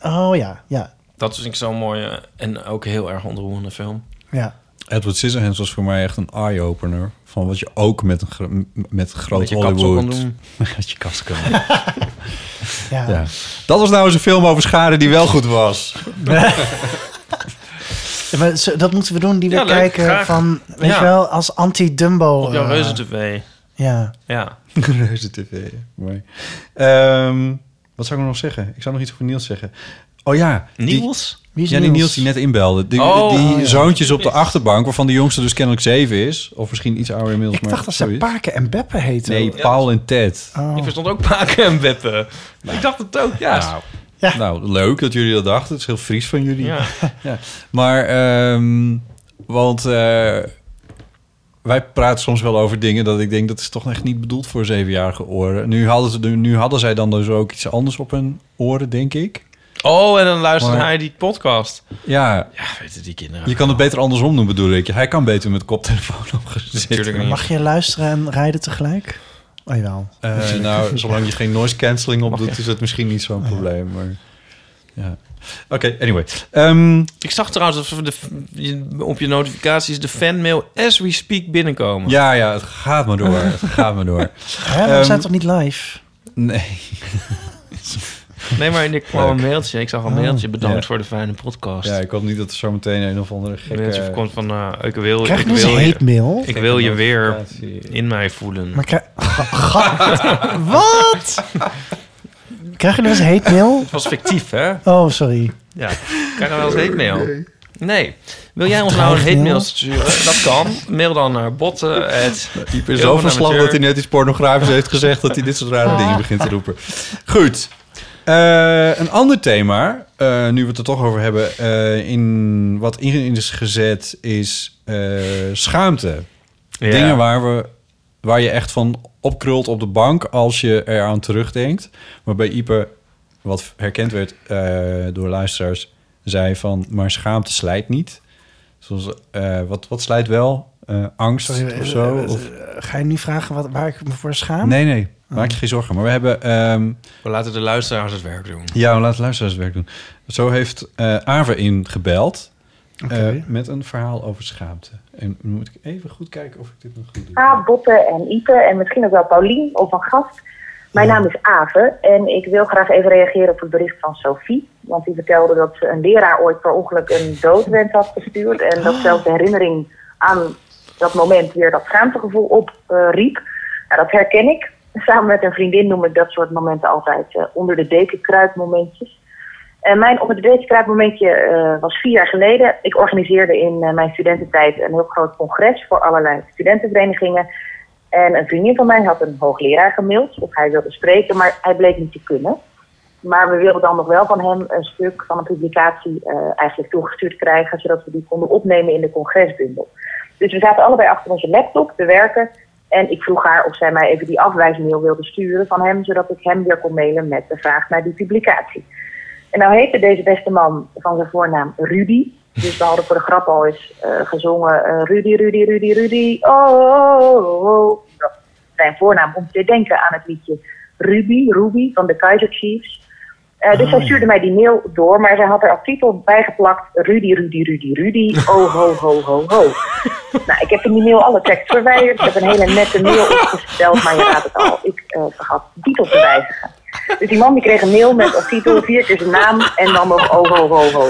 [SPEAKER 4] Oh ja, ja,
[SPEAKER 3] Dat vind ik zo'n mooie en ook heel erg ontroerende film.
[SPEAKER 4] ja.
[SPEAKER 2] Edward Scissorhands was voor mij echt een eye-opener. Van wat je ook met een gro- met groot
[SPEAKER 3] Wat je kapsel
[SPEAKER 2] Hollywood...
[SPEAKER 3] kan doen.
[SPEAKER 2] Wat je kast kan doen.
[SPEAKER 4] ja.
[SPEAKER 2] Ja. Dat was nou eens een film over schade die wel goed was.
[SPEAKER 4] Ja, maar zo- dat moeten we doen, die we
[SPEAKER 3] Ja, leuk,
[SPEAKER 4] kijken
[SPEAKER 3] graag.
[SPEAKER 4] van... Weet
[SPEAKER 3] Ja.
[SPEAKER 4] je wel, als anti-Dumbo.
[SPEAKER 3] Op jouw
[SPEAKER 4] eh,
[SPEAKER 3] reuze tv.
[SPEAKER 4] Ja.
[SPEAKER 3] Ja.
[SPEAKER 2] Reuze TV. Mooi. Ehm, wat zou ik nog zeggen? Ik zou nog iets over Niels zeggen. Oh ja. die-
[SPEAKER 3] Niels?
[SPEAKER 4] Wie is
[SPEAKER 2] ja, die Niels die net inbelde. Die,
[SPEAKER 3] Oh,
[SPEAKER 2] die
[SPEAKER 3] oh, ja.
[SPEAKER 2] zoontjes op de achterbank, waarvan de jongste dus kennelijk zeven is. Of misschien iets ouder inmiddels.
[SPEAKER 4] Ik
[SPEAKER 2] maar
[SPEAKER 4] dacht dat ze
[SPEAKER 2] zoiets.
[SPEAKER 4] Parken en Beppe heten.
[SPEAKER 2] Nee, Paul en Ted.
[SPEAKER 4] Oh.
[SPEAKER 3] Ik verstond ook Paken en Beppe. Ik dacht het ook, ja.
[SPEAKER 2] Nou, nou, leuk dat jullie dat dachten. Het is heel Fries van jullie.
[SPEAKER 3] ja.
[SPEAKER 2] Ja. Maar, ehm, want eh, wij praten soms wel over dingen dat ik denk dat is toch echt niet bedoeld voor zevenjarige oren. Nu hadden, ze, nu, nu hadden zij dan dus ook iets anders op hun oren, denk ik.
[SPEAKER 3] Oh, en dan luisterde
[SPEAKER 2] Maar-
[SPEAKER 3] hij die podcast.
[SPEAKER 2] Ja,
[SPEAKER 3] Ja, weten die kinderen.
[SPEAKER 2] je kan het beter andersom doen, bedoel ik. Hij kan beter met koptelefoon opgezet.
[SPEAKER 3] Natuurlijk niet.
[SPEAKER 4] Mag je luisteren en rijden tegelijk? Oh jawel.
[SPEAKER 2] Eh nou, zolang je geen noise cancelling op doet, is dat misschien niet zo'n probleem. Maar, ja. Oké, anyway. Ehm,
[SPEAKER 3] Ik zag trouwens dat we de, je- op je notificaties de fanmail as we speak binnenkomen.
[SPEAKER 2] ja, ja, het gaat maar door. Het gaat maar door.
[SPEAKER 4] Hè, maar
[SPEAKER 2] Ehm,
[SPEAKER 4] we zijn toch niet live?
[SPEAKER 2] Nee.
[SPEAKER 3] Nee, maar ik kwam een mailtje. Ik zag een mailtje. Bedankt
[SPEAKER 2] Ah. Ja.
[SPEAKER 3] voor de fijne podcast.
[SPEAKER 2] Ja,
[SPEAKER 3] Ja,
[SPEAKER 2] ik hoop niet dat er zo meteen een of andere
[SPEAKER 3] een mailtje
[SPEAKER 2] gekke...
[SPEAKER 3] komt van, eh, ik wil,
[SPEAKER 4] Krijg
[SPEAKER 3] ik
[SPEAKER 4] ik nu
[SPEAKER 3] wil
[SPEAKER 4] een
[SPEAKER 3] je,
[SPEAKER 4] hate mail?
[SPEAKER 3] ik wil je weer
[SPEAKER 2] notificatie.
[SPEAKER 3] in mij voelen.
[SPEAKER 4] Maar krijg... Wat? Krijg je nu eens een hate mail?
[SPEAKER 3] Het was fictief, hè?
[SPEAKER 4] Oh, sorry.
[SPEAKER 3] Ja. Krijg je wel eens hate mail? Nee. Wil jij ons nou een hate
[SPEAKER 4] dreigmail?
[SPEAKER 3] mail sturen? Dat kan. Mail dan naar botten.
[SPEAKER 2] Iep is zo van slag dat hij net iets pornografisch heeft gezegd... dat hij dit soort
[SPEAKER 4] Ah.
[SPEAKER 2] rare dingen begint te roepen. Goed. Eh, een ander thema, eh, nu we het er toch over hebben... eh, in, wat in is gezet, is eh, schaamte. Dingen waar, we, waar je echt van opkrult op de bank als je eraan terugdenkt. Maar bij Ipe, wat herkend werd eh, door luisteraars, zei van... maar schaamte slijt niet. Zoals, eh, wat, wat slijt wel? Eh, angst
[SPEAKER 4] Sorry,
[SPEAKER 2] of zo?
[SPEAKER 4] eh, eh,
[SPEAKER 2] Of-
[SPEAKER 4] Ga je nu vragen wat, waar ik me voor schaam? Oh.
[SPEAKER 2] nee, nee.
[SPEAKER 4] Ah.
[SPEAKER 2] Maak je geen zorgen. Maar we hebben... ehm,
[SPEAKER 3] We laten de luisteraars het werk doen.
[SPEAKER 2] ja, we laten luisteraars het werk doen. Zo heeft eh Aave ingebeld eh,
[SPEAKER 4] Oké.
[SPEAKER 2] met een verhaal over schaamte. En nu moet ik even goed kijken of ik dit nog goed doe.
[SPEAKER 5] A, Botte en Ipe en misschien ook wel Paulien of een gast. Mijn naam is Ave en ik wil graag even reageren op het bericht van Sophie. Want die vertelde dat ze een leraar ooit per ongeluk een doodwens had gestuurd. En dat zelfs de herinnering aan dat moment weer dat schaamtegevoel opriep. nou, dat herken ik. Samen met een vriendin noem ik dat soort momenten altijd eh, onder de deken kruipmomentjes. En mijn onder de deken kruipmomentje eh, was vier jaar geleden. Ik organiseerde in eh, mijn studententijd een heel groot congres voor allerlei studentenverenigingen. En een vriendin van mij had een hoogleraar gemaild of hij wilde spreken, maar hij bleek niet te kunnen. Maar we wilden dan nog wel van hem een stuk van een publicatie eh, eigenlijk toegestuurd krijgen, zodat we die konden opnemen in de congresbundel. Dus we zaten allebei achter onze laptop te werken. En ik vroeg haar of zij mij even die afwijsmail wilde sturen van hem, zodat ik hem weer kon mailen met de vraag naar die publicatie. En nou heette deze beste man van zijn voornaam Rudy. Dus we hadden voor de grap al eens eh, gezongen eh, Rudy, Rudy, Rudy, Rudy. Oh, oh, oh, oh. Dat is Zijn voornaam om te denken aan het liedje Ruby, Ruby van de Kaiser Chiefs. Eh, dus zij stuurde mij die mail door, maar zij had er als titel bijgeplakt Rudy, Rudy, Rudy, Rudy. Oh, ho, ho, ho, ho. nou, ik heb in die mail alle tekst verwijderd. Ik heb een hele nette mail opgesteld, maar je raadt het al. Ik eh, vergat de titel te wijzigen. Dus die man die kreeg een mail met als titel vier keer zijn naam en dan nog oh, ho, ho, ho, ho.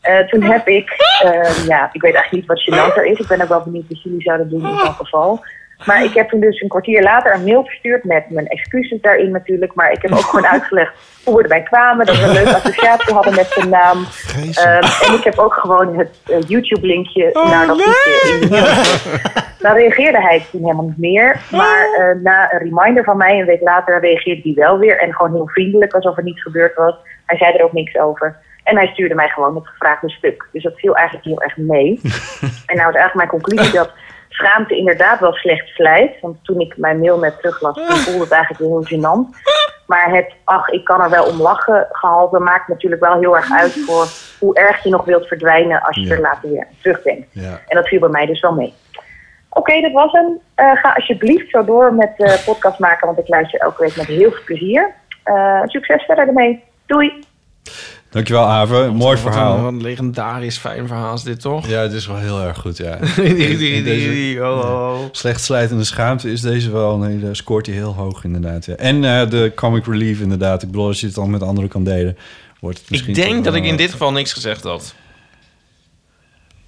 [SPEAKER 5] Eh, toen ehm, heb ik, eh, ja, ik weet eigenlijk niet wat gênanter is. Ik ben ook wel benieuwd wat jullie zouden doen in zo'n geval. Maar ik heb hem dus een kwartier later een mail verstuurd met mijn excuses daarin natuurlijk. Maar ik heb ook gewoon uitgelegd hoe we erbij kwamen. Dat we een leuke associatie hadden met zijn naam. Ehm, en ik heb ook gewoon het eh, YouTube-linkje naar dat liedje in de mail. Daar reageerde hij toen helemaal niet meer. Maar
[SPEAKER 2] Oh.
[SPEAKER 5] eh, na een reminder van mij een week later reageerde hij wel weer. En gewoon heel vriendelijk, alsof er niets gebeurd was. Hij zei er ook niks over. En hij stuurde mij gewoon het gevraagde stuk. Dus dat viel eigenlijk heel erg mee. En nou is eigenlijk mijn conclusie dat schaamte inderdaad wel slecht vlijt. Want toen ik mijn mail net teruglas, toen voelde het eigenlijk heel gênant. Maar het, ach, ik kan er wel om lachen gehalte maakt natuurlijk wel heel erg uit voor hoe erg je nog wilt verdwijnen als je
[SPEAKER 2] Ja.
[SPEAKER 5] er later weer aan terugdenkt.
[SPEAKER 2] Ja.
[SPEAKER 5] En dat viel bij mij dus wel mee. Oké, dat was hem. Eh, ga alsjeblieft zo door met eh podcast maken, want ik luister elke week met heel veel plezier. Eh, succes verder ermee. Doei!
[SPEAKER 2] Dankjewel, Aven. Mooi
[SPEAKER 3] Wat
[SPEAKER 2] verhaal.
[SPEAKER 3] Een, wat een legendarisch fijn verhaal is dit, toch?
[SPEAKER 2] Ja, het is wel heel erg goed, ja.
[SPEAKER 3] Die- die- die-
[SPEAKER 2] En deze-
[SPEAKER 3] die- oh, oh, oh.
[SPEAKER 2] Slecht slijtende schaamte is deze wel. Nee, daar scoort hij heel hoog inderdaad. Ja. En eh, de comic relief inderdaad. Ik bedoel, als je het dan met anderen kan delen, wordt het misschien...
[SPEAKER 3] Ik denk
[SPEAKER 2] toch
[SPEAKER 3] dat
[SPEAKER 2] wel-
[SPEAKER 3] ik in dit geval niks gezegd had.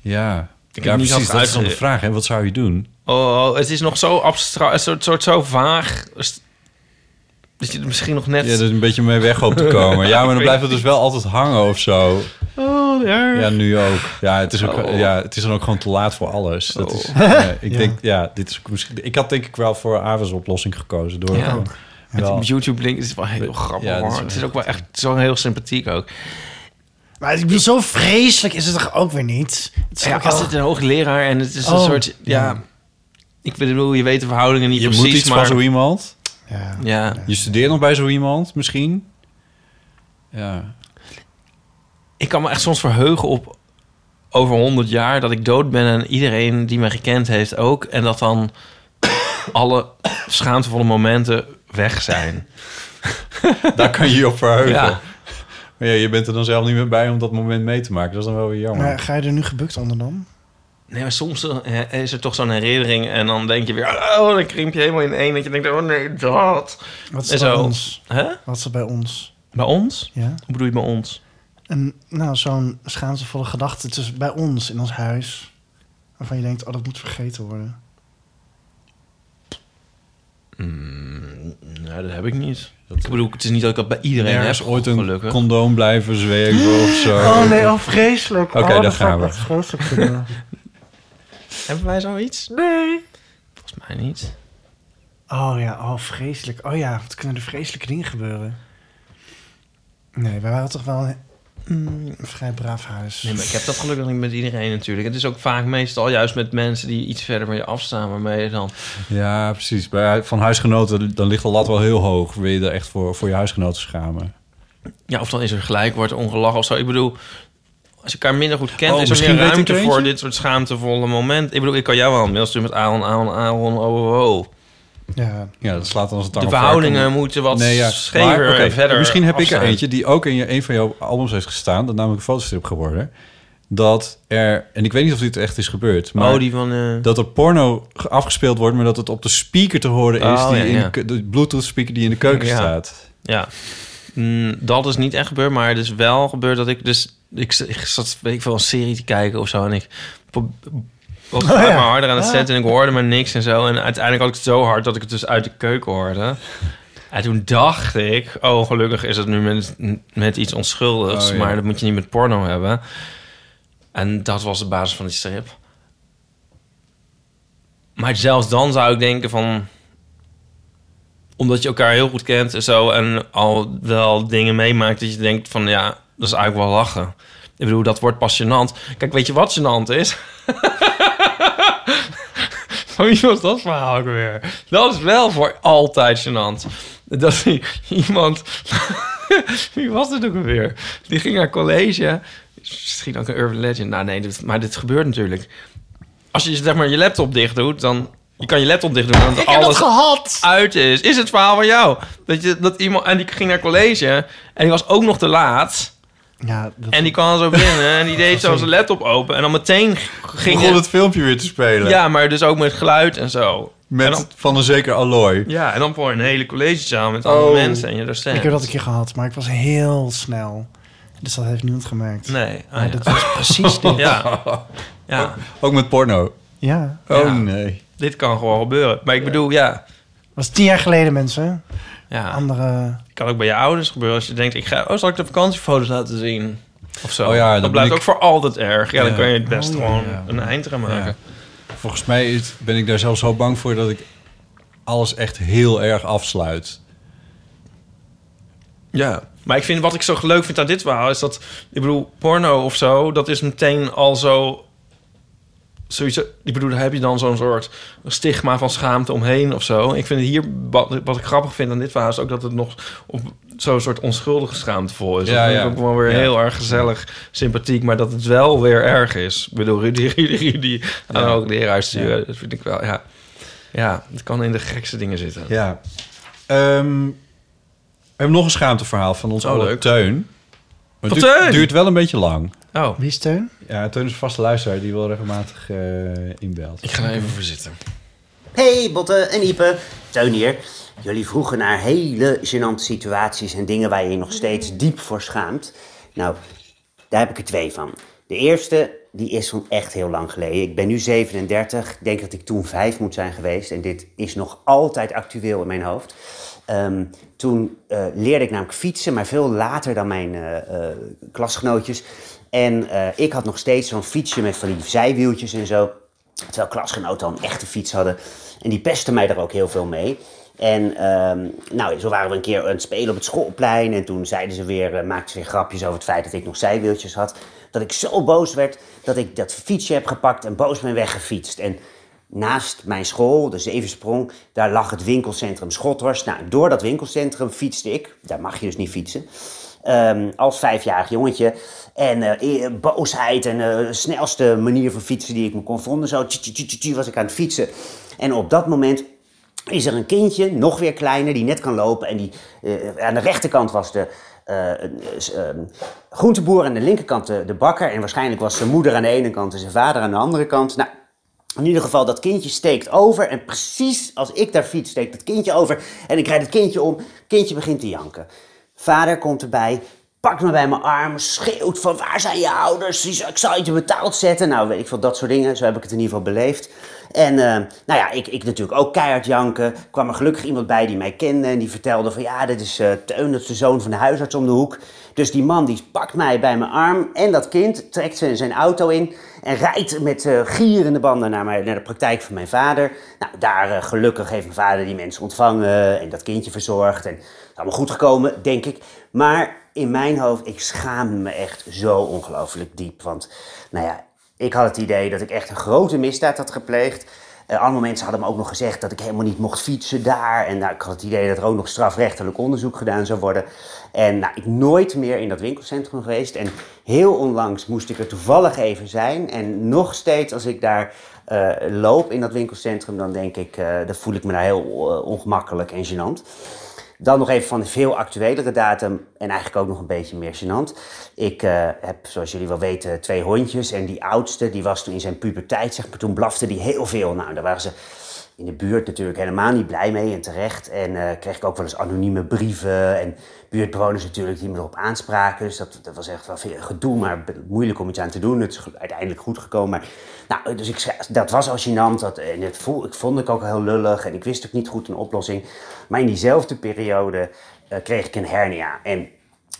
[SPEAKER 2] Ja,
[SPEAKER 3] heb
[SPEAKER 2] ja
[SPEAKER 3] niet
[SPEAKER 2] precies.
[SPEAKER 3] altijd
[SPEAKER 2] Dat is dan de
[SPEAKER 3] uitge-
[SPEAKER 2] vraag, hè. Wat zou je doen?
[SPEAKER 3] Oh, oh, het is nog zo abstract, een soort, soort zo vaag. Dus- Dat je er misschien nog net...
[SPEAKER 2] Ja, er is een beetje mee weg op te komen. Ja, maar dan blijft het dus wel altijd hangen of zo.
[SPEAKER 3] Oh, erg.
[SPEAKER 2] Ja, nu ook. Ja, het is, ook,
[SPEAKER 3] Oh.
[SPEAKER 2] ja, het is dan ook gewoon te laat voor alles. Dat
[SPEAKER 3] Oh.
[SPEAKER 2] is, eh, ik denk, ja, dit is ook misschien... Ik had denk ik wel voor Avens oplossing gekozen. Door
[SPEAKER 3] Ja.
[SPEAKER 2] gewoon wel-
[SPEAKER 3] Het YouTube link is wel heel grappig
[SPEAKER 2] Ja, dat is
[SPEAKER 3] hoor.
[SPEAKER 2] wel
[SPEAKER 3] Het is
[SPEAKER 2] heel
[SPEAKER 3] ook wel echt zo heel sympathiek ook.
[SPEAKER 4] Maar ik bedoel, zo vreselijk is het toch ook weer niet? Het is
[SPEAKER 3] Ja,
[SPEAKER 4] ook wel-
[SPEAKER 3] als het een hoogleraar en het is een
[SPEAKER 4] Oh,
[SPEAKER 3] soort ja, ik bedoel je weet de verhoudingen niet
[SPEAKER 2] Je
[SPEAKER 3] precies,
[SPEAKER 2] moet iets
[SPEAKER 3] maar
[SPEAKER 2] van zo iemand.
[SPEAKER 4] ja.
[SPEAKER 3] ja.
[SPEAKER 2] Je studeert nog bij zo iemand, misschien. Ja.
[SPEAKER 3] Ik kan me echt soms verheugen op over 100 jaar dat ik dood ben en iedereen die mij gekend heeft ook en dat dan alle schaamtevolle momenten weg zijn.
[SPEAKER 2] Daar kan je je op verheugen.
[SPEAKER 3] Ja.
[SPEAKER 2] Maar ja, je bent er dan zelf niet meer bij om dat moment mee te maken. Dat is dan wel weer jammer.
[SPEAKER 4] Maar ga je er nu gebukt onder dan?
[SPEAKER 3] Nee, maar soms eh, is er toch zo'n herinnering en dan denk je weer oh, dan krimp je helemaal in één dat je denkt oh nee, dat.
[SPEAKER 4] Wat is
[SPEAKER 3] En
[SPEAKER 4] dat bij
[SPEAKER 3] zo.
[SPEAKER 4] ons?
[SPEAKER 3] Hè?
[SPEAKER 4] Wat is dat bij ons?
[SPEAKER 3] Bij ons?
[SPEAKER 4] Ja.
[SPEAKER 3] Hoe bedoel je bij ons?
[SPEAKER 4] En nou, zo'n schaamtevolle gedachte tussen bij ons in ons huis. Waarvan je denkt, oh, dat moet vergeten worden.
[SPEAKER 3] Nou, dat heb ik niet. ik bedoel, het is niet dat ik dat bij iedereen
[SPEAKER 2] Ergens
[SPEAKER 3] heb.
[SPEAKER 2] ooit een
[SPEAKER 3] gelukkig.
[SPEAKER 2] condoom blijven zweven of zo.
[SPEAKER 4] Oh nee, oh vreselijk.
[SPEAKER 2] Oké,
[SPEAKER 4] oh, zou
[SPEAKER 2] daar gaan
[SPEAKER 4] ik
[SPEAKER 2] we.
[SPEAKER 4] echt vreselijk vinden.
[SPEAKER 3] Hebben wij zoiets? Nee. Volgens mij niet.
[SPEAKER 4] Oh ja, oh vreselijk. Oh ja, wat kunnen er vreselijke dingen gebeuren? Nee, wij waren toch wel een, mm, een vrij braaf huis.
[SPEAKER 3] Nee, maar ik heb dat gelukkig niet met iedereen natuurlijk. Het is ook vaak meestal juist met mensen die iets verder van je afstaan, waarmee je dan...
[SPEAKER 2] Ja, precies. Bij, van huisgenoten, dan ligt de lat wel heel hoog. Wil je er echt voor, voor je huisgenoten schamen?
[SPEAKER 3] Ja, of dan is er gelijk wordt ongelach of zo. Ik bedoel, als je elkaar minder goed kent,
[SPEAKER 2] Oh,
[SPEAKER 3] is er
[SPEAKER 2] misschien
[SPEAKER 3] meer
[SPEAKER 2] weet ik
[SPEAKER 3] ruimte
[SPEAKER 2] er
[SPEAKER 3] voor
[SPEAKER 2] eentje?
[SPEAKER 3] dit soort schaamtevolle momenten. Ik bedoel, ik kan jou wel een mail sturen met Aaron, Aaron, Aaron, oh, oh, oh.
[SPEAKER 4] Ja,
[SPEAKER 2] Ja, dat slaat dan als een tang
[SPEAKER 3] De
[SPEAKER 2] op elkaar.
[SPEAKER 3] verhoudingen moeten wat
[SPEAKER 2] ja.
[SPEAKER 3] schever
[SPEAKER 2] Maar, oké,
[SPEAKER 3] en verder
[SPEAKER 2] Misschien heb ik er
[SPEAKER 3] afstaan.
[SPEAKER 2] eentje die ook in je, een van jouw albums heeft gestaan. Dat namelijk een fotostrip geworden. Dat er, en ik weet niet of dit echt is gebeurd. Maar
[SPEAKER 3] Oh, die van... eh,
[SPEAKER 2] dat er porno ge- afgespeeld wordt, maar dat het op de speaker te horen is.
[SPEAKER 3] Oh,
[SPEAKER 2] die
[SPEAKER 3] ja,
[SPEAKER 2] in
[SPEAKER 3] ja.
[SPEAKER 2] De, ke- de Bluetooth speaker die in de keuken
[SPEAKER 3] Ja.
[SPEAKER 2] staat.
[SPEAKER 3] Ja, Mm, dat is niet echt gebeurd, maar het is wel gebeurd dat ik dus... Ik, z- ik zat, weet ik veel, een serie te kijken of zo en ik pro- was
[SPEAKER 2] Oh,
[SPEAKER 3] maar harder
[SPEAKER 2] Ah.
[SPEAKER 3] aan het zetten en ik hoorde maar niks en zo. En uiteindelijk had ik het zo hard dat ik het dus uit de keuken hoorde. En toen dacht ik, oh gelukkig is het nu met, met iets onschuldigs,
[SPEAKER 2] Oh, ja.
[SPEAKER 3] maar dat moet je niet met porno hebben. En dat was de basis van die strip. Maar zelfs dan zou ik denken van omdat je elkaar heel goed kent en zo en al wel dingen meemaakt dat je denkt van ja, dat is eigenlijk wel lachen. Ik bedoel, dat wordt pas gênant. Kijk, weet je wat gênant is? Van wie Oh, was dat verhaal ook weer? Dat is wel voor altijd gênant. Dat die- iemand... wie was het ook alweer? Die ging naar college. Misschien ook een urban legend. Nou nee, dit- maar dit gebeurt natuurlijk. Als je zeg maar je laptop dicht doet, dan... Je kan je laptop dicht doen en dan alles
[SPEAKER 4] gehad!
[SPEAKER 3] uit is. Is het verhaal van jou? Dat, je, dat iemand... En die ging naar college en die was ook nog te laat.
[SPEAKER 4] Ja, dat,
[SPEAKER 3] En die kwam zo binnen en die deed zo zijn laptop open. En dan meteen ging
[SPEAKER 2] Begon het filmpje weer te spelen.
[SPEAKER 3] ja, maar dus ook met geluid en zo.
[SPEAKER 2] Met
[SPEAKER 3] En dan,
[SPEAKER 2] van een zeker alloy.
[SPEAKER 3] ja, en dan voor een hele collegezaal met andere
[SPEAKER 2] Oh.
[SPEAKER 3] mensen en je docent.
[SPEAKER 4] ik heb dat een keer gehad, maar ik was heel snel. Dus dat heeft niemand gemerkt.
[SPEAKER 3] Nee. ah,
[SPEAKER 4] Maar
[SPEAKER 3] ja.
[SPEAKER 4] dat was precies dit.
[SPEAKER 3] ja. ja.
[SPEAKER 2] Ook met porno.
[SPEAKER 4] Ja.
[SPEAKER 2] Oh
[SPEAKER 3] Ja.
[SPEAKER 2] nee.
[SPEAKER 3] Dit kan gewoon gebeuren. Maar ik bedoel, ja.
[SPEAKER 4] was tien jaar geleden, mensen.
[SPEAKER 3] ja.
[SPEAKER 4] Andere...
[SPEAKER 3] Het kan ook bij je ouders gebeuren als je denkt... Ik ga, oh, zal ik de vakantiefoto's laten zien? Of zo.
[SPEAKER 2] Oh ja,
[SPEAKER 3] dat
[SPEAKER 2] dan
[SPEAKER 3] blijft
[SPEAKER 2] ben
[SPEAKER 3] ook voor altijd erg. Ja, dan
[SPEAKER 2] Ja.
[SPEAKER 3] kan je het best
[SPEAKER 4] Oh ja.
[SPEAKER 3] gewoon
[SPEAKER 2] Ja.
[SPEAKER 3] een eind eraan maken.
[SPEAKER 2] Volgens mij is- ben ik daar zelfs zo bang voor dat ik alles echt heel erg afsluit.
[SPEAKER 3] Ja. Maar ik vind, wat ik zo leuk vind aan dit verhaal... is dat, ik bedoel, porno of zo... dat is meteen al zo... Sowieso, ik bedoel, daar heb je dan zo'n soort stigma van schaamte omheen of zo. Ik vind hier, wat, wat ik grappig vind aan dit verhaal... is ook dat het nog op zo'n soort onschuldige schaamtevol is.
[SPEAKER 2] Ja,
[SPEAKER 3] dat vind
[SPEAKER 2] ja.
[SPEAKER 3] ik ook wel weer
[SPEAKER 2] Ja.
[SPEAKER 3] heel erg gezellig, sympathiek... maar dat het wel weer erg is. Ik bedoel, Rudy, Rudy, Rudy aan
[SPEAKER 2] Ja.
[SPEAKER 3] ook leraar sturen. Dat vind ik wel, ja. Ja, het kan in de gekste dingen zitten.
[SPEAKER 2] Ja. Ehm, we hebben nog een schaamteverhaal van ons
[SPEAKER 3] Oh,
[SPEAKER 2] oude
[SPEAKER 3] leuk.
[SPEAKER 2] Teun. Maar
[SPEAKER 3] Van
[SPEAKER 2] het duurt,
[SPEAKER 3] Teun?
[SPEAKER 2] duurt wel een beetje lang.
[SPEAKER 3] Oh,
[SPEAKER 4] Wie is Teun?
[SPEAKER 2] Ja, Teun is een vaste luisteraar die wel regelmatig eh, inbelt.
[SPEAKER 3] ik ga er even voor zitten.
[SPEAKER 9] Hey Botte en Ipe, Teun hier. Jullie vroegen naar hele gênante situaties en dingen waar je je nog steeds diep voor schaamt. Nou, daar heb ik er twee van. De eerste, die is van echt heel lang geleden. Ik ben nu 37, ik denk dat ik toen vijf moet zijn geweest. En dit is nog altijd actueel in mijn hoofd. Ehm, toen eh, leerde ik namelijk fietsen, maar veel later dan mijn eh, eh, klasgenootjes. En eh, ik had nog steeds zo'n fietsje met van die zijwieltjes en zo. Terwijl klasgenoten al een echte fiets hadden. En die pesten mij daar ook heel veel mee. En ehm, nou, zo waren we een keer aan het spelen op het schoolplein. En toen zeiden ze weer, eh, maakten ze weer grapjes over het feit dat ik nog zijwieltjes had. Dat ik zo boos werd dat ik dat fietsje heb gepakt en boos ben weggefietst. En naast mijn school, de Zevensprong, daar lag het winkelcentrum Schothorst. Nou, door dat winkelcentrum fietste ik. Daar mag je dus niet fietsen. Ehm, als vijfjarig jongetje. En eh, eh, boosheid en eh, de snelste manier van fietsen die ik me kon vonden. Zo tje, tje, tje, tje, tje, was ik aan het fietsen. En op dat moment is er een kindje, nog weer kleiner, die net kan lopen. En die, eh, aan de rechterkant was de eh, eh, s- ehm, groenteboer, aan de linkerkant de, de bakker. En waarschijnlijk was zijn moeder aan de ene kant en zijn vader aan de andere kant. Nou, in ieder geval, dat kindje steekt over. En precies als ik daar fiets, steekt dat kindje over. En ik rijd het kindje om. Kindje begint te janken. Vader komt erbij, pakt me bij mijn arm, schreeuwt van waar zijn je ouders? Die zou- Ik zal je te betaald zetten. Nou, weet ik veel, dat soort dingen. Zo heb ik het in ieder geval beleefd. En eh, nou ja, ik, ik natuurlijk ook keihard janken. Kwam er gelukkig iemand bij die mij kende. En die vertelde van ja, dit is eh, Teun, dat is de zoon van de huisarts om de hoek. Dus die man die pakt mij bij mijn arm en dat kind trekt ze zijn auto in en rijdt met eh, gierende banden naar, mijn, naar de praktijk van mijn vader. Nou, daar eh, gelukkig heeft mijn vader die mensen ontvangen en dat kindje verzorgd. En het is allemaal goed gekomen, denk ik. Maar in mijn hoofd, ik schaamde me echt zo ongelooflijk diep. Want nou ja, ik had het idee dat ik echt een grote misdaad had gepleegd. Eh, andere mensen hadden me ook nog gezegd dat ik helemaal niet mocht fietsen daar. En nou, ik had het idee dat er ook nog strafrechtelijk onderzoek gedaan zou worden. En nou, ik nooit meer in dat winkelcentrum geweest. En heel onlangs moest ik er toevallig even zijn. En nog steeds als ik daar eh, loop in dat winkelcentrum, dan denk ik, eh, dan voel ik me daar heel eh, ongemakkelijk en gênant. Dan nog even van de veel actuelere datum en eigenlijk ook nog een beetje meer gênant. Ik eh, heb, zoals jullie wel weten, twee hondjes. En die oudste, die was toen in zijn puberteit, zeg maar, toen blafte die heel veel. Nou, daar waren ze in de buurt natuurlijk helemaal niet blij mee en terecht. En eh, kreeg ik ook wel eens anonieme brieven en buurtbewoners natuurlijk die me erop aanspraken. Dus dat, dat was echt wel veel gedoe, maar be- moeilijk om iets aan te doen. Het is ge- uiteindelijk goed gekomen. Maar, nou, dus ik, schrijf- dat was al gênant. Dat, en het voel, ik vond ik ook heel lullig en ik wist ook niet goed een oplossing. Maar in diezelfde periode eh, kreeg ik een hernia. En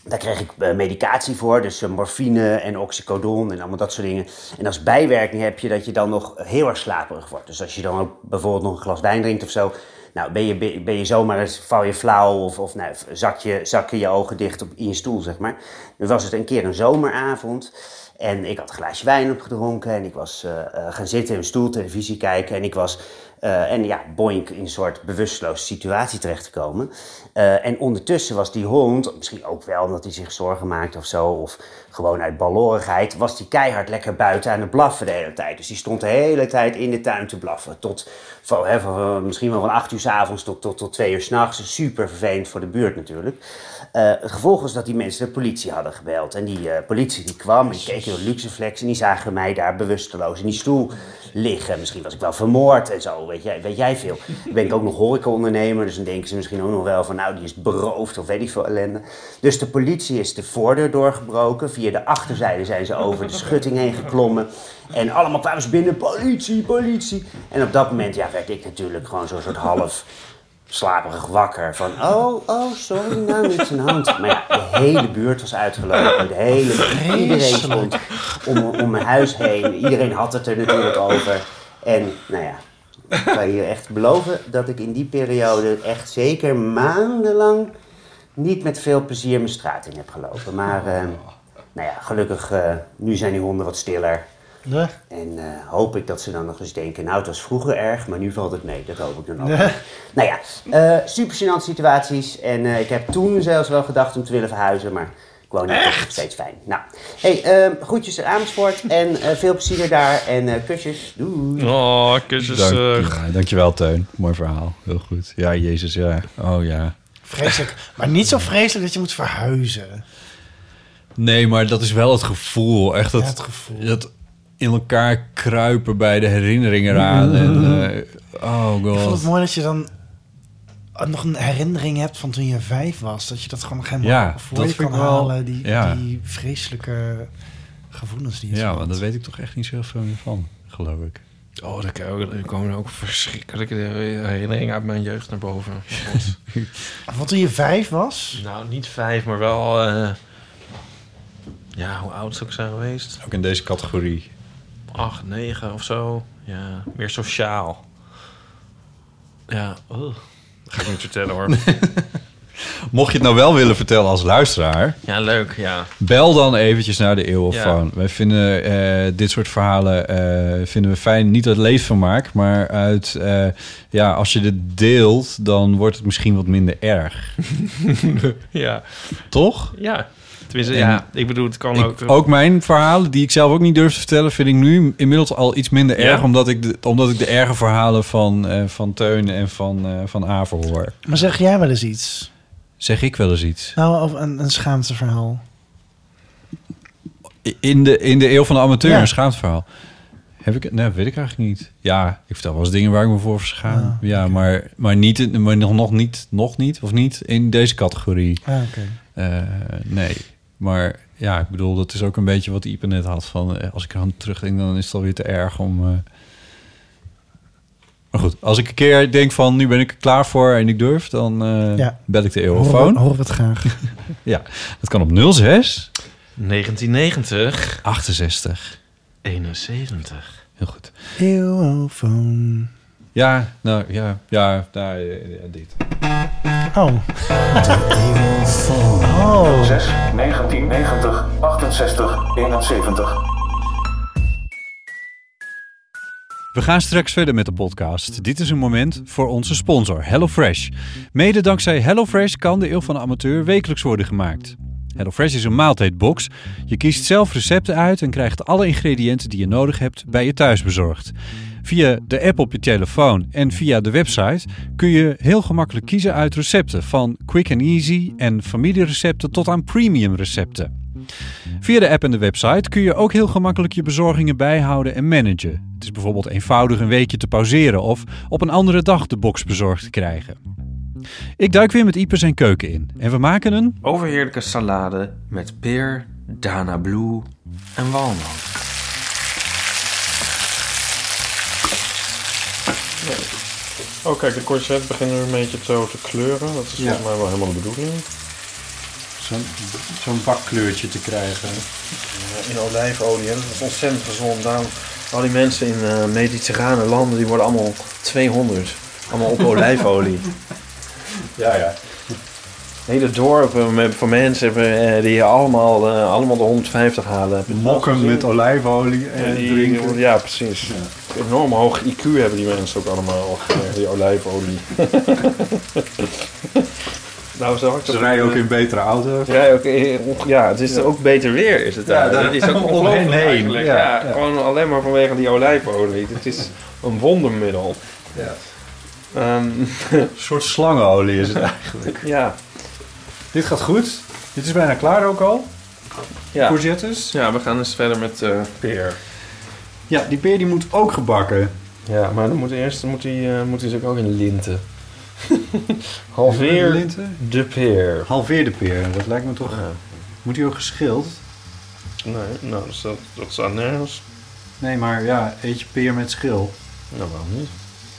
[SPEAKER 9] daar kreeg ik eh, medicatie voor, dus eh, morfine en oxycodon en allemaal dat soort dingen. En als bijwerking heb je dat je dan nog heel erg slaperig wordt. Dus als je dan ook bijvoorbeeld nog een glas wijn drinkt of zo, nou ben je, ben je zomaar eens, val je flauw of, of nou, zak je, zakken je ogen dicht op, in je stoel, zeg maar. Nu was het een keer een zomeravond en ik had een glaasje wijn opgedronken en ik was eh, eh, gaan zitten in een stoel, televisie kijken en ik was eh, en ja, boink in een soort bewusteloze situatie terecht te komen. Eh, en ondertussen was die hond, misschien ook wel omdat hij zich zorgen maakte of zo, of gewoon uit balorigheid, was die keihard lekker buiten aan het blaffen de hele tijd. Dus die stond de hele tijd in de tuin te blaffen. Tot van, hè, van, van, misschien wel van acht uur s avonds tot, tot, tot twee uur s'nachts. Super vervelend voor de buurt natuurlijk. Eh, het gevolg was dat die mensen de politie hadden gebeld. En die eh, politie die kwam en die keek in een luxeflex en die zagen mij daar bewusteloos in die stoel liggen. Misschien was ik wel vermoord en zo. zo, weet jij, weet jij veel. Dan ben ik ook nog horecaondernemer, dus dan denken ze misschien ook nog wel van... nou, die is beroofd of weet ik veel ellende. Dus de politie is de voordeur doorgebroken. Via de achterzijde zijn ze over de schutting heen geklommen. En allemaal kwamen ze binnen, politie, politie. En op dat moment ja, werd ik natuurlijk gewoon zo'n soort half slaperig wakker. Van, oh, oh, sorry, nou, niks aan de hand. Maar ja, de hele buurt was uitgelopen. De hele, iedereen stond om, om mijn huis heen. Iedereen had het er natuurlijk over. En, nou ja, ik kan je echt beloven dat ik in die periode echt zeker maandenlang niet met veel plezier mijn straat in heb gelopen. Maar, eh, nou ja, gelukkig, eh, nu zijn die honden wat stiller.
[SPEAKER 4] Ja.
[SPEAKER 9] En eh, hoop ik dat ze dan nog eens denken, nou het was vroeger erg, maar nu valt het mee. Dat hoop ik dan ook. Nou ja, eh super gênante situaties. En eh, ik heb toen zelfs wel gedacht om te willen verhuizen, maar ik woon hier toch steeds fijn. Nou, hey, ehm, groetjes aan Amersfoort en eh, veel plezier daar en eh, kusjes. Doei.
[SPEAKER 3] Oh, kusjes.
[SPEAKER 2] Dank,
[SPEAKER 3] eh.
[SPEAKER 2] ja, dankjewel, Teun. Mooi verhaal. Heel goed. Ja, Jezus, ja. Oh ja.
[SPEAKER 4] Vreselijk. Maar niet zo vreselijk dat je moet verhuizen.
[SPEAKER 2] Nee, maar dat is wel het gevoel. Echt dat,
[SPEAKER 4] Ja, het gevoel.
[SPEAKER 2] dat in elkaar kruipen bij de herinneringen eraan. En, eh, oh
[SPEAKER 4] Ik vond
[SPEAKER 2] god.
[SPEAKER 4] het mooi dat je dan nog een herinnering hebt van toen je vijf was. Dat je dat gewoon nog helemaal
[SPEAKER 2] Ja,
[SPEAKER 4] voor
[SPEAKER 2] dat
[SPEAKER 4] je
[SPEAKER 2] vind
[SPEAKER 4] kan
[SPEAKER 2] ik wel-
[SPEAKER 4] halen. Die,
[SPEAKER 2] ja.
[SPEAKER 4] die vreselijke gevoelens die je
[SPEAKER 2] Ja,
[SPEAKER 4] voelt.
[SPEAKER 2] want daar weet ik toch echt niet zoveel meer van, geloof ik.
[SPEAKER 3] Oh, daar komen- daar komen ook verschrikkelijke herinneringen uit mijn jeugd naar boven. God.
[SPEAKER 4] Want toen je vijf was...
[SPEAKER 3] nou, niet vijf, maar wel... eh, ja, hoe oud zou ik zijn geweest?
[SPEAKER 2] Ook in deze categorie.
[SPEAKER 3] Acht, negen of zo. Ja, meer sociaal. Ja, oh. ga ik niet vertellen hoor.
[SPEAKER 2] Mocht je het nou wel willen vertellen als luisteraar,
[SPEAKER 3] Ja, leuk, ja.
[SPEAKER 2] Bel dan eventjes naar de Eeuwenfoon.
[SPEAKER 3] Ja.
[SPEAKER 2] Wij vinden eh, dit soort verhalen eh, vinden we fijn. Niet uit leedvermaak, maar uit... eh, ja, als je dit deelt, dan wordt het misschien wat minder erg.
[SPEAKER 3] Ja,
[SPEAKER 2] Toch?
[SPEAKER 3] ja. Tenminste,
[SPEAKER 2] En
[SPEAKER 3] ja, ik bedoel, het kan ook... eh.
[SPEAKER 2] Ik, ook mijn verhalen, die ik zelf ook niet durf te vertellen... vind ik nu inmiddels al iets minder
[SPEAKER 3] Ja?
[SPEAKER 2] erg... omdat ik de, omdat ik de erge verhalen van, eh, van Teun en van, eh van Aver hoor.
[SPEAKER 4] Maar zeg jij wel eens iets?
[SPEAKER 2] Zeg ik wel eens iets.
[SPEAKER 4] Nou, over een, een schaamteverhaal.
[SPEAKER 2] In de, in de eeuw van de amateur,
[SPEAKER 4] Ja.
[SPEAKER 2] een schaamteverhaal. Heb ik het? Nee, weet ik eigenlijk niet. Ja, ik vertel wel eens dingen waar ik me voor verschaam.
[SPEAKER 4] Ah,
[SPEAKER 2] ja, maar, maar, niet, in- maar nog, nog niet, nog niet, of niet in deze categorie.
[SPEAKER 4] Ah, oké.
[SPEAKER 2] Eh, nee, maar ja, ik bedoel, dat is ook een beetje wat Ipe net had. Van, eh, als ik aan terugdenk, dan is het alweer te erg om... eh. Maar goed, als ik een keer denk van, nu ben ik er klaar voor en ik durf... dan eh,
[SPEAKER 4] Ja.
[SPEAKER 2] bel ik de
[SPEAKER 4] Horen we-
[SPEAKER 2] eeuwfoon.
[SPEAKER 4] horen we het graag.
[SPEAKER 2] Ja, dat kan op 06
[SPEAKER 3] 1990,
[SPEAKER 2] 68.
[SPEAKER 3] 71.
[SPEAKER 2] Heel goed.
[SPEAKER 4] Eeuwofoon.
[SPEAKER 2] Ja, nou ja, ja, nou, eh, ja, dit.
[SPEAKER 4] Oh.
[SPEAKER 10] 6, 1990, 68, 71.
[SPEAKER 2] We gaan straks verder met de podcast. Dit is een moment voor onze sponsor, HelloFresh. Mede dankzij HelloFresh kan de Eeuw van de Amateur wekelijks worden gemaakt. HelloFresh is een maaltijdbox. Je kiest zelf recepten uit en krijgt alle ingrediënten die je nodig hebt bij je thuis bezorgd. Via de app op je telefoon en via de website kun je heel gemakkelijk kiezen uit recepten. Van quick and easy en familierecepten tot aan premium recepten. Via de app en de website kun je ook heel gemakkelijk je bezorgingen bijhouden en managen. Het is bijvoorbeeld eenvoudig een weekje te pauzeren of op een andere dag de box bezorgd te krijgen. Ik duik weer met Ipe zijn keuken in en we maken een
[SPEAKER 3] Overheerlijke salade met peer, dana blue en walnoot.
[SPEAKER 11] Oh, kijk, de courgette begint nu een beetje zo te kleuren. Dat is volgens
[SPEAKER 10] nou
[SPEAKER 11] mij wel helemaal de bedoeling.
[SPEAKER 2] zo'n bakkleurtje te krijgen.
[SPEAKER 11] In olijfolie, hè? dat is ontzettend gezond. Daarom, al die mensen in eh, mediterrane landen, die worden allemaal 200. Allemaal op olijfolie.
[SPEAKER 2] Ja, ja.
[SPEAKER 11] Hele dorpen met- van mensen hebben, eh, die allemaal, eh, allemaal de 150 halen. Mokken met
[SPEAKER 10] Olijfolie
[SPEAKER 11] Ja, die- Ja, precies. Enorm hoog IQ hebben die mensen ook allemaal, eh, die olijfolie. nou, zou ik dat...
[SPEAKER 10] rijden ook in betere auto's.
[SPEAKER 11] Ja, ook, eh, onge- ja, het is ook beter weer is het daar. Het is ook om hen heen. Ja, Gewoon alleen maar vanwege die olijfolie. Het is een wondermiddel. Ehm, Ja.
[SPEAKER 10] Een soort slangenolie is het eigenlijk.
[SPEAKER 11] ja.
[SPEAKER 10] Dit gaat goed. Dit is bijna klaar ook al.
[SPEAKER 11] Ja.
[SPEAKER 10] Courgettes.
[SPEAKER 11] ja, we gaan eens verder met eh, peer.
[SPEAKER 10] Ja, die peer die moet ook gebakken. Ja, maar dan moet eerst moet hij, eh, moet hij zich ook in linten. Halveer
[SPEAKER 2] Linten?
[SPEAKER 10] de peer.
[SPEAKER 2] Halveer de peer, dat lijkt me toch... Moet hij ook geschild?
[SPEAKER 10] Nee, nou, dat staat, dat staat nergens.
[SPEAKER 2] Nee, maar ja, eet je peer met schil.
[SPEAKER 10] Nou, waarom niet?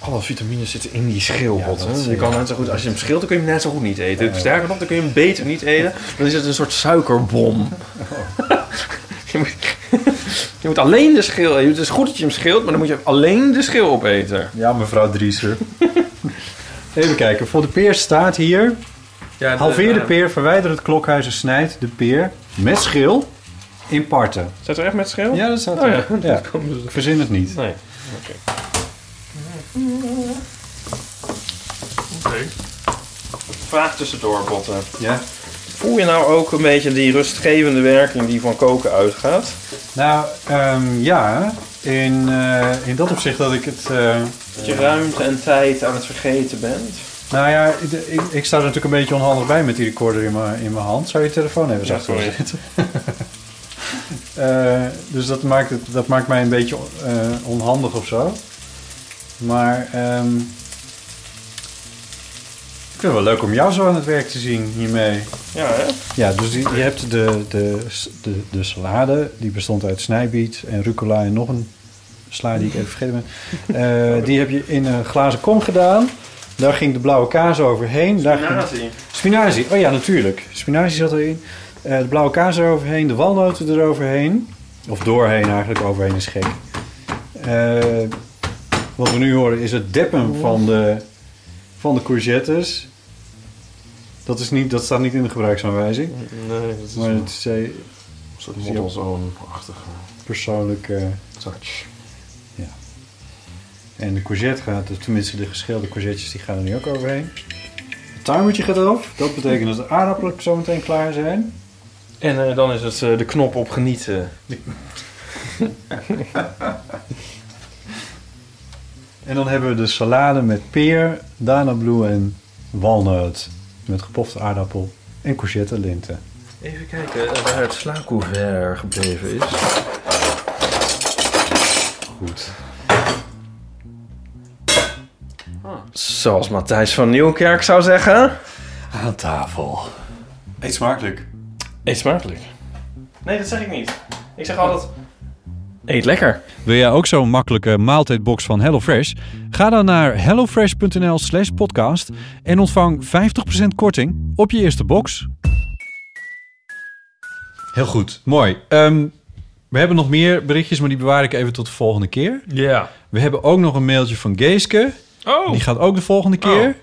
[SPEAKER 10] Alle vitamines zitten in die schilbot.
[SPEAKER 2] Ja,
[SPEAKER 10] hè?
[SPEAKER 2] dat,
[SPEAKER 10] je
[SPEAKER 2] eh,
[SPEAKER 10] kan net zo goed, als je hem schilt, dan kun je hem net zo goed niet eten.
[SPEAKER 2] Ja, ja.
[SPEAKER 10] Sterker nog, dan kun je hem beter niet eten. Dan is het een soort suikerbom.
[SPEAKER 2] Oh.
[SPEAKER 10] je, moet, je moet alleen de schil... Het is goed dat je hem schilt, maar dan moet je alleen de schil opeten.
[SPEAKER 2] Ja, mevrouw Drieser. Even kijken, voor de peer staat hier...
[SPEAKER 10] Ja,
[SPEAKER 2] Halveer de peer, verwijder het klokhuis en snijd de peer met schil in parten.
[SPEAKER 10] Staat er echt met schil?
[SPEAKER 2] Ja, dat staat
[SPEAKER 10] Oh ja,
[SPEAKER 2] er. Ja.
[SPEAKER 10] dat komt dus-
[SPEAKER 2] Ik verzin het niet.
[SPEAKER 10] Nee. Oké. Oké. Vraag tussendoor, Botten.
[SPEAKER 2] Ja.
[SPEAKER 10] Voel je nou ook een beetje die rustgevende werking die van koken uitgaat?
[SPEAKER 2] Nou, ehm, ja, in, eh, in dat opzicht dat ik het... eh,
[SPEAKER 10] Dat je ruimte en tijd aan het vergeten bent?
[SPEAKER 2] nou ja, ik, ik, ik sta er natuurlijk een beetje onhandig bij met die recorder in mijn in mijn hand. Zou je telefoon even
[SPEAKER 10] Ja,
[SPEAKER 2] zacht willen
[SPEAKER 10] sorry.
[SPEAKER 2] zetten? Eh, dus dat maakt, het, dat maakt mij een beetje eh, onhandig of zo. Maar ehm, ik vind het wel leuk om jou zo aan het werk te zien hiermee.
[SPEAKER 10] Ja, hè?
[SPEAKER 2] Ja, dus die- je hebt de, de, de, de salade, die bestond uit snijbiet en rucola en nog een sla die ik even vergeten ben. Eh, die heb je in een glazen kom gedaan. Daar ging de blauwe kaas overheen. Daar ging-
[SPEAKER 10] Nazi.
[SPEAKER 2] Spinazie, oh ja, natuurlijk. Spinazie zat erin. Eh, de blauwe kaas eroverheen, de walnoten eroverheen. Of doorheen eigenlijk, overheen is gek. Eh, wat we nu horen is het deppen van de, van de courgettes. Dat, is niet, dat staat niet in de gebruiksaanwijzing.
[SPEAKER 10] Nee, dat is
[SPEAKER 2] Maar
[SPEAKER 10] een
[SPEAKER 2] het is eh,
[SPEAKER 10] soort
[SPEAKER 2] model
[SPEAKER 10] moddelzoon-achtige
[SPEAKER 2] persoonlijk... eh,
[SPEAKER 10] touch.
[SPEAKER 2] en de courgette gaat, of tenminste de geschilde courgettes, die gaan er nu ook overheen. Het timertje gaat af. Dat betekent dat de aardappelen zo meteen klaar zijn.
[SPEAKER 10] En eh, dan is het eh, de knop op genieten.
[SPEAKER 2] En dan hebben we de salade met peer, danabloe en walnoot. Met gepofte aardappel en courgette linten.
[SPEAKER 10] Even kijken eh, waar het slacouvert gebleven is. Goed. Ah. Zoals Matthijs van Nieuwkerk zou zeggen.
[SPEAKER 2] Aan tafel. Eet smakelijk.
[SPEAKER 10] Eet smakelijk. Nee, dat zeg ik niet. Ik zeg altijd. Eet lekker.
[SPEAKER 4] Wil jij ook zo'n makkelijke maaltijdbox van HelloFresh? Ga dan naar hellofresh.nl slash podcast en ontvang 50% korting op je eerste box. Heel goed, mooi. Ehm, we hebben nog meer berichtjes, maar die bewaar ik even tot de volgende keer.
[SPEAKER 10] Ja.
[SPEAKER 4] We hebben ook nog een mailtje van Geeske.
[SPEAKER 10] Oh,
[SPEAKER 4] Die
[SPEAKER 10] oké.
[SPEAKER 4] gaat ook de volgende keer.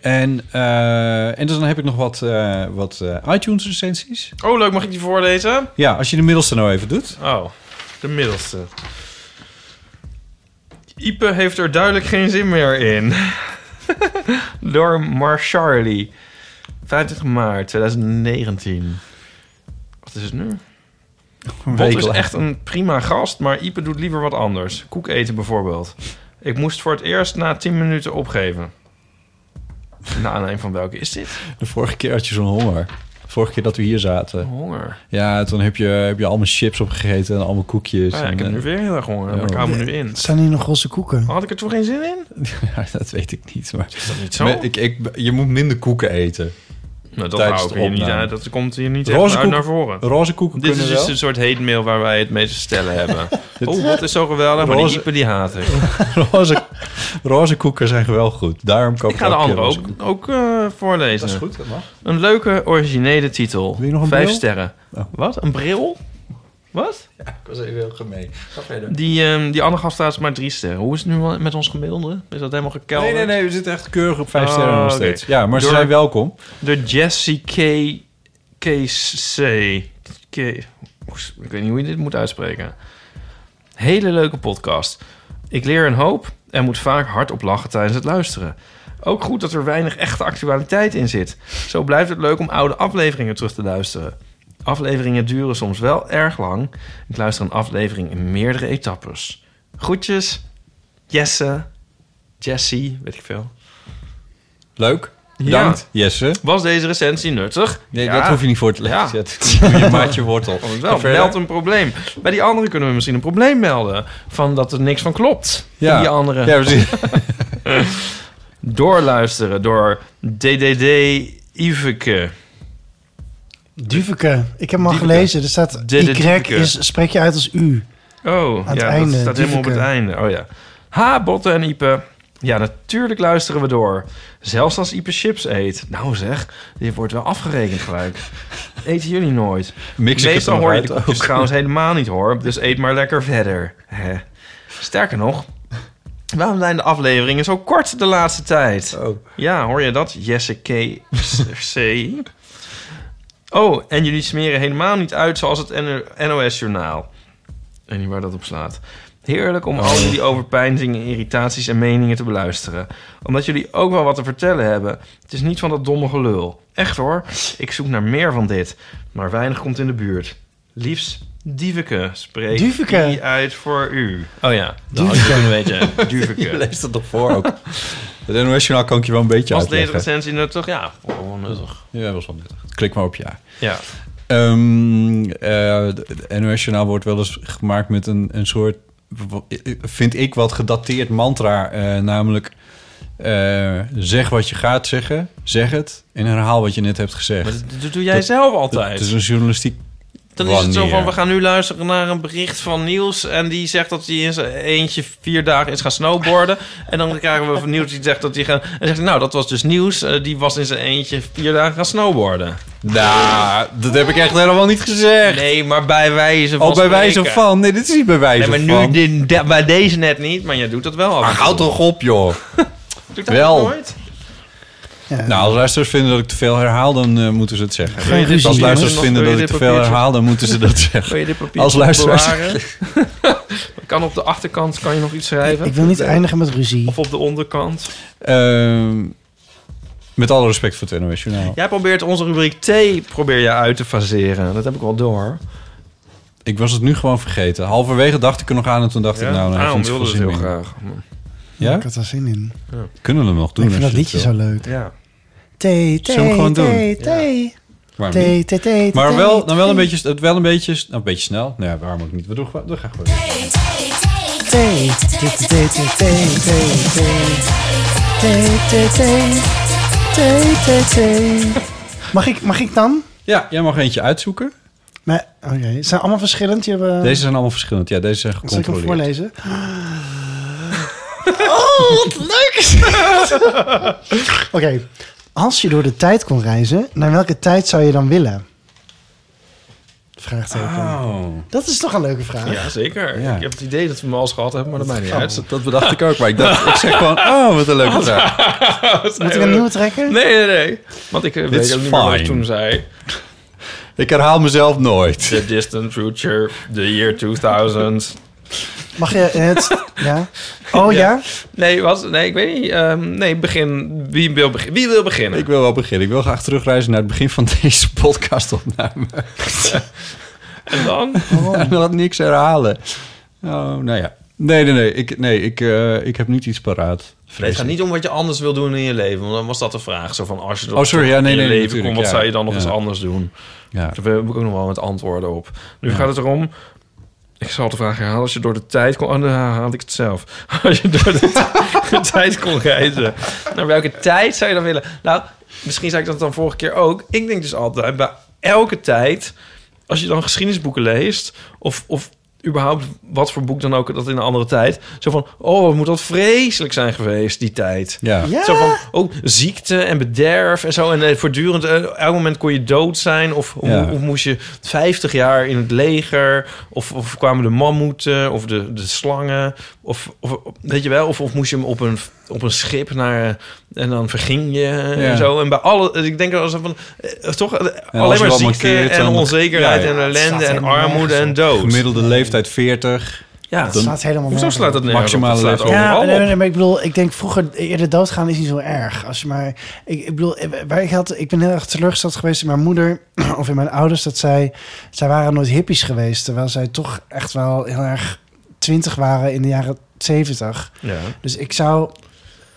[SPEAKER 4] En, eh, en dus dan heb ik nog wat, eh, wat eh, iTunes recensies.
[SPEAKER 3] Oh, leuk. Mag ik die voorlezen?
[SPEAKER 4] Ja, als je de middelste nou even doet.
[SPEAKER 3] Oh, de middelste. Ipe heeft er duidelijk geen zin meer in. Door Marsharly. 50 maart 2019. Wat is het nu? Bot is
[SPEAKER 4] Week
[SPEAKER 3] echt een prima gast, maar Ipe doet liever wat anders. Koek eten bijvoorbeeld. Ik moest voor het eerst na 10 minuten opgeven. Na aanleiding van welke is dit?
[SPEAKER 4] De vorige keer had je zo'n honger. Vorige keer dat we hier zaten.
[SPEAKER 3] Honger.
[SPEAKER 4] Ja, toen heb je, heb je allemaal chips opgegeten en allemaal koekjes.
[SPEAKER 3] Ah ja, ik
[SPEAKER 4] en,
[SPEAKER 3] heb nu
[SPEAKER 4] eh,
[SPEAKER 3] weer heel erg honger, maar
[SPEAKER 4] ja.
[SPEAKER 3] ik hou me nu in.
[SPEAKER 12] Staan hier nog roze koeken?
[SPEAKER 3] Had ik er toen geen zin in?
[SPEAKER 4] ja, dat weet ik niet. Maar,
[SPEAKER 3] Is dat niet zo?
[SPEAKER 4] Maar ik, ik, je moet minder koeken eten.
[SPEAKER 3] Nou, dat
[SPEAKER 4] Tijdens
[SPEAKER 3] hou ik
[SPEAKER 4] de
[SPEAKER 3] hier niet
[SPEAKER 4] opname.
[SPEAKER 3] uit. Dat komt hier niet
[SPEAKER 4] Roze
[SPEAKER 3] echt uit
[SPEAKER 4] koek-
[SPEAKER 3] naar voren.
[SPEAKER 4] Roze koeken
[SPEAKER 3] Dit is
[SPEAKER 4] kunnen
[SPEAKER 3] dus
[SPEAKER 4] wel.
[SPEAKER 3] een soort hate mail waar wij het mee te stellen hebben. Oh, wat is zo geweldig, maar die
[SPEAKER 4] Roze-
[SPEAKER 3] Ipe die haat ik.
[SPEAKER 4] roze, roze koeken zijn wel goed. Daarom koop
[SPEAKER 3] Ik ga de
[SPEAKER 4] elke keer
[SPEAKER 3] andere
[SPEAKER 4] roze
[SPEAKER 3] ook,
[SPEAKER 4] koeken.
[SPEAKER 3] ook eh, voorlezen.
[SPEAKER 4] Dat is goed, dat mag.
[SPEAKER 3] Een leuke, originele titel.
[SPEAKER 4] Wil je nog een
[SPEAKER 3] Vijf
[SPEAKER 4] bril?
[SPEAKER 3] sterren.
[SPEAKER 4] Oh.
[SPEAKER 3] Wat? Een bril? Wat?
[SPEAKER 4] Ik was even heel gemeen. Ga verder.
[SPEAKER 3] Die, ehm, die andere gaf trouwens maar drie sterren. Hoe is het nu wel met ons gemiddelde? Is dat helemaal gekelderd?
[SPEAKER 4] Nee, nee, nee. We zitten echt keurig op vijf
[SPEAKER 3] Oh,
[SPEAKER 4] sterren nog
[SPEAKER 3] oké.
[SPEAKER 4] steeds. Ja, maar ze
[SPEAKER 3] Door-
[SPEAKER 4] zijn welkom.
[SPEAKER 3] De Jesse K... KC. K... Ik weet niet hoe je dit moet uitspreken. Hele leuke podcast. Ik leer een hoop en moet vaak hardop lachen tijdens het luisteren. Ook goed dat er weinig echte actualiteit in zit. Zo blijft het leuk om oude afleveringen terug te luisteren. Afleveringen duren soms wel erg lang. Ik luister een aflevering in meerdere etappes. Groetjes, Jesse, Jessie, weet ik veel.
[SPEAKER 4] Leuk.
[SPEAKER 2] Bedankt, Jesse.
[SPEAKER 3] Was deze recensie nuttig?
[SPEAKER 2] Nee, dat hoef je niet voor te lezen. Je maatje wortel.
[SPEAKER 3] Oh, wel,
[SPEAKER 2] Verder?
[SPEAKER 3] meld een probleem. Bij die andere kunnen we misschien een probleem melden. Van dat er niks van klopt.
[SPEAKER 2] Ja.
[SPEAKER 3] Ja. Die andere.
[SPEAKER 2] Ja, precies.
[SPEAKER 3] Doorluisteren door DDD Iveke.
[SPEAKER 4] Duveke. Ik heb hem al
[SPEAKER 3] Duveke.
[SPEAKER 4] gelezen. Er staat
[SPEAKER 3] De- de
[SPEAKER 4] Y
[SPEAKER 3] Duveke.
[SPEAKER 4] is, spreek je uit als U.
[SPEAKER 3] Oh,
[SPEAKER 4] Aan het
[SPEAKER 3] ja,
[SPEAKER 4] einde,
[SPEAKER 3] dat staat helemaal op het
[SPEAKER 4] Dieveke.
[SPEAKER 3] einde. Oh ja. Ha, Botten en Ipe. Ja, natuurlijk luisteren we door. Zelfs als Ipe chips eet. Nou zeg, dit wordt wel afgerekend gelijk. Eten jullie nooit.
[SPEAKER 2] Mix ik het
[SPEAKER 3] Meestal
[SPEAKER 2] er nog
[SPEAKER 3] hoor je
[SPEAKER 2] uit
[SPEAKER 3] de koekjes
[SPEAKER 2] ook.
[SPEAKER 3] trouwens helemaal niet hoor. Dus eet maar lekker verder. Hè. Sterker nog, waarom zijn de afleveringen zo kort de laatste tijd?
[SPEAKER 2] Oh.
[SPEAKER 3] Ja, hoor je dat? Jesse K. C. Oh, en jullie smeren helemaal niet uit zoals het NOS-journaal. Ik weet niet waar dat op slaat. Heerlijk om al jullie overpeinzingen, irritaties en meningen te beluisteren. Omdat jullie ook wel wat te vertellen hebben. Het is niet van dat domme gelul. Echt hoor, ik zoek naar meer van dit. Maar weinig komt in de buurt. Liefst Dieveke. Spreek
[SPEAKER 4] Dieveke.
[SPEAKER 3] die uit voor u. Oh ja, dat had
[SPEAKER 2] Dieveke.
[SPEAKER 3] je een beetje. Dieveke.
[SPEAKER 2] Je leest het toch voor ook. Het NOS-journaal kan ik je wel een beetje
[SPEAKER 3] Was deze
[SPEAKER 2] uitleggen.
[SPEAKER 3] recensie nuttig? Ja, gewoon nuttig.
[SPEAKER 2] Ja, dat was wel nuttig. Klik maar op ja.
[SPEAKER 3] Ja.
[SPEAKER 2] Ehm, eh, het NOS-journaal wordt wel eens gemaakt met een, een soort, vind ik, wat gedateerd mantra. eh, namelijk, eh, zeg wat je gaat zeggen, zeg het en herhaal wat je net hebt gezegd.
[SPEAKER 3] Maar dat- dat doe jij zelf altijd.
[SPEAKER 2] Het is een journalistiek
[SPEAKER 3] Dan is het zo van,
[SPEAKER 2] wanneer.
[SPEAKER 3] we gaan nu luisteren naar een bericht van Niels... en die zegt dat hij in zijn eentje vier dagen is gaan snowboarden. En dan krijgen we van Niels die zegt dat hij gaan... En zegt, nou, dat was dus Niels. eh, die was in zijn eentje vier dagen gaan snowboarden.
[SPEAKER 2] Nou, dat heb ik echt helemaal niet gezegd.
[SPEAKER 3] Nee, maar bij wijze van
[SPEAKER 2] Oh, bij wijze
[SPEAKER 3] spreken.
[SPEAKER 2] van. Nee, dit is niet bij
[SPEAKER 3] Nee,
[SPEAKER 2] wijze
[SPEAKER 3] maar nu,
[SPEAKER 2] van.
[SPEAKER 3] dit- da- bij deze net niet, maar jij doet dat wel. af en
[SPEAKER 2] Maar
[SPEAKER 3] toe.
[SPEAKER 2] houd toch op, joh.
[SPEAKER 3] Doe ik dat
[SPEAKER 2] Wel.
[SPEAKER 3] nooit?
[SPEAKER 2] Nou, als luisteraars vinden dat ik te veel herhaal, dan eh, moeten ze het zeggen.
[SPEAKER 4] Geen ruzie
[SPEAKER 2] als
[SPEAKER 4] meer.
[SPEAKER 2] luisteraars
[SPEAKER 3] Nog-
[SPEAKER 2] vinden
[SPEAKER 3] wil
[SPEAKER 2] dat
[SPEAKER 3] je
[SPEAKER 2] ik te
[SPEAKER 3] dit
[SPEAKER 2] veel
[SPEAKER 3] papiertje?
[SPEAKER 2] herhaal, dan moeten ze dat
[SPEAKER 3] Wil
[SPEAKER 2] zeggen.
[SPEAKER 3] je dit papier
[SPEAKER 2] Als luisteraars-
[SPEAKER 3] bewaren? kan op de achterkant kan je nog iets schrijven.
[SPEAKER 4] Ik wil niet eindigen met ruzie.
[SPEAKER 3] Of op de onderkant.
[SPEAKER 2] Ehm, met alle respect voor het NOS Journaal.
[SPEAKER 3] Jij probeert onze rubriek T probeer je uit te faseren. Dat heb ik wel door.
[SPEAKER 2] Ik was het nu gewoon vergeten. Halverwege dacht ik er nog aan en toen dacht ik, nou, nou, ik
[SPEAKER 3] Daarom
[SPEAKER 2] vind het
[SPEAKER 3] wilde
[SPEAKER 2] veel
[SPEAKER 3] Ah, het
[SPEAKER 2] zin
[SPEAKER 3] heel
[SPEAKER 2] meer.
[SPEAKER 3] graag.
[SPEAKER 2] Ja?
[SPEAKER 4] Ik had daar zin in.
[SPEAKER 2] Kunnen we hem nog doen
[SPEAKER 4] ik vind
[SPEAKER 2] als
[SPEAKER 4] dat
[SPEAKER 2] je
[SPEAKER 4] liedje
[SPEAKER 2] het
[SPEAKER 4] zo
[SPEAKER 2] wil.
[SPEAKER 4] leuk.
[SPEAKER 3] Ja.
[SPEAKER 4] Thee,
[SPEAKER 2] Zullen we hem gewoon
[SPEAKER 4] thee, thee,
[SPEAKER 3] doen?
[SPEAKER 4] thee,
[SPEAKER 2] Waarom niet?
[SPEAKER 4] thee, thee, thee,
[SPEAKER 2] Maar
[SPEAKER 4] thee,
[SPEAKER 2] wel, dan wel een
[SPEAKER 4] thee,
[SPEAKER 2] beetje, het wel een beetje, nou, een beetje snel. Nee, waarom ook niet? We doen gewoon, we gaan gewoon.
[SPEAKER 4] thee, thee, thee, thee, thee, thee, thee, thee, thee, thee, thee, thee, thee. Mag ik, mag ik dan?
[SPEAKER 2] Ja, jij mag eentje uitzoeken.
[SPEAKER 4] Maar, oké, ze zijn allemaal verschillend. Die hebben,
[SPEAKER 2] Deze zijn allemaal verschillend. Ja, deze zijn
[SPEAKER 4] Eh, Zal ik hem
[SPEAKER 2] gecontroleerd.
[SPEAKER 4] voorlezen? Oh, wat leuk is het! Oké, als je door de tijd kon reizen, naar welke tijd zou je dan willen? Vraagteken.
[SPEAKER 2] Oh.
[SPEAKER 4] Dat is toch een leuke vraag.
[SPEAKER 3] Ja, zeker.
[SPEAKER 2] Ja. Oh,
[SPEAKER 3] Ik heb het idee dat we hem al eens gehad hebben, maar dat maakt niet uit.
[SPEAKER 2] Dat, dat bedacht ik ook, maar ik dacht, ik zeg gewoon, oh, wat een leuke vraag.
[SPEAKER 4] Moet ik een nieuwe trekken?
[SPEAKER 3] Nee, nee, nee. Want ik eh, weet
[SPEAKER 2] is
[SPEAKER 3] ook niet meer wat ik
[SPEAKER 2] fine.
[SPEAKER 3] toen zei.
[SPEAKER 2] Ik herhaal mezelf nooit.
[SPEAKER 3] The distant future, the year 2000.
[SPEAKER 4] Mag je het? Ja. Oh ja?
[SPEAKER 3] Nee, wat? Nee, ik weet niet. Ehm, nee, begin. Wie wil, begin- Wie wil beginnen?
[SPEAKER 2] Ik wil wel beginnen. Ik wil graag terugreizen naar het begin van deze podcastopname.
[SPEAKER 3] En dan?
[SPEAKER 2] En dan niks herhalen. Oh, nou ja. Nee, nee, nee. Ik, nee, ik, eh, ik heb niet iets paraat.
[SPEAKER 3] Nee,
[SPEAKER 2] Vrees
[SPEAKER 3] het gaat niet om wat je anders wil doen in je leven. Want dan was dat de vraag. Zo van, als je
[SPEAKER 2] Oh, sorry, ja, nee,
[SPEAKER 3] in je
[SPEAKER 2] nee,
[SPEAKER 3] leven
[SPEAKER 2] natuurlijk,
[SPEAKER 3] kon, wat
[SPEAKER 2] ja.
[SPEAKER 3] zou je dan nog
[SPEAKER 2] Ja.
[SPEAKER 3] eens anders doen?
[SPEAKER 2] Ja.
[SPEAKER 3] Daar heb ik ook nog wel wat antwoorden op. Nu gaat het erom... Ik zal de vraag herhalen. Als je door de tijd kon... Oh, dan haal ik het zelf. Als je door de, t- de tijd kon reizen. Naar welke tijd zou je dan willen? Nou, misschien zei ik dat dan vorige keer ook. Ik denk dus altijd, bij elke tijd... Als je dan geschiedenisboeken leest... Of, of überhaupt wat voor boek dan ook... dat in een andere tijd... Zo van, oh, wat moet dat vreselijk zijn geweest, die tijd.
[SPEAKER 2] Ja.
[SPEAKER 4] Ja.
[SPEAKER 3] Zo van, ook ziekte en bederf en zo. En eh, voortdurend, eh, elk moment kon je dood zijn. Of, of,
[SPEAKER 2] Ja.
[SPEAKER 3] of moest je 50 jaar in het leger. Of, of kwamen de mammoeten of de, de slangen. Of, of weet je wel, of, of moest je hem op een, op een schip naar... eh, En dan verging je eh,
[SPEAKER 2] Ja.
[SPEAKER 3] en zo. En bij alle, ik denk dat als van, eh, toch eh,
[SPEAKER 2] je
[SPEAKER 3] alleen maar
[SPEAKER 2] wel
[SPEAKER 3] ziekte
[SPEAKER 2] mankeert,
[SPEAKER 3] en
[SPEAKER 2] dan-
[SPEAKER 3] onzekerheid
[SPEAKER 2] Ja, ja.
[SPEAKER 3] en
[SPEAKER 4] Slaat
[SPEAKER 3] ellende en
[SPEAKER 4] helemaal
[SPEAKER 3] armoede en dood.
[SPEAKER 2] Gemiddelde leeftijd 40.
[SPEAKER 3] Ja,
[SPEAKER 4] Dat slaat helemaal
[SPEAKER 3] hoezo
[SPEAKER 4] nergens op.
[SPEAKER 3] slaat dat nergens op?
[SPEAKER 2] Maximale
[SPEAKER 3] Dat slaat
[SPEAKER 2] leeftijd.
[SPEAKER 4] Ja,
[SPEAKER 3] overal
[SPEAKER 4] nee,
[SPEAKER 3] op.
[SPEAKER 4] nee, maar ik bedoel, ik denk vroeger eerder doodgaan is niet zo erg. Als je maar, ik, ik bedoel, eh, waar ik, had, ik ben heel erg teleurgesteld geweest in mijn moeder of in mijn ouders dat zij, zij waren nooit hippies geweest, terwijl zij toch echt wel heel erg twintig waren in de jaren zeventig.
[SPEAKER 3] Ja.
[SPEAKER 4] Dus ik zou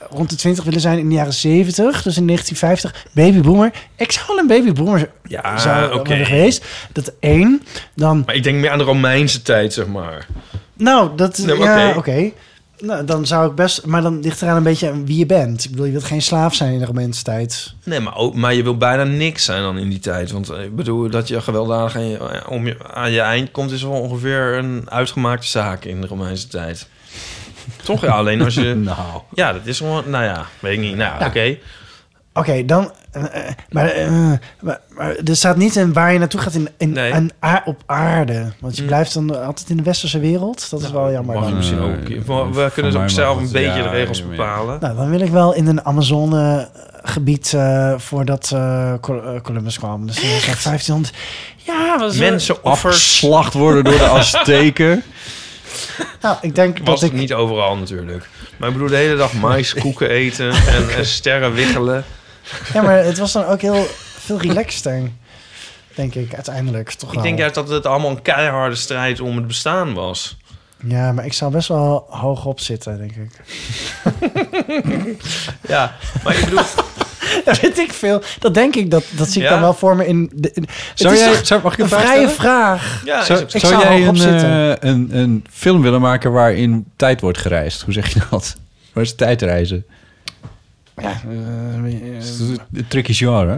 [SPEAKER 4] rond de 20 willen zijn in de jaren 70, dus in 1950, babyboomer. Ik zou wel een babyboomer
[SPEAKER 3] Ja,
[SPEAKER 4] zou
[SPEAKER 3] oké.
[SPEAKER 4] worden geweest. Dat één. Dan,
[SPEAKER 3] Maar ik denk meer aan de Romeinse tijd, zeg maar.
[SPEAKER 4] nou, dat,
[SPEAKER 3] Nee, maar
[SPEAKER 4] ja, oké.
[SPEAKER 3] oké.
[SPEAKER 4] Nou, dan zou ik best, maar dan ligt eraan een beetje aan wie je bent. Ik bedoel, je wilt geen slaaf zijn in de Romeinse tijd.
[SPEAKER 3] Nee, maar, ook, maar je wil bijna niks zijn dan in die tijd. Want eh, ik bedoel, dat je gewelddadig aan je, om je, aan je eind komt... is wel ongeveer een uitgemaakte zaak in de Romeinse tijd. Toch? Ja, alleen als je...
[SPEAKER 2] nou.
[SPEAKER 3] Ja, dat is gewoon... Nou ja, weet ik niet. Nou,
[SPEAKER 4] Nou.
[SPEAKER 3] oké.
[SPEAKER 4] Oké, dan. eh, eh, maar, eh, maar, maar er staat niet in waar je naartoe gaat in, in,
[SPEAKER 3] Nee.
[SPEAKER 4] aan aar- op aarde. Want je
[SPEAKER 3] Mm. Nou,
[SPEAKER 4] blijft dan altijd in de westerse wereld. Dat is wel jammer.
[SPEAKER 3] Mag je
[SPEAKER 4] dan.
[SPEAKER 3] misschien ook...
[SPEAKER 4] eh,
[SPEAKER 3] we- We kunnen
[SPEAKER 2] mij
[SPEAKER 3] ook
[SPEAKER 2] mag
[SPEAKER 3] zelf
[SPEAKER 2] dat.
[SPEAKER 3] een beetje
[SPEAKER 2] Ja,
[SPEAKER 3] de regels
[SPEAKER 2] ja, ja.
[SPEAKER 3] bepalen.
[SPEAKER 4] Nou, dan wil ik wel in een Amazone-gebied voordat eh, Col- eh, Columbus kwam. Dus dat was 1500. Ja, was eh,
[SPEAKER 3] Mensenoffers
[SPEAKER 2] Afgeslacht worden door de Azteken.
[SPEAKER 4] Nou, ik denk
[SPEAKER 3] was
[SPEAKER 4] dat
[SPEAKER 3] het
[SPEAKER 4] ik.
[SPEAKER 3] niet overal natuurlijk. Maar ik bedoel, de hele dag mais, koeken eten en, en sterren wiggelen.
[SPEAKER 4] Ja, maar het was dan ook heel veel relaxter. Denk ik, uiteindelijk toch
[SPEAKER 3] Ik
[SPEAKER 4] wel.
[SPEAKER 3] denk juist dat het allemaal een keiharde strijd om het bestaan was.
[SPEAKER 4] Ja, maar ik zou best wel hoog op zitten, denk ik.
[SPEAKER 3] Ja, maar ik bedoel...
[SPEAKER 4] Dat weet ik veel. Dat denk ik, dat, dat zie ik
[SPEAKER 3] Ja?
[SPEAKER 4] dan wel voor me in... De, in-
[SPEAKER 2] Zou
[SPEAKER 4] het is
[SPEAKER 2] jij,
[SPEAKER 4] toch
[SPEAKER 2] zou, mag ik
[SPEAKER 4] een
[SPEAKER 2] een vraag
[SPEAKER 4] vrije
[SPEAKER 2] stellen?
[SPEAKER 4] vraag.
[SPEAKER 3] Ja,
[SPEAKER 2] Zou,
[SPEAKER 3] is-
[SPEAKER 4] ik
[SPEAKER 2] zou
[SPEAKER 4] zou
[SPEAKER 2] jij
[SPEAKER 4] hoog
[SPEAKER 2] een,
[SPEAKER 4] op
[SPEAKER 2] eh,
[SPEAKER 4] zitten.
[SPEAKER 2] een, een film willen maken waarin tijd wordt gereisd? Hoe zeg je dat? Waar is tijdreizen?
[SPEAKER 4] Ja, eh, eh,
[SPEAKER 2] Dat is een tricky genre. hè?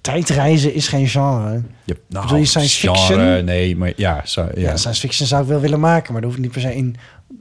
[SPEAKER 4] tijdreizen is geen genre.
[SPEAKER 2] Ja, nou,
[SPEAKER 4] Bedoel je science
[SPEAKER 2] genre,
[SPEAKER 4] fiction?
[SPEAKER 2] Nee, maar ja. Zou,
[SPEAKER 4] Ja.
[SPEAKER 2] ja.
[SPEAKER 4] science fiction zou ik wel willen maken, maar daar hoeft niet per se in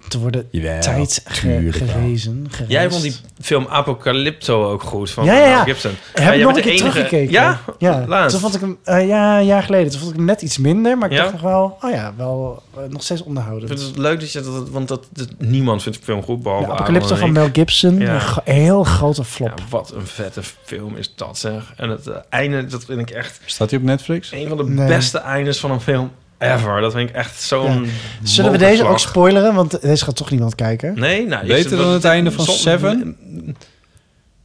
[SPEAKER 4] te worden
[SPEAKER 2] Jawel,
[SPEAKER 4] tijd ge-
[SPEAKER 2] tuurlijk wel.
[SPEAKER 4] gerezen.
[SPEAKER 3] Jij
[SPEAKER 4] gereisd.
[SPEAKER 3] vond die film Apocalypto ook goed van
[SPEAKER 4] Ja, ja,
[SPEAKER 3] Mel
[SPEAKER 4] ja.
[SPEAKER 3] Gibson.
[SPEAKER 4] Heb ik
[SPEAKER 3] jij
[SPEAKER 4] nog een
[SPEAKER 3] bent
[SPEAKER 4] keer
[SPEAKER 3] de enige-
[SPEAKER 4] teruggekeken.
[SPEAKER 3] Ja?
[SPEAKER 4] Ja,
[SPEAKER 3] Laatst.
[SPEAKER 4] Toen vond ik hem, eh, ja, een jaar geleden, toen vond ik hem net iets minder, maar ik
[SPEAKER 3] Ja?
[SPEAKER 4] dacht nog wel, oh ja, wel eh, nog steeds onderhouden.
[SPEAKER 3] Ik vind het leuk dat je dat... Want dat, dat- niemand vindt de film goed, behalve
[SPEAKER 4] Ja,
[SPEAKER 3] Aaron
[SPEAKER 4] Apocalypse
[SPEAKER 3] en
[SPEAKER 4] van
[SPEAKER 3] ik.
[SPEAKER 4] Mel Gibson,
[SPEAKER 3] Ah, Ja.
[SPEAKER 4] een gro- heel grote
[SPEAKER 3] Ja,
[SPEAKER 4] flop.
[SPEAKER 3] wat een vette film is dat, zeg. En het eh, einde, dat vind ik echt...
[SPEAKER 2] Staat die op Netflix?
[SPEAKER 3] Een van de
[SPEAKER 4] Nee.
[SPEAKER 3] beste eindes van een film ever. Dat vind ik echt zo'n...
[SPEAKER 4] Zullen we deze ook
[SPEAKER 3] mokerslag.
[SPEAKER 4] spoileren? Want deze gaat toch niemand kijken.
[SPEAKER 3] Nee, nou... ik-
[SPEAKER 2] Beter dan
[SPEAKER 3] dat-
[SPEAKER 2] het einde van
[SPEAKER 3] soms-
[SPEAKER 2] Seven?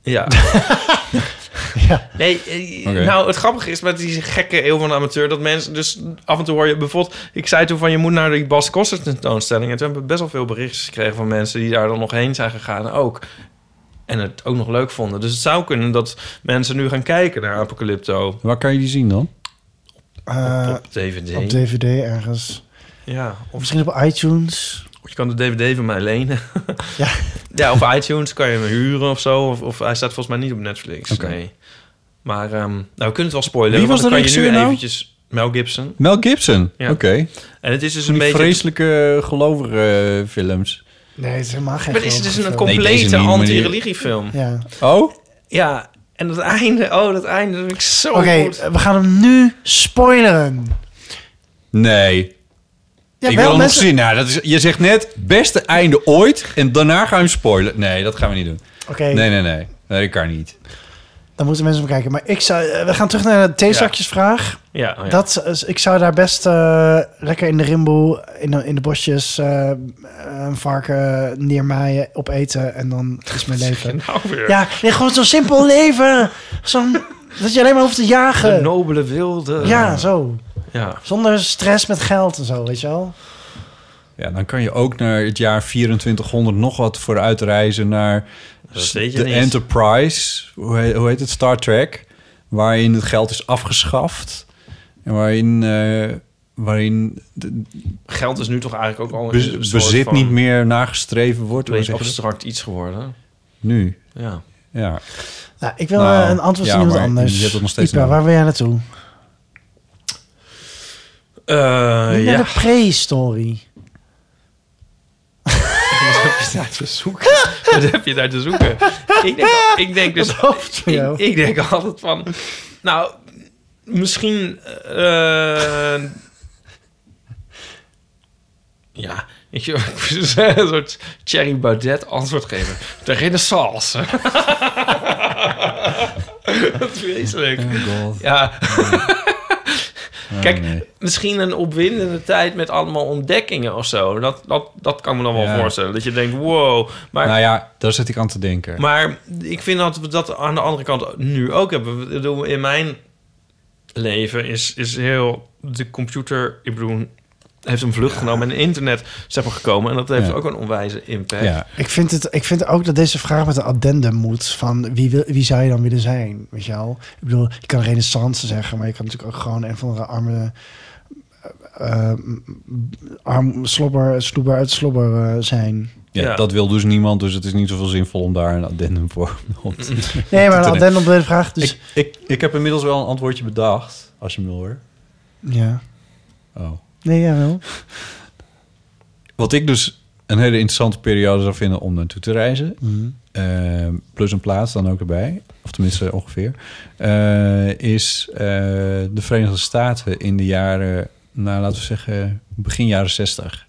[SPEAKER 3] Ja.
[SPEAKER 4] Ja.
[SPEAKER 3] Nee, eh,
[SPEAKER 2] Oké.
[SPEAKER 3] nou, het grappige is met die gekke eeuw van de amateur... dat mensen dus af en toe hoor je... bijvoorbeeld, ik zei toen van je moet naar die Bas Koster tentoonstelling... en toen hebben we best wel veel berichtjes gekregen van mensen... die daar dan nog heen zijn gegaan ook. En het ook nog leuk vonden. Dus het zou kunnen dat mensen nu gaan kijken naar Apocalypto
[SPEAKER 2] Waar kan je die zien dan?
[SPEAKER 4] Eh,
[SPEAKER 3] op DVD.
[SPEAKER 4] op DVD ergens.
[SPEAKER 3] ja,
[SPEAKER 4] Of
[SPEAKER 3] of
[SPEAKER 4] misschien op iTunes.
[SPEAKER 3] je kan de DVD van mij lenen.
[SPEAKER 4] Ja.
[SPEAKER 3] ja, of iTunes kan je hem huren of zo. Of, of hij staat volgens mij niet op Netflix.
[SPEAKER 2] Oké.
[SPEAKER 3] Nee. Maar ehm, nou, we kunnen het wel spoilen.
[SPEAKER 2] Wie
[SPEAKER 3] want
[SPEAKER 2] was
[SPEAKER 3] dan
[SPEAKER 2] de
[SPEAKER 3] kan je nu
[SPEAKER 2] regisseur nou?
[SPEAKER 3] eventjes Mel Gibson.
[SPEAKER 2] Mel Gibson.
[SPEAKER 3] Ja.
[SPEAKER 2] Oké.
[SPEAKER 3] En het is dus
[SPEAKER 2] Van
[SPEAKER 3] een
[SPEAKER 2] die
[SPEAKER 3] beetje...
[SPEAKER 2] vreselijke gelovige eh, films.
[SPEAKER 4] Nee, het is helemaal geen
[SPEAKER 3] Maar het is
[SPEAKER 4] geweldige
[SPEAKER 3] dus een
[SPEAKER 4] film.
[SPEAKER 2] Nee,
[SPEAKER 3] complete
[SPEAKER 2] deze niet, maar die-
[SPEAKER 3] anti-religiefilm. Ja.
[SPEAKER 4] Ja.
[SPEAKER 2] Oh?
[SPEAKER 3] en dat einde, oh, dat einde dat vind ik zo
[SPEAKER 4] Oké,
[SPEAKER 3] goed.
[SPEAKER 4] we gaan hem nu spoileren.
[SPEAKER 2] Nee.
[SPEAKER 4] Ja,
[SPEAKER 2] ik wil hem nog zien. Nou, dat is, je zegt net, beste einde ooit. En daarna gaan we hem spoilen. Nee, dat gaan we niet doen.
[SPEAKER 4] Oké,
[SPEAKER 2] Nee, nee, nee. Nee, dat kan niet.
[SPEAKER 4] dan moeten mensen hem kijken. Maar ik zou, eh, we gaan terug naar de theezakjesvraag.
[SPEAKER 3] Ja, oh ja.
[SPEAKER 4] Dat, is- ik zou daar best eh, lekker in de rimboe, in de, in de bosjes, eh, een varken neermaaien, opeten en dan is mijn leven.
[SPEAKER 3] Nou weer.
[SPEAKER 4] Ja, nee, gewoon zo'n simpel leven. Zo'n, dat je alleen maar hoeft te
[SPEAKER 3] De
[SPEAKER 4] jagen.
[SPEAKER 3] nobele wilde.
[SPEAKER 4] Ja, zo.
[SPEAKER 3] ja.
[SPEAKER 4] Zonder stress met geld en zo, weet je wel.
[SPEAKER 2] Ja, dan kan je ook naar het jaar 2400 nog wat vooruit reizen naar
[SPEAKER 3] Dat weet je
[SPEAKER 2] de
[SPEAKER 3] niet.
[SPEAKER 2] Enterprise. Hoe heet, hoe heet het? Star Trek. Waarin het geld is afgeschaft. En waarin, eh, waarin de-
[SPEAKER 3] Geld is nu toch eigenlijk ook al
[SPEAKER 2] bez-
[SPEAKER 3] een soort
[SPEAKER 2] bezit
[SPEAKER 3] van-
[SPEAKER 2] niet meer nagestreven wordt.
[SPEAKER 3] Een
[SPEAKER 2] Hoe
[SPEAKER 3] beetje
[SPEAKER 2] zeg je dat?
[SPEAKER 3] abstract iets geworden.
[SPEAKER 2] Nu,
[SPEAKER 3] Ja.
[SPEAKER 2] ja.
[SPEAKER 4] Nou, ik wil
[SPEAKER 2] Nou,
[SPEAKER 4] eh, een antwoord
[SPEAKER 2] ja,
[SPEAKER 4] van iemand
[SPEAKER 2] maar
[SPEAKER 4] anders.
[SPEAKER 2] je hebt het nog steeds
[SPEAKER 4] Ipa,
[SPEAKER 2] nodig.
[SPEAKER 4] waar wil jij naartoe?
[SPEAKER 2] Eh,
[SPEAKER 4] Niet
[SPEAKER 3] ja.
[SPEAKER 4] naar de prehistorie.
[SPEAKER 3] Wat heb je daar te zoeken? Wat heb je daar te zoeken? Ik denk, ik denk dus...
[SPEAKER 4] van jou?
[SPEAKER 3] Ik, ik denk altijd van... Nou, misschien... eh, ja, ik zou een soort Thierry Baudet antwoord geven. De renaissance. Dat is vreselijk. Ja, Kijk, misschien een opwindende tijd met allemaal ontdekkingen of zo. Dat, dat, dat kan ik me dan wel
[SPEAKER 2] Ja.
[SPEAKER 3] voorstellen. Dat je denkt, wow. Maar,
[SPEAKER 2] Nou ja, daar zit ik aan te denken.
[SPEAKER 3] maar ik vind dat we dat aan de andere kant nu ook hebben. Ik bedoel, In mijn leven is, is heel de computer... Ik bedoel, heeft een vlucht genomen en internet is daarvoor gekomen. En dat heeft
[SPEAKER 4] Ja.
[SPEAKER 3] ook een onwijze impact.
[SPEAKER 4] Ik, vind het, ik vind ook dat deze vraag met een addendum moet. Van wie, wil, wie zou je dan willen zijn? Weet je wel? Ik bedoel, je kan renaissance zeggen, maar je kan natuurlijk ook gewoon een van de arme. eh, eh, arm slobber, sloeber uit slobber eh, zijn.
[SPEAKER 2] Ja, dat wil dus niemand, dus het is niet zoveel zinvol om daar een addendum voor op te
[SPEAKER 4] Nee, maar
[SPEAKER 2] te
[SPEAKER 4] een
[SPEAKER 2] doen.
[SPEAKER 4] addendum bij de vraag. Dus,
[SPEAKER 2] Ik, ik, ik heb inmiddels wel een antwoordje bedacht, als je me wil hoor.
[SPEAKER 4] ja.
[SPEAKER 2] Oh.
[SPEAKER 4] Nee, jawel.
[SPEAKER 2] Wat ik dus een hele interessante periode zou vinden om naartoe te reizen.
[SPEAKER 4] Mhm.
[SPEAKER 2] eh, plus een plaats dan ook erbij. Of tenminste ongeveer. eh, is eh, de Verenigde Staten in de jaren, nou laten we zeggen, begin jaren 60.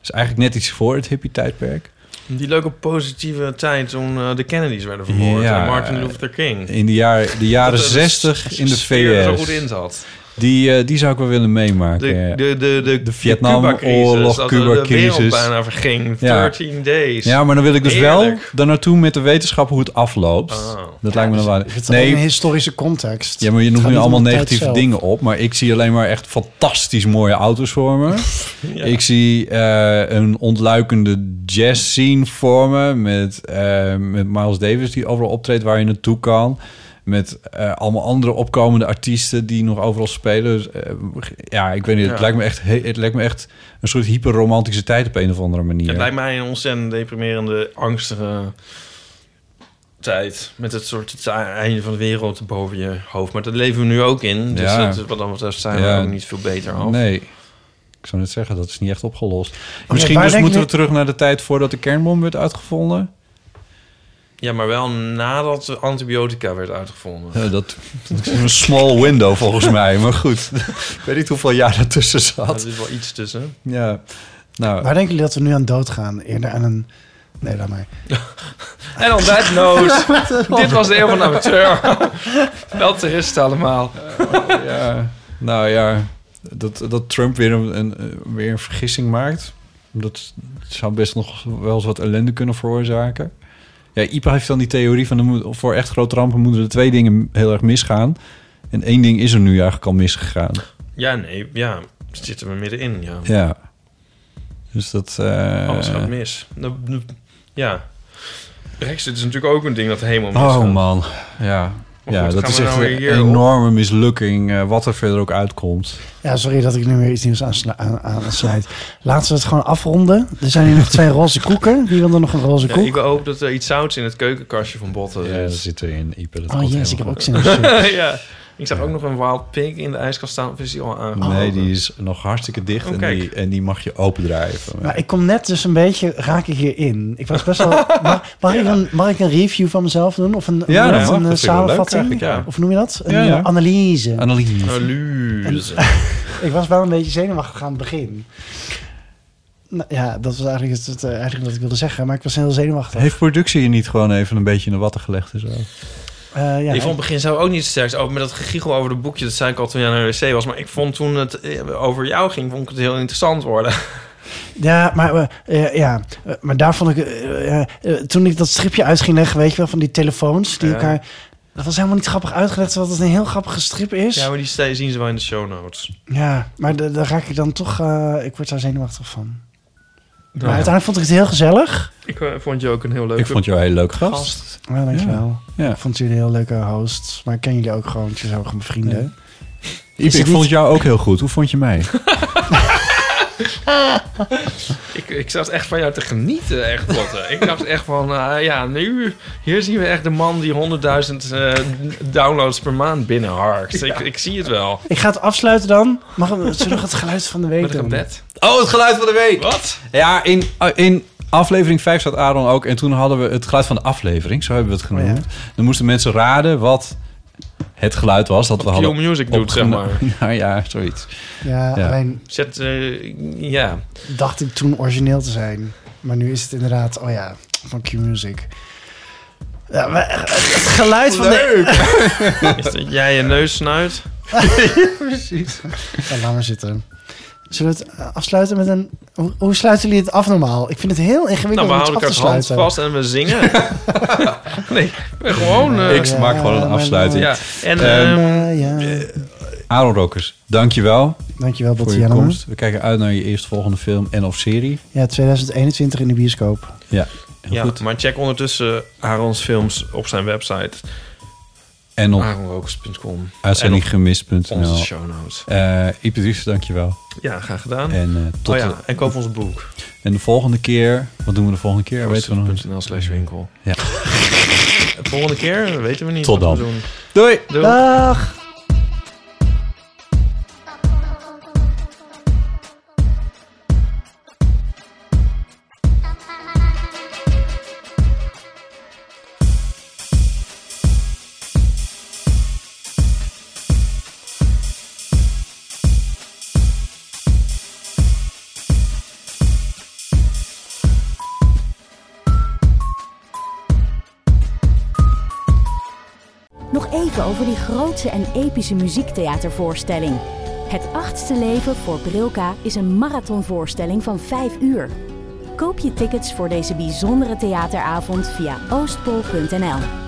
[SPEAKER 2] Dus eigenlijk net iets voor het hippie tijdperk.
[SPEAKER 3] Die leuke positieve tijd toen eh, de Kennedys werden vermoord.
[SPEAKER 2] Ja,
[SPEAKER 3] en Martin Luther King.
[SPEAKER 2] In de, jaar, de jaren 60 in de
[SPEAKER 3] sfeer
[SPEAKER 2] VS.
[SPEAKER 3] er zo goed in zat.
[SPEAKER 2] Die, eh, die zou ik wel willen meemaken.
[SPEAKER 3] De,
[SPEAKER 2] ja.
[SPEAKER 3] de, de, de,
[SPEAKER 2] Vietnamoorlog,
[SPEAKER 3] dat
[SPEAKER 2] Cuba-crisis.
[SPEAKER 3] De wereld bijna verging.
[SPEAKER 2] Ja.
[SPEAKER 3] 13 days.
[SPEAKER 2] Ja, maar dan wil ik dus
[SPEAKER 3] Heerlijk. Oh.
[SPEAKER 2] wel daar naartoe met de wetenschap hoe het afloopt. Dat lijkt me dan wel.
[SPEAKER 4] Het dus is alleen
[SPEAKER 2] Nee,
[SPEAKER 4] een historische context.
[SPEAKER 2] ja, maar je
[SPEAKER 4] Het
[SPEAKER 2] noemt
[SPEAKER 4] gaat
[SPEAKER 2] nu
[SPEAKER 4] niet om
[SPEAKER 2] allemaal
[SPEAKER 4] de tijd
[SPEAKER 2] negatieve
[SPEAKER 4] zelf.
[SPEAKER 2] dingen op. Maar ik zie alleen maar echt fantastisch mooie auto's voor me.
[SPEAKER 4] Ja.
[SPEAKER 2] Ik zie eh, een ontluikende jazz scene voor me. Met, eh, met Miles Davis die overal optreedt waar je naartoe kan. Met eh, allemaal andere opkomende artiesten die nog overal spelen. Dus, eh, ja, ik weet niet. Het,
[SPEAKER 3] Ja.
[SPEAKER 2] lijkt me echt, he- het lijkt me echt een soort hyperromantische tijd op een of andere manier.
[SPEAKER 3] Het lijkt mij een ontzettend deprimerende, angstige tijd. Met het soort het einde van de wereld boven je hoofd. Maar dat leven we nu ook in. Dus
[SPEAKER 2] Ja.
[SPEAKER 3] dat, wat dat betreft zijn
[SPEAKER 2] Ja.
[SPEAKER 3] we ook niet veel beter af.
[SPEAKER 2] Nee. Ik zou net zeggen, dat is niet echt opgelost.
[SPEAKER 3] ja,
[SPEAKER 2] Misschien
[SPEAKER 3] waar
[SPEAKER 2] dus
[SPEAKER 3] denk
[SPEAKER 2] moeten
[SPEAKER 3] je-
[SPEAKER 2] we terug naar de tijd voordat de kernbom werd uitgevonden.
[SPEAKER 3] Ja, maar wel nadat de antibiotica werd uitgevonden.
[SPEAKER 2] Eh, dat, dat is een small window volgens mij, maar goed. Ik weet niet hoeveel jaar ertussen
[SPEAKER 3] Er
[SPEAKER 2] zat.
[SPEAKER 3] zit wel iets tussen.
[SPEAKER 2] Ja, nou...
[SPEAKER 4] Waar denken jullie dat we nu aan dood gaan? Eerder aan een... Nee, laat maar.
[SPEAKER 3] En on that note, dit was de Eeuw van de Amateur. wel terrorist allemaal.
[SPEAKER 2] ja, nou ja, dat, dat Trump weer een, een, eh, weer een vergissing maakt. Dat zou best nog wel eens wat ellende kunnen veroorzaken. Ja, IPA heeft dan die theorie van... er moet- voor echt grote rampen moeten er twee dingen heel erg misgaan. En één ding is er nu eigenlijk al misgegaan.
[SPEAKER 3] Ja, nee, ja. Zitten we middenin, ja.
[SPEAKER 2] Ja. Dus dat... eh,
[SPEAKER 3] Alles Oh, gaat mis. Nou, nou, Ja. Brexit is natuurlijk ook een ding dat helemaal misgaat.
[SPEAKER 2] Oh man, ja.
[SPEAKER 3] Maar
[SPEAKER 2] ja,
[SPEAKER 3] goed,
[SPEAKER 2] dat
[SPEAKER 3] gaan
[SPEAKER 2] is
[SPEAKER 3] we
[SPEAKER 2] echt
[SPEAKER 3] nou
[SPEAKER 2] een
[SPEAKER 3] hier op?
[SPEAKER 2] enorme mislukking, eh, wat er verder ook uitkomt.
[SPEAKER 4] Ja, sorry dat ik nu weer iets nieuws aansla- aan- aansluit. Laten we het gewoon afronden. Er zijn hier nog twee roze koeken. Wie wil er nog een roze
[SPEAKER 3] Ja,
[SPEAKER 4] koek?
[SPEAKER 3] ik hoop dat er iets zouts in het keukenkastje van Botten zit. Ja, dat
[SPEAKER 2] zit erin. Ipe,
[SPEAKER 4] Oh, komt yes, helemaal ik heb goed. ook zin in soep.
[SPEAKER 3] ja. Ik zag ook nog een wild pig in de ijskast staan. Of is die al aangekomen?
[SPEAKER 2] Nee, die is nog hartstikke dicht
[SPEAKER 3] Oh,
[SPEAKER 2] en,
[SPEAKER 3] kijk.
[SPEAKER 2] die, en die mag je opendrijven.
[SPEAKER 4] Maar ik kom net dus een beetje, raak ik hierin. Ik was best wel... Mag, mag, ik, een, mag ik een review van mezelf doen? Of een,
[SPEAKER 2] Ja, nou,
[SPEAKER 4] hoe noem je
[SPEAKER 2] dat
[SPEAKER 4] dat?
[SPEAKER 2] mag.
[SPEAKER 4] een eh,
[SPEAKER 2] Dat vind ik wel leuk
[SPEAKER 4] samenvatting?
[SPEAKER 2] eigenlijk, ja.
[SPEAKER 4] Of noem je dat? Een
[SPEAKER 2] Ja, ja.
[SPEAKER 4] eh, analyse.
[SPEAKER 2] Analyse.
[SPEAKER 3] Analyse.
[SPEAKER 4] Ik was wel een beetje zenuwachtig aan het begin. Nou, ja, dat was eigenlijk, het, het, eh, eigenlijk wat ik wilde zeggen. Maar ik was heel zenuwachtig.
[SPEAKER 2] Heeft productie je niet gewoon even een beetje in de watten gelegd en zo?
[SPEAKER 4] Eh, ja,
[SPEAKER 3] ik vond het begin zelf ook niet sterk. Ook met dat gegiegel over de boekje. Dat zei ik al toen je naar de wc was. Maar ik vond toen het eh, over jou ging, vond ik het heel interessant worden.
[SPEAKER 4] Ja, maar, eh, eh, ja, eh, maar daar vond ik... eh, eh, eh, toen ik dat stripje uit ging leggen, weet je wel, van die telefoons die
[SPEAKER 3] Ja.
[SPEAKER 4] elkaar... Dat was helemaal niet grappig uitgelegd, terwijl het een heel grappige strip is.
[SPEAKER 3] Ja, maar die ste- zien ze wel in de show notes.
[SPEAKER 4] Ja, maar da- daar raak ik dan toch... eh, ik word daar zenuwachtig van.
[SPEAKER 3] Ja.
[SPEAKER 4] Maar uiteindelijk vond ik het heel gezellig.
[SPEAKER 3] Ik eh, vond je ook een heel leuk.
[SPEAKER 2] Ik vond jou een heel leuk gast.
[SPEAKER 4] Ja, dankjewel.
[SPEAKER 2] Ja.
[SPEAKER 4] Ik vond jullie heel leuke hosts. Maar ik ken jullie ook gewoon, het zijn ook gewoon mijn vrienden.
[SPEAKER 2] Ipe,
[SPEAKER 4] Is
[SPEAKER 2] ik
[SPEAKER 4] het
[SPEAKER 2] vond
[SPEAKER 4] niet-
[SPEAKER 2] jou ook heel goed. Hoe vond je mij?
[SPEAKER 3] Ik, ik zat echt van jou te genieten, echt botten. ik dacht echt van, eh, ja, nu... Hier zien we echt de man die 100.000 eh, downloads per maand binnenharkt. Ik, ik zie het wel.
[SPEAKER 4] Ik ga het afsluiten dan. Mag, zullen we nog het geluid van de week
[SPEAKER 3] Met een
[SPEAKER 4] doen?
[SPEAKER 3] gebed.
[SPEAKER 2] Oh, het geluid van de week.
[SPEAKER 3] Wat?
[SPEAKER 2] Ja, in, eh, in aflevering 5 zat Aaron ook. En toen hadden we het geluid van de aflevering, zo hebben we het
[SPEAKER 4] Oh
[SPEAKER 2] genoemd. Dan moesten mensen raden wat het geluid was dat we
[SPEAKER 3] Q
[SPEAKER 2] hadden.
[SPEAKER 3] Music doet,
[SPEAKER 2] opgenomen.
[SPEAKER 3] zeg maar.
[SPEAKER 2] Nou ja, zoiets.
[SPEAKER 4] Ja,
[SPEAKER 2] Ja.
[SPEAKER 4] alleen
[SPEAKER 3] Zet, eh, ja.
[SPEAKER 4] dacht ik toen origineel te zijn. Maar nu is het inderdaad, oh ja, van Q-Music. Ja, maar het
[SPEAKER 3] eh,
[SPEAKER 4] geluid van de...
[SPEAKER 3] Is dat jij je neus snuit?
[SPEAKER 4] Precies. Ja, laat maar zitten. Zullen we het eh, afsluiten met een... Hoe, hoe sluiten jullie het af normaal? Ik vind het heel
[SPEAKER 3] Nou,
[SPEAKER 4] ingewikkeld
[SPEAKER 3] we
[SPEAKER 4] om iets
[SPEAKER 3] houden
[SPEAKER 4] af te
[SPEAKER 3] elkaars hand
[SPEAKER 4] sluiten.
[SPEAKER 3] vast en we zingen. nee, we gewoon... eh,
[SPEAKER 2] ik maak gewoon een afsluiting.
[SPEAKER 3] Ja, en...
[SPEAKER 2] Ehm,
[SPEAKER 3] ehm,
[SPEAKER 4] Ja, ja.
[SPEAKER 2] Aaron Rokers, dankjewel.
[SPEAKER 4] Dankjewel,
[SPEAKER 2] voor
[SPEAKER 4] Botte
[SPEAKER 2] je
[SPEAKER 4] Jellema.
[SPEAKER 2] komst. We kijken uit naar je eerstvolgende film en of serie.
[SPEAKER 4] Ja, 2021 in de bioscoop.
[SPEAKER 2] Ja, heel
[SPEAKER 3] Ja,
[SPEAKER 2] goed.
[SPEAKER 3] maar check ondertussen Aaron's films op zijn website.
[SPEAKER 2] En op
[SPEAKER 3] AaronRokers.com. En
[SPEAKER 2] uitzendinggemist.nl.
[SPEAKER 3] op Ah. onze show notes.
[SPEAKER 2] Eh, Ipadrice, dankjewel.
[SPEAKER 3] op- Ja, graag gedaan.
[SPEAKER 2] En, eh, tot
[SPEAKER 3] oh ja,
[SPEAKER 2] de-
[SPEAKER 3] en koop ons boek.
[SPEAKER 2] En de volgende keer, wat doen we de volgende keer? Weten we nog niet.
[SPEAKER 3] Prostituut.nl slash winkel.
[SPEAKER 2] Ja.
[SPEAKER 3] De volgende keer weten we niet.
[SPEAKER 2] Tot
[SPEAKER 3] wat we
[SPEAKER 2] dan.
[SPEAKER 3] doen.
[SPEAKER 2] Doei!
[SPEAKER 3] Doei.
[SPEAKER 4] Dag!
[SPEAKER 1] Nog even over die grootse en epische muziektheatervoorstelling. Het achtste leven voor Brilka is een marathonvoorstelling van 5 uur. Koop je tickets voor deze bijzondere theateravond via oostpol.nl.